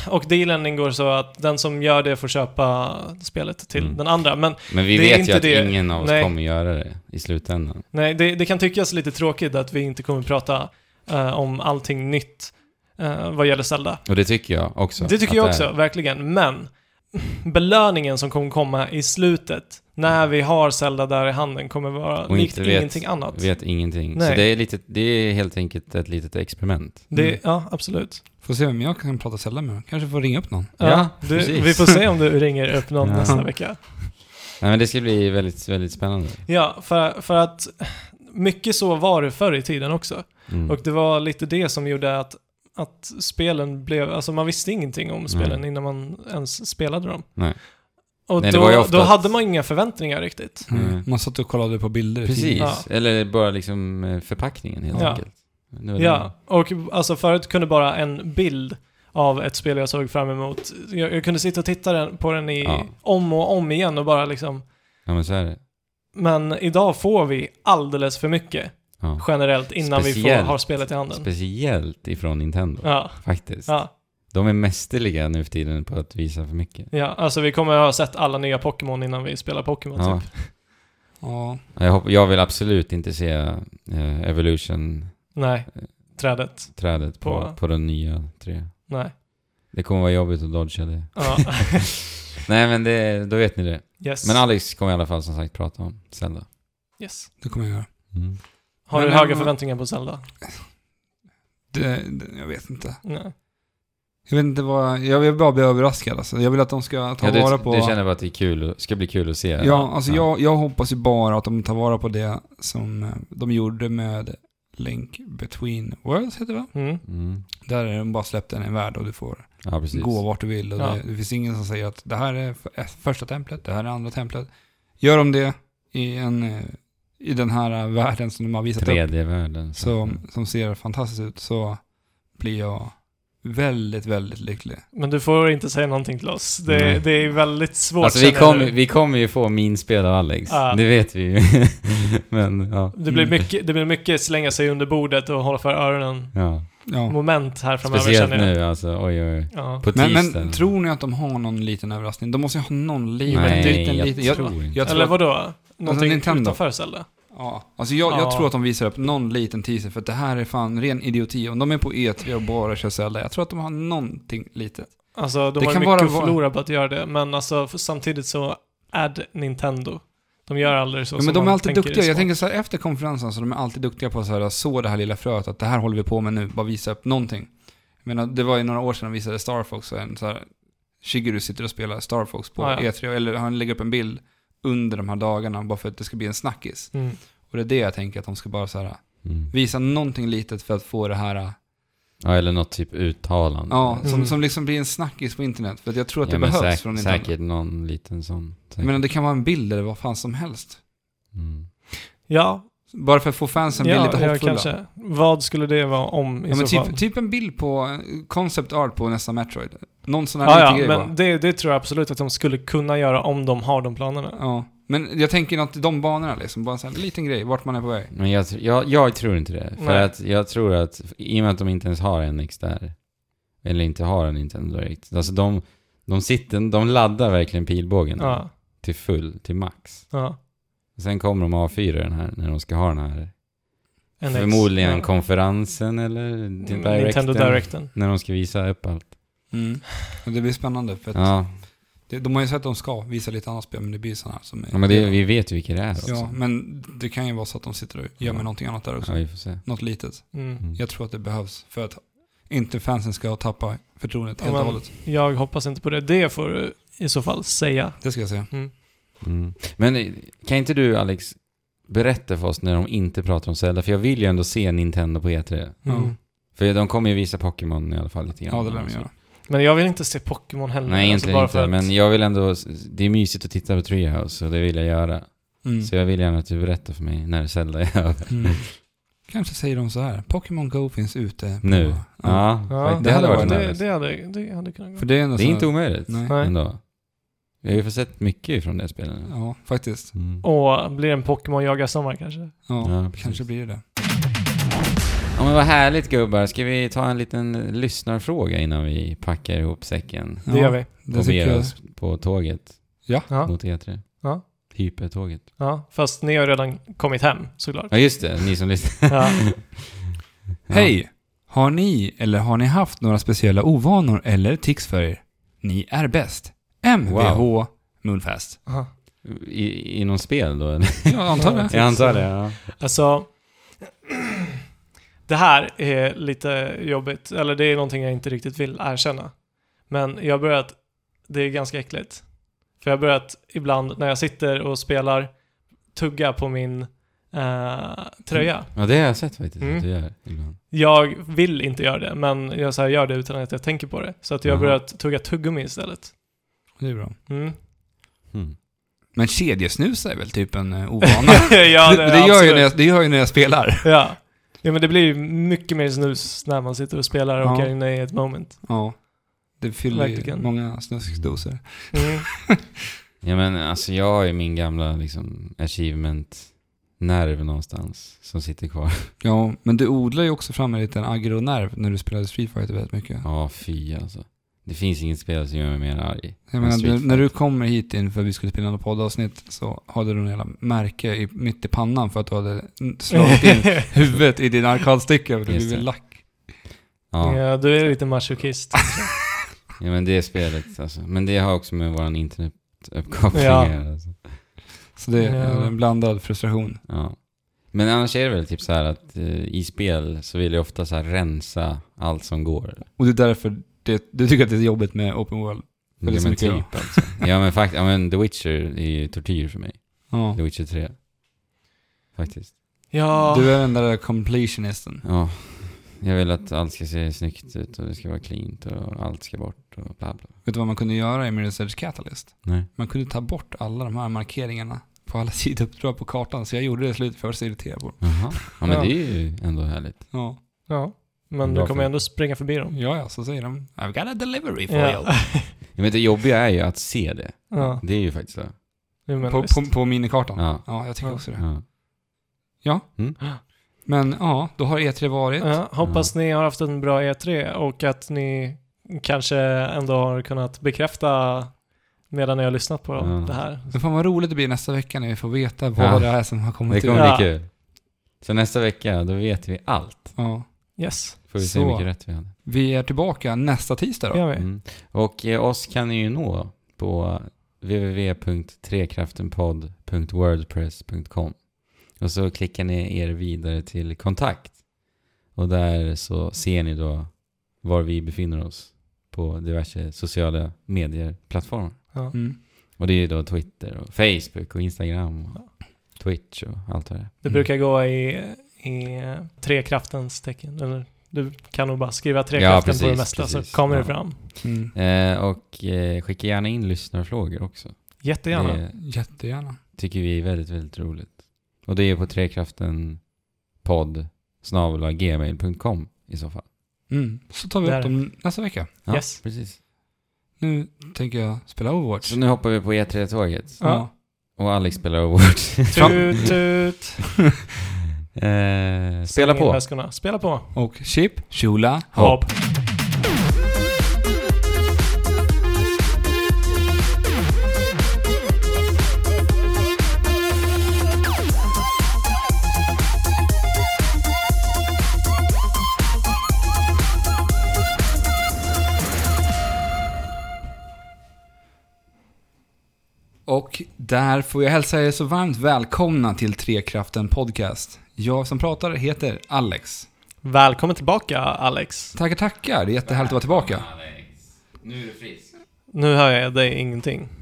[SPEAKER 2] och dealen ingår så att den som gör det får köpa spelet till
[SPEAKER 3] Mm.
[SPEAKER 2] den andra. Men
[SPEAKER 3] Men vi
[SPEAKER 2] Det är
[SPEAKER 3] vet ju
[SPEAKER 2] inte
[SPEAKER 3] att
[SPEAKER 2] det.
[SPEAKER 3] ingen av oss
[SPEAKER 2] Nej.
[SPEAKER 3] kommer göra det i slutändan.
[SPEAKER 2] Nej, det, det kan tyckas lite tråkigt att vi inte kommer prata eh, om allting nytt eh, vad gäller Zelda.
[SPEAKER 3] Och det tycker jag också.
[SPEAKER 2] det tycker
[SPEAKER 3] att
[SPEAKER 2] jag
[SPEAKER 3] är.
[SPEAKER 2] också, verkligen. Men belöningen som kommer komma i slutet, när vi har Zelda där i handen, kommer vara
[SPEAKER 3] Och
[SPEAKER 2] likt
[SPEAKER 3] inte vet-
[SPEAKER 2] ingenting annat.
[SPEAKER 3] Vet ingenting. Så
[SPEAKER 2] Nej.
[SPEAKER 3] det är, lite, det är helt enkelt ett litet experiment.
[SPEAKER 2] Det,
[SPEAKER 1] Mm.
[SPEAKER 2] Ja, absolut.
[SPEAKER 1] Får se vem jag kan prata Zelda med. Kanske får ringa upp någon.
[SPEAKER 2] Ja,
[SPEAKER 3] Ja,
[SPEAKER 2] du,
[SPEAKER 3] precis.
[SPEAKER 2] vi får se om du ringer upp någon
[SPEAKER 3] Ja.
[SPEAKER 2] nästa vecka.
[SPEAKER 3] Nej men det ska bli väldigt, väldigt spännande.
[SPEAKER 2] Ja, för, för att mycket så var det förr i tiden också.
[SPEAKER 3] Mm.
[SPEAKER 2] Och det var lite det som gjorde att, att spelen blev, alltså man visste ingenting om spelen
[SPEAKER 3] Nej.
[SPEAKER 2] innan man ens spelade dem.
[SPEAKER 3] Mm. Nej.
[SPEAKER 2] Och
[SPEAKER 3] Nej, det
[SPEAKER 2] då,
[SPEAKER 3] var ju ofta
[SPEAKER 2] då
[SPEAKER 3] att-
[SPEAKER 2] hade man inga förväntningar riktigt.
[SPEAKER 1] Mm.
[SPEAKER 3] Mm.
[SPEAKER 1] Man satt och kollade på bilder. i
[SPEAKER 3] Precis.
[SPEAKER 1] tidningen.
[SPEAKER 2] Ja.
[SPEAKER 3] Eller bara liksom eh, förpackningen helt
[SPEAKER 2] Ja.
[SPEAKER 3] enkelt. Nu är det-
[SPEAKER 2] Ja, och alltså förut kunde bara en bild av ett spel jag såg fram emot, jag, jag kunde sitta och titta den, på den i,
[SPEAKER 3] Ja.
[SPEAKER 2] om och om igen och bara liksom,
[SPEAKER 3] ja men så är det.
[SPEAKER 2] men idag får vi alldeles för mycket
[SPEAKER 3] Ja.
[SPEAKER 2] generellt innan vi
[SPEAKER 3] Speciellt.
[SPEAKER 2] får, har spelet i handen.
[SPEAKER 3] Speciellt ifrån Nintendo.
[SPEAKER 2] ja,
[SPEAKER 3] Faktiskt.
[SPEAKER 2] ja.
[SPEAKER 3] De är mästerliga nu för tiden på att visa för mycket.
[SPEAKER 2] Ja, alltså vi kommer ha sett alla nya Pokémon innan vi spelar Pokémon
[SPEAKER 3] Ja.
[SPEAKER 2] typ.
[SPEAKER 1] Ja.
[SPEAKER 3] Jag, hopp, jag vill absolut inte se eh, Evolution-trädet
[SPEAKER 2] Nej, trädet.
[SPEAKER 3] på,
[SPEAKER 2] På-
[SPEAKER 3] på. den nya tre.
[SPEAKER 2] Nej.
[SPEAKER 3] Det kommer vara jobbigt att dodga det.
[SPEAKER 2] Ja.
[SPEAKER 3] Nej men det, då vet ni det.
[SPEAKER 2] Yes.
[SPEAKER 3] Men Alex kommer i alla fall som sagt prata om Zelda.
[SPEAKER 2] Yes.
[SPEAKER 1] Det kommer jag göra.
[SPEAKER 3] Mm.
[SPEAKER 2] Har
[SPEAKER 1] Men,
[SPEAKER 2] du höga
[SPEAKER 1] men-
[SPEAKER 2] förväntningar på Zelda?
[SPEAKER 1] Det, det, jag vet inte.
[SPEAKER 2] Nej.
[SPEAKER 1] Jag vet inte vad... Jag vill bara bli överraskad alltså. Jag vill att de ska ta
[SPEAKER 3] Ja,
[SPEAKER 1] vara
[SPEAKER 3] du,
[SPEAKER 1] på...
[SPEAKER 3] du känner bara att det är kul, och- ska bli kul att se?
[SPEAKER 1] Ja, alltså Jag, jag hoppas ju bara att de tar vara på det som eh, de gjorde med Link Between Worlds, heter det va?
[SPEAKER 2] Mm.
[SPEAKER 3] Mm.
[SPEAKER 1] Där är de bara släppte en i en värld och du får
[SPEAKER 3] Ja, precis.
[SPEAKER 1] gå vart du vill. Och
[SPEAKER 2] Ja.
[SPEAKER 1] det, det finns ingen som säger att det här är f- eh, första templet, det här är andra templet. Gör de det i, en, eh, i den här eh, världen som de har visat upp,
[SPEAKER 3] Tredje världen.
[SPEAKER 1] som, som ser fantastiskt ut, så blir jag väldigt, väldigt lycklig.
[SPEAKER 2] Men du får inte säga någonting till oss. Det,
[SPEAKER 3] Nej.
[SPEAKER 2] det är väldigt svårt.
[SPEAKER 3] Alltså vi
[SPEAKER 2] känner jag
[SPEAKER 3] kommer,
[SPEAKER 2] nu.
[SPEAKER 3] vi kommer ju få minspel av Alex.
[SPEAKER 2] Ja.
[SPEAKER 3] Det vet vi ju. Men ja.
[SPEAKER 2] det,
[SPEAKER 1] Mm.
[SPEAKER 2] blir mycket, det blir mycket slänga sig under bordet och hålla för öronen.
[SPEAKER 3] ja.
[SPEAKER 1] Ja.
[SPEAKER 2] Moment här framöver
[SPEAKER 3] Speciellt
[SPEAKER 2] känner jag.
[SPEAKER 3] nu alltså. Oj, oj, oj.
[SPEAKER 2] Ja.
[SPEAKER 3] På
[SPEAKER 1] Men,
[SPEAKER 3] tisdagen.
[SPEAKER 1] men tror ni att de har någon liten överraskning? De måste ju ha någon liten,
[SPEAKER 3] Nej,
[SPEAKER 1] liten,
[SPEAKER 3] jag
[SPEAKER 1] liten.
[SPEAKER 3] tror inte.
[SPEAKER 1] jag tror
[SPEAKER 2] Eller
[SPEAKER 1] att- Alltså,
[SPEAKER 2] vadå? Någonting
[SPEAKER 1] Nintendo.
[SPEAKER 2] utanför Zelda?
[SPEAKER 1] Ja, alltså jag,
[SPEAKER 2] Ja.
[SPEAKER 1] jag tror att de visar upp någon liten teaser för att det här är fan ren idioti. Om de är på E3 och bara kör Zelda, jag tror att de har någonting litet.
[SPEAKER 2] Alltså, de
[SPEAKER 1] Det
[SPEAKER 2] har ju
[SPEAKER 1] kan
[SPEAKER 2] mycket
[SPEAKER 1] bara
[SPEAKER 2] att
[SPEAKER 1] vara-
[SPEAKER 2] förlora på att göra det, men alltså för, samtidigt så är Nintendo. De gör aldrig så
[SPEAKER 1] Ja,
[SPEAKER 2] som
[SPEAKER 1] men de
[SPEAKER 2] man
[SPEAKER 1] är alltid
[SPEAKER 2] tänker
[SPEAKER 1] duktiga.
[SPEAKER 2] i
[SPEAKER 1] Jag
[SPEAKER 2] små.
[SPEAKER 1] tänker så här, efter konferensen så de är alltid duktiga på att så här, så det här lilla fröet, att det här håller vi på med nu, bara visa upp någonting. Jag menar, det var ju några år sedan de visade Star Fox och en så här, Shigeru sitter och spelar Star Fox på
[SPEAKER 2] Ja, ja.
[SPEAKER 1] E3, eller han lägger upp en bild under de här dagarna bara för att det ska bli en snackis.
[SPEAKER 2] Mm.
[SPEAKER 1] Och det är det jag tänker, att de ska bara så här,
[SPEAKER 3] Mm.
[SPEAKER 1] visa någonting litet för att få det här
[SPEAKER 3] Ja, eller något typ uttalande.
[SPEAKER 1] Ja, som,
[SPEAKER 2] Mm.
[SPEAKER 1] som liksom blir en snackis på internet. För att jag tror att
[SPEAKER 3] Ja,
[SPEAKER 1] det
[SPEAKER 3] men
[SPEAKER 1] behövs
[SPEAKER 3] säk-
[SPEAKER 1] från Nintendo.
[SPEAKER 3] Säkert någon liten sån.
[SPEAKER 1] Jag
[SPEAKER 3] Säkert.
[SPEAKER 1] menar, det kan vara en bild eller vad fan som helst.
[SPEAKER 3] Mm.
[SPEAKER 2] Ja,
[SPEAKER 1] Bara för att få fansen
[SPEAKER 2] ja,
[SPEAKER 1] bli lite
[SPEAKER 2] ja,
[SPEAKER 1] hoppfulla. Ja,
[SPEAKER 2] kanske. Vad skulle det vara om i
[SPEAKER 1] men
[SPEAKER 2] så
[SPEAKER 1] typ,
[SPEAKER 2] fall?
[SPEAKER 1] typ en bild på eh, concept art på nästa Metroid. Någon sån här
[SPEAKER 2] Ah, Ja,
[SPEAKER 1] liten
[SPEAKER 2] ja,
[SPEAKER 1] grej
[SPEAKER 2] men
[SPEAKER 1] bara.
[SPEAKER 2] det, det tror jag absolut att de skulle kunna göra om de har de planerna.
[SPEAKER 1] Ja. Men jag tänker något i de banorna liksom. Bara en sån här liten grej, vart man är på väg.
[SPEAKER 3] Men jag, tr- jag, jag tror inte det. För
[SPEAKER 2] Nej.
[SPEAKER 3] att jag tror att, i och med att de inte ens har en NX där, eller inte har en Nintendo Direct, alltså de, de sitter, de laddar verkligen pilbågen
[SPEAKER 2] Ja,
[SPEAKER 3] till full, till max.
[SPEAKER 2] ja.
[SPEAKER 3] Sen kommer de A4 den här, när de ska ha den här,
[SPEAKER 2] NX.
[SPEAKER 3] förmodligen
[SPEAKER 2] Ja. Mm,
[SPEAKER 3] konferensen eller directen,
[SPEAKER 2] Nintendo Directen.
[SPEAKER 3] när de ska visa upp allt.
[SPEAKER 2] Mm.
[SPEAKER 1] Och det blir spännande. För att
[SPEAKER 3] Ja,
[SPEAKER 1] det, de har ju sett att de ska visa lite annat spel, men det blir såna här som är...
[SPEAKER 3] ja men det, vi vet ju vilka det är också.
[SPEAKER 1] ja, men det kan ju vara så att de sitter och gömmer
[SPEAKER 3] Ja.
[SPEAKER 1] någonting annat där också.
[SPEAKER 3] Ja, vi får se.
[SPEAKER 1] Något litet.
[SPEAKER 2] Mm.
[SPEAKER 3] Mm.
[SPEAKER 1] Jag tror att det behövs för att inte fansen ska tappa förtroendet helt
[SPEAKER 2] Ja,
[SPEAKER 1] och
[SPEAKER 2] men-
[SPEAKER 1] hållet.
[SPEAKER 2] Jag hoppas inte på det. Det får du i så fall säga.
[SPEAKER 1] Det ska jag säga.
[SPEAKER 3] Mm. Men eh, kan inte du Alex, berätta för oss när de inte pratar om Zelda, för jag vill ju ändå se Nintendo på E3.
[SPEAKER 1] Ja.
[SPEAKER 2] Mm.
[SPEAKER 3] För de kommer ju visa Pokémon i alla fall lite grann.
[SPEAKER 1] Ja, det lär de göra.
[SPEAKER 2] Men jag vill inte se Pokémon heller.
[SPEAKER 3] Nej, egentligen
[SPEAKER 2] Mm. Alltså, bara
[SPEAKER 3] inte.
[SPEAKER 2] för att-
[SPEAKER 3] Men jag vill ändå... Det är mysigt att titta på Treehouse och det vill jag göra.
[SPEAKER 1] Mm.
[SPEAKER 3] Så jag vill gärna att du berättar för mig när Zelda är över.
[SPEAKER 1] Mm. Kanske säger de så här, Pokémon Go finns ute. på-
[SPEAKER 3] Nu.
[SPEAKER 1] Ja.
[SPEAKER 3] Ja,
[SPEAKER 2] Ja,
[SPEAKER 3] det, hade varit
[SPEAKER 2] det,
[SPEAKER 3] nervöst.
[SPEAKER 2] det, hade, det hade kunnat gå.
[SPEAKER 1] För det är ändå
[SPEAKER 3] Det är
[SPEAKER 1] så-
[SPEAKER 3] inte omöjligt
[SPEAKER 1] Alltså, Nej.
[SPEAKER 2] Nej.
[SPEAKER 3] ändå. Vi har ju fått sett mycket från det spelet. nu.
[SPEAKER 1] Ja, faktiskt.
[SPEAKER 3] Mm.
[SPEAKER 2] Och blir en Pokémon jagar sommar kanske?
[SPEAKER 1] Ja,
[SPEAKER 3] Ja, precis.
[SPEAKER 1] kanske blir det det.
[SPEAKER 3] Ja, men vad härligt gubbar. Ska vi ta en liten lyssnarfråga innan vi packar ihop säcken?
[SPEAKER 1] Ja,
[SPEAKER 2] Det gör vi.
[SPEAKER 1] Det tycker
[SPEAKER 3] Och beger
[SPEAKER 1] jag.
[SPEAKER 3] oss på tåget
[SPEAKER 2] Ja.
[SPEAKER 3] mot E3.
[SPEAKER 2] Ja.
[SPEAKER 3] Hypertåget.
[SPEAKER 2] ja. Fast ni har redan kommit hem såklart.
[SPEAKER 3] Ja, just det. Ni som lyssnar.
[SPEAKER 2] Ja.
[SPEAKER 1] Hej! Har ni eller har ni haft några speciella ovanor eller tics för er? Ni är bäst. MVH Moonfest.
[SPEAKER 2] Aha.
[SPEAKER 3] I, I någon spel då, eller?
[SPEAKER 1] Jag antar det.
[SPEAKER 3] Jag antar det, ja.
[SPEAKER 2] Alltså, det här är lite jobbigt, eller det är någonting jag inte riktigt vill erkänna. Men jag har börjat, det är ganska äckligt. För jag har börjat ibland när jag sitter och spelar tugga på min eh,
[SPEAKER 1] Mm.
[SPEAKER 2] tröja.
[SPEAKER 3] Ja, det har jag sett faktiskt
[SPEAKER 2] Mm.
[SPEAKER 3] att du gör ibland.
[SPEAKER 2] Jag vill inte göra det, men jag så här gör det utan att jag tänker på det. Så att jag har
[SPEAKER 3] Jaha.
[SPEAKER 2] börjat tugga tuggummi istället.
[SPEAKER 1] Det är bra.
[SPEAKER 2] Mm.
[SPEAKER 3] Mm.
[SPEAKER 1] Men kedjesnus är väl typ en eh, ovana?
[SPEAKER 2] ja,
[SPEAKER 1] det, det, gör ju
[SPEAKER 2] absolut.
[SPEAKER 1] när jag, det gör ju när jag spelar.
[SPEAKER 2] Ja. ja, men det blir ju mycket mer snus när man sitter och spelar och
[SPEAKER 1] Ja.
[SPEAKER 2] är inne i ett moment.
[SPEAKER 1] Ja. Det fyller ju
[SPEAKER 2] Verkligen.
[SPEAKER 1] många snuskdosor.
[SPEAKER 2] Mm.
[SPEAKER 3] Ja, men alltså jag har ju min gamla liksom achievement-nerv någonstans som sitter kvar.
[SPEAKER 1] Ja, men du odlar ju också fram en liten aggro-nerv när du spelade Street Fighter väldigt mycket.
[SPEAKER 3] Ja, fy alltså. Det finns inget spel som gör mig mer arg.
[SPEAKER 1] Jag menar,
[SPEAKER 3] Street
[SPEAKER 1] när,
[SPEAKER 3] Fighter.
[SPEAKER 1] när du kommer hit in för att vi skulle spela något poddavsnitt så hade du en jävla märke i, mitt i pannan för att du hade n- slagit in huvudet i din arkadstycke för du
[SPEAKER 3] Just
[SPEAKER 1] blev
[SPEAKER 3] det.
[SPEAKER 1] lack.
[SPEAKER 3] Ja.
[SPEAKER 2] Ja, du är lite masochist.
[SPEAKER 3] ja, men det spelet alltså. Men det har också med våran internetuppkoppling
[SPEAKER 2] Ja.
[SPEAKER 3] att göra. Alltså.
[SPEAKER 1] Så det är
[SPEAKER 2] Ja.
[SPEAKER 1] en blandad frustration.
[SPEAKER 3] Ja. Men annars är det väl typ så här att eh, i spel så vill jag ofta så här rensa allt som går.
[SPEAKER 1] Och det är därför det, du tycker att det är jobbigt med open world. För det är så
[SPEAKER 3] men
[SPEAKER 1] mycket
[SPEAKER 3] typ alltså. Ja men faktiskt, ja men The Witcher är ju tortyr för mig.
[SPEAKER 1] Ja.
[SPEAKER 3] The Witcher 3. Faktiskt.
[SPEAKER 2] Ja,
[SPEAKER 1] Du är den där completionisten.
[SPEAKER 3] Ja. Jag vill att allt ska se snyggt ut och det ska vara cleant och allt ska bort och bla bla.
[SPEAKER 1] Vet du vad man kunde göra i Mirror's Edge Catalyst?
[SPEAKER 3] Nej.
[SPEAKER 1] Man kunde ta bort alla de här markeringarna på alla sidouppdrag på kartan. Så jag gjorde det i slutet för att se irriterad på det.
[SPEAKER 3] Jaha. Ja men
[SPEAKER 2] Ja.
[SPEAKER 3] det är ju ändå härligt.
[SPEAKER 1] Ja.
[SPEAKER 2] ja. men
[SPEAKER 3] Bra
[SPEAKER 2] du kommer
[SPEAKER 3] film.
[SPEAKER 2] ändå springa förbi dem.
[SPEAKER 1] ja, ja, så säger de. I've got a delivery for you.
[SPEAKER 2] Ja,
[SPEAKER 3] Ja, men det jobbiga är ju att se det.
[SPEAKER 2] ja.
[SPEAKER 3] Det är ju faktiskt det.
[SPEAKER 2] Jo, men
[SPEAKER 1] På,
[SPEAKER 2] visst.
[SPEAKER 1] på, på minikartan. Ja.
[SPEAKER 3] Ja.
[SPEAKER 1] jag tycker
[SPEAKER 2] Ja.
[SPEAKER 1] också det.
[SPEAKER 3] ja.
[SPEAKER 1] Men ja, då har E3 varit.
[SPEAKER 2] Ja, hoppas ni har haft en bra E3 och att ni kanske ändå har kunnat bekräfta medan ni har lyssnat på
[SPEAKER 3] Ja.
[SPEAKER 2] det här.
[SPEAKER 1] Men fan vad roligt det blir nästa vecka när vi får veta vad
[SPEAKER 3] Ja.
[SPEAKER 1] det är som har
[SPEAKER 3] Det
[SPEAKER 1] kommit ut.
[SPEAKER 3] kommer bli
[SPEAKER 2] Ja.
[SPEAKER 3] kul. Så nästa vecka, då vet vi allt.
[SPEAKER 1] Ja.
[SPEAKER 2] Yes,
[SPEAKER 3] Får vi se hur
[SPEAKER 1] Så.
[SPEAKER 3] mycket rätt vi hade.
[SPEAKER 1] Vi är tillbaka nästa tisdag
[SPEAKER 2] det
[SPEAKER 1] då.
[SPEAKER 2] gör vi.
[SPEAKER 3] Mm. Och eh, oss kan ni ju nå på www.trekraftenpodd.wordpress.com och så klickar ni er vidare till kontakt och där så ser ni då var vi befinner oss på diverse sociala medier-plattformar.
[SPEAKER 2] Ja.
[SPEAKER 1] Mm.
[SPEAKER 3] Och det är ju då Twitter och Facebook och Instagram och Twitch och allt vad det är.
[SPEAKER 2] Det
[SPEAKER 1] Mm.
[SPEAKER 2] brukar gå i, i trekraftens tecken. Eller, du kan nog bara skriva
[SPEAKER 3] Ja,
[SPEAKER 2] trekraften
[SPEAKER 3] precis,
[SPEAKER 2] på det mesta
[SPEAKER 3] precis.
[SPEAKER 2] så kommer det
[SPEAKER 3] Ja.
[SPEAKER 2] fram.
[SPEAKER 1] Mm.
[SPEAKER 3] Eh, och eh, skicka gärna in lyssnarfrågor också.
[SPEAKER 2] Jättegärna.
[SPEAKER 3] Det
[SPEAKER 1] Jättegärna.
[SPEAKER 3] tycker vi är väldigt, väldigt roligt. Och det är på trekraften podd gmail.com i så fall.
[SPEAKER 1] Mm. Så tar vi
[SPEAKER 2] Där.
[SPEAKER 1] upp dem nästa vecka.
[SPEAKER 3] Ja,
[SPEAKER 2] Yes.
[SPEAKER 3] precis.
[SPEAKER 1] Nu tänker jag spela Overwatch.
[SPEAKER 3] Så nu hoppar vi på E3-tåget
[SPEAKER 1] Ja.
[SPEAKER 3] och Alex spelar Overwatch.
[SPEAKER 2] Tut, tut.
[SPEAKER 3] eh, spela
[SPEAKER 2] Släng in
[SPEAKER 3] på.
[SPEAKER 2] väskorna. Spela på.
[SPEAKER 1] Och Chip, Shula,
[SPEAKER 2] Hopp.
[SPEAKER 1] Och där får jag hälsa er så varmt välkomna till Trekraften Podcast. Jag som pratar heter Alex.
[SPEAKER 2] Välkommen tillbaka Alex.
[SPEAKER 1] Tackar, tackar. Det är jättehärligt att vara tillbaka.
[SPEAKER 3] Alex, nu är du frisk.
[SPEAKER 2] Nu hör jag dig ingenting.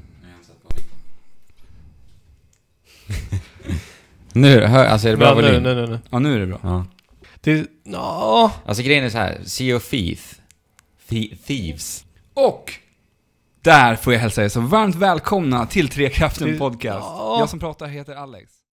[SPEAKER 3] Nu, hör, alltså är det bra
[SPEAKER 2] Ja, nu,
[SPEAKER 3] volym?
[SPEAKER 2] nu, nu, nu.
[SPEAKER 1] Ja, nu är det bra.
[SPEAKER 3] Ja.
[SPEAKER 2] Det, ja.
[SPEAKER 3] Alltså grejen är så här, Sea of Thief. Thi- Thieves.
[SPEAKER 1] Och där får jag hälsa er så varmt välkomna till Trekraften
[SPEAKER 2] Det-
[SPEAKER 1] Podcast.
[SPEAKER 2] Ja.
[SPEAKER 1] Jag som pratar heter Alex.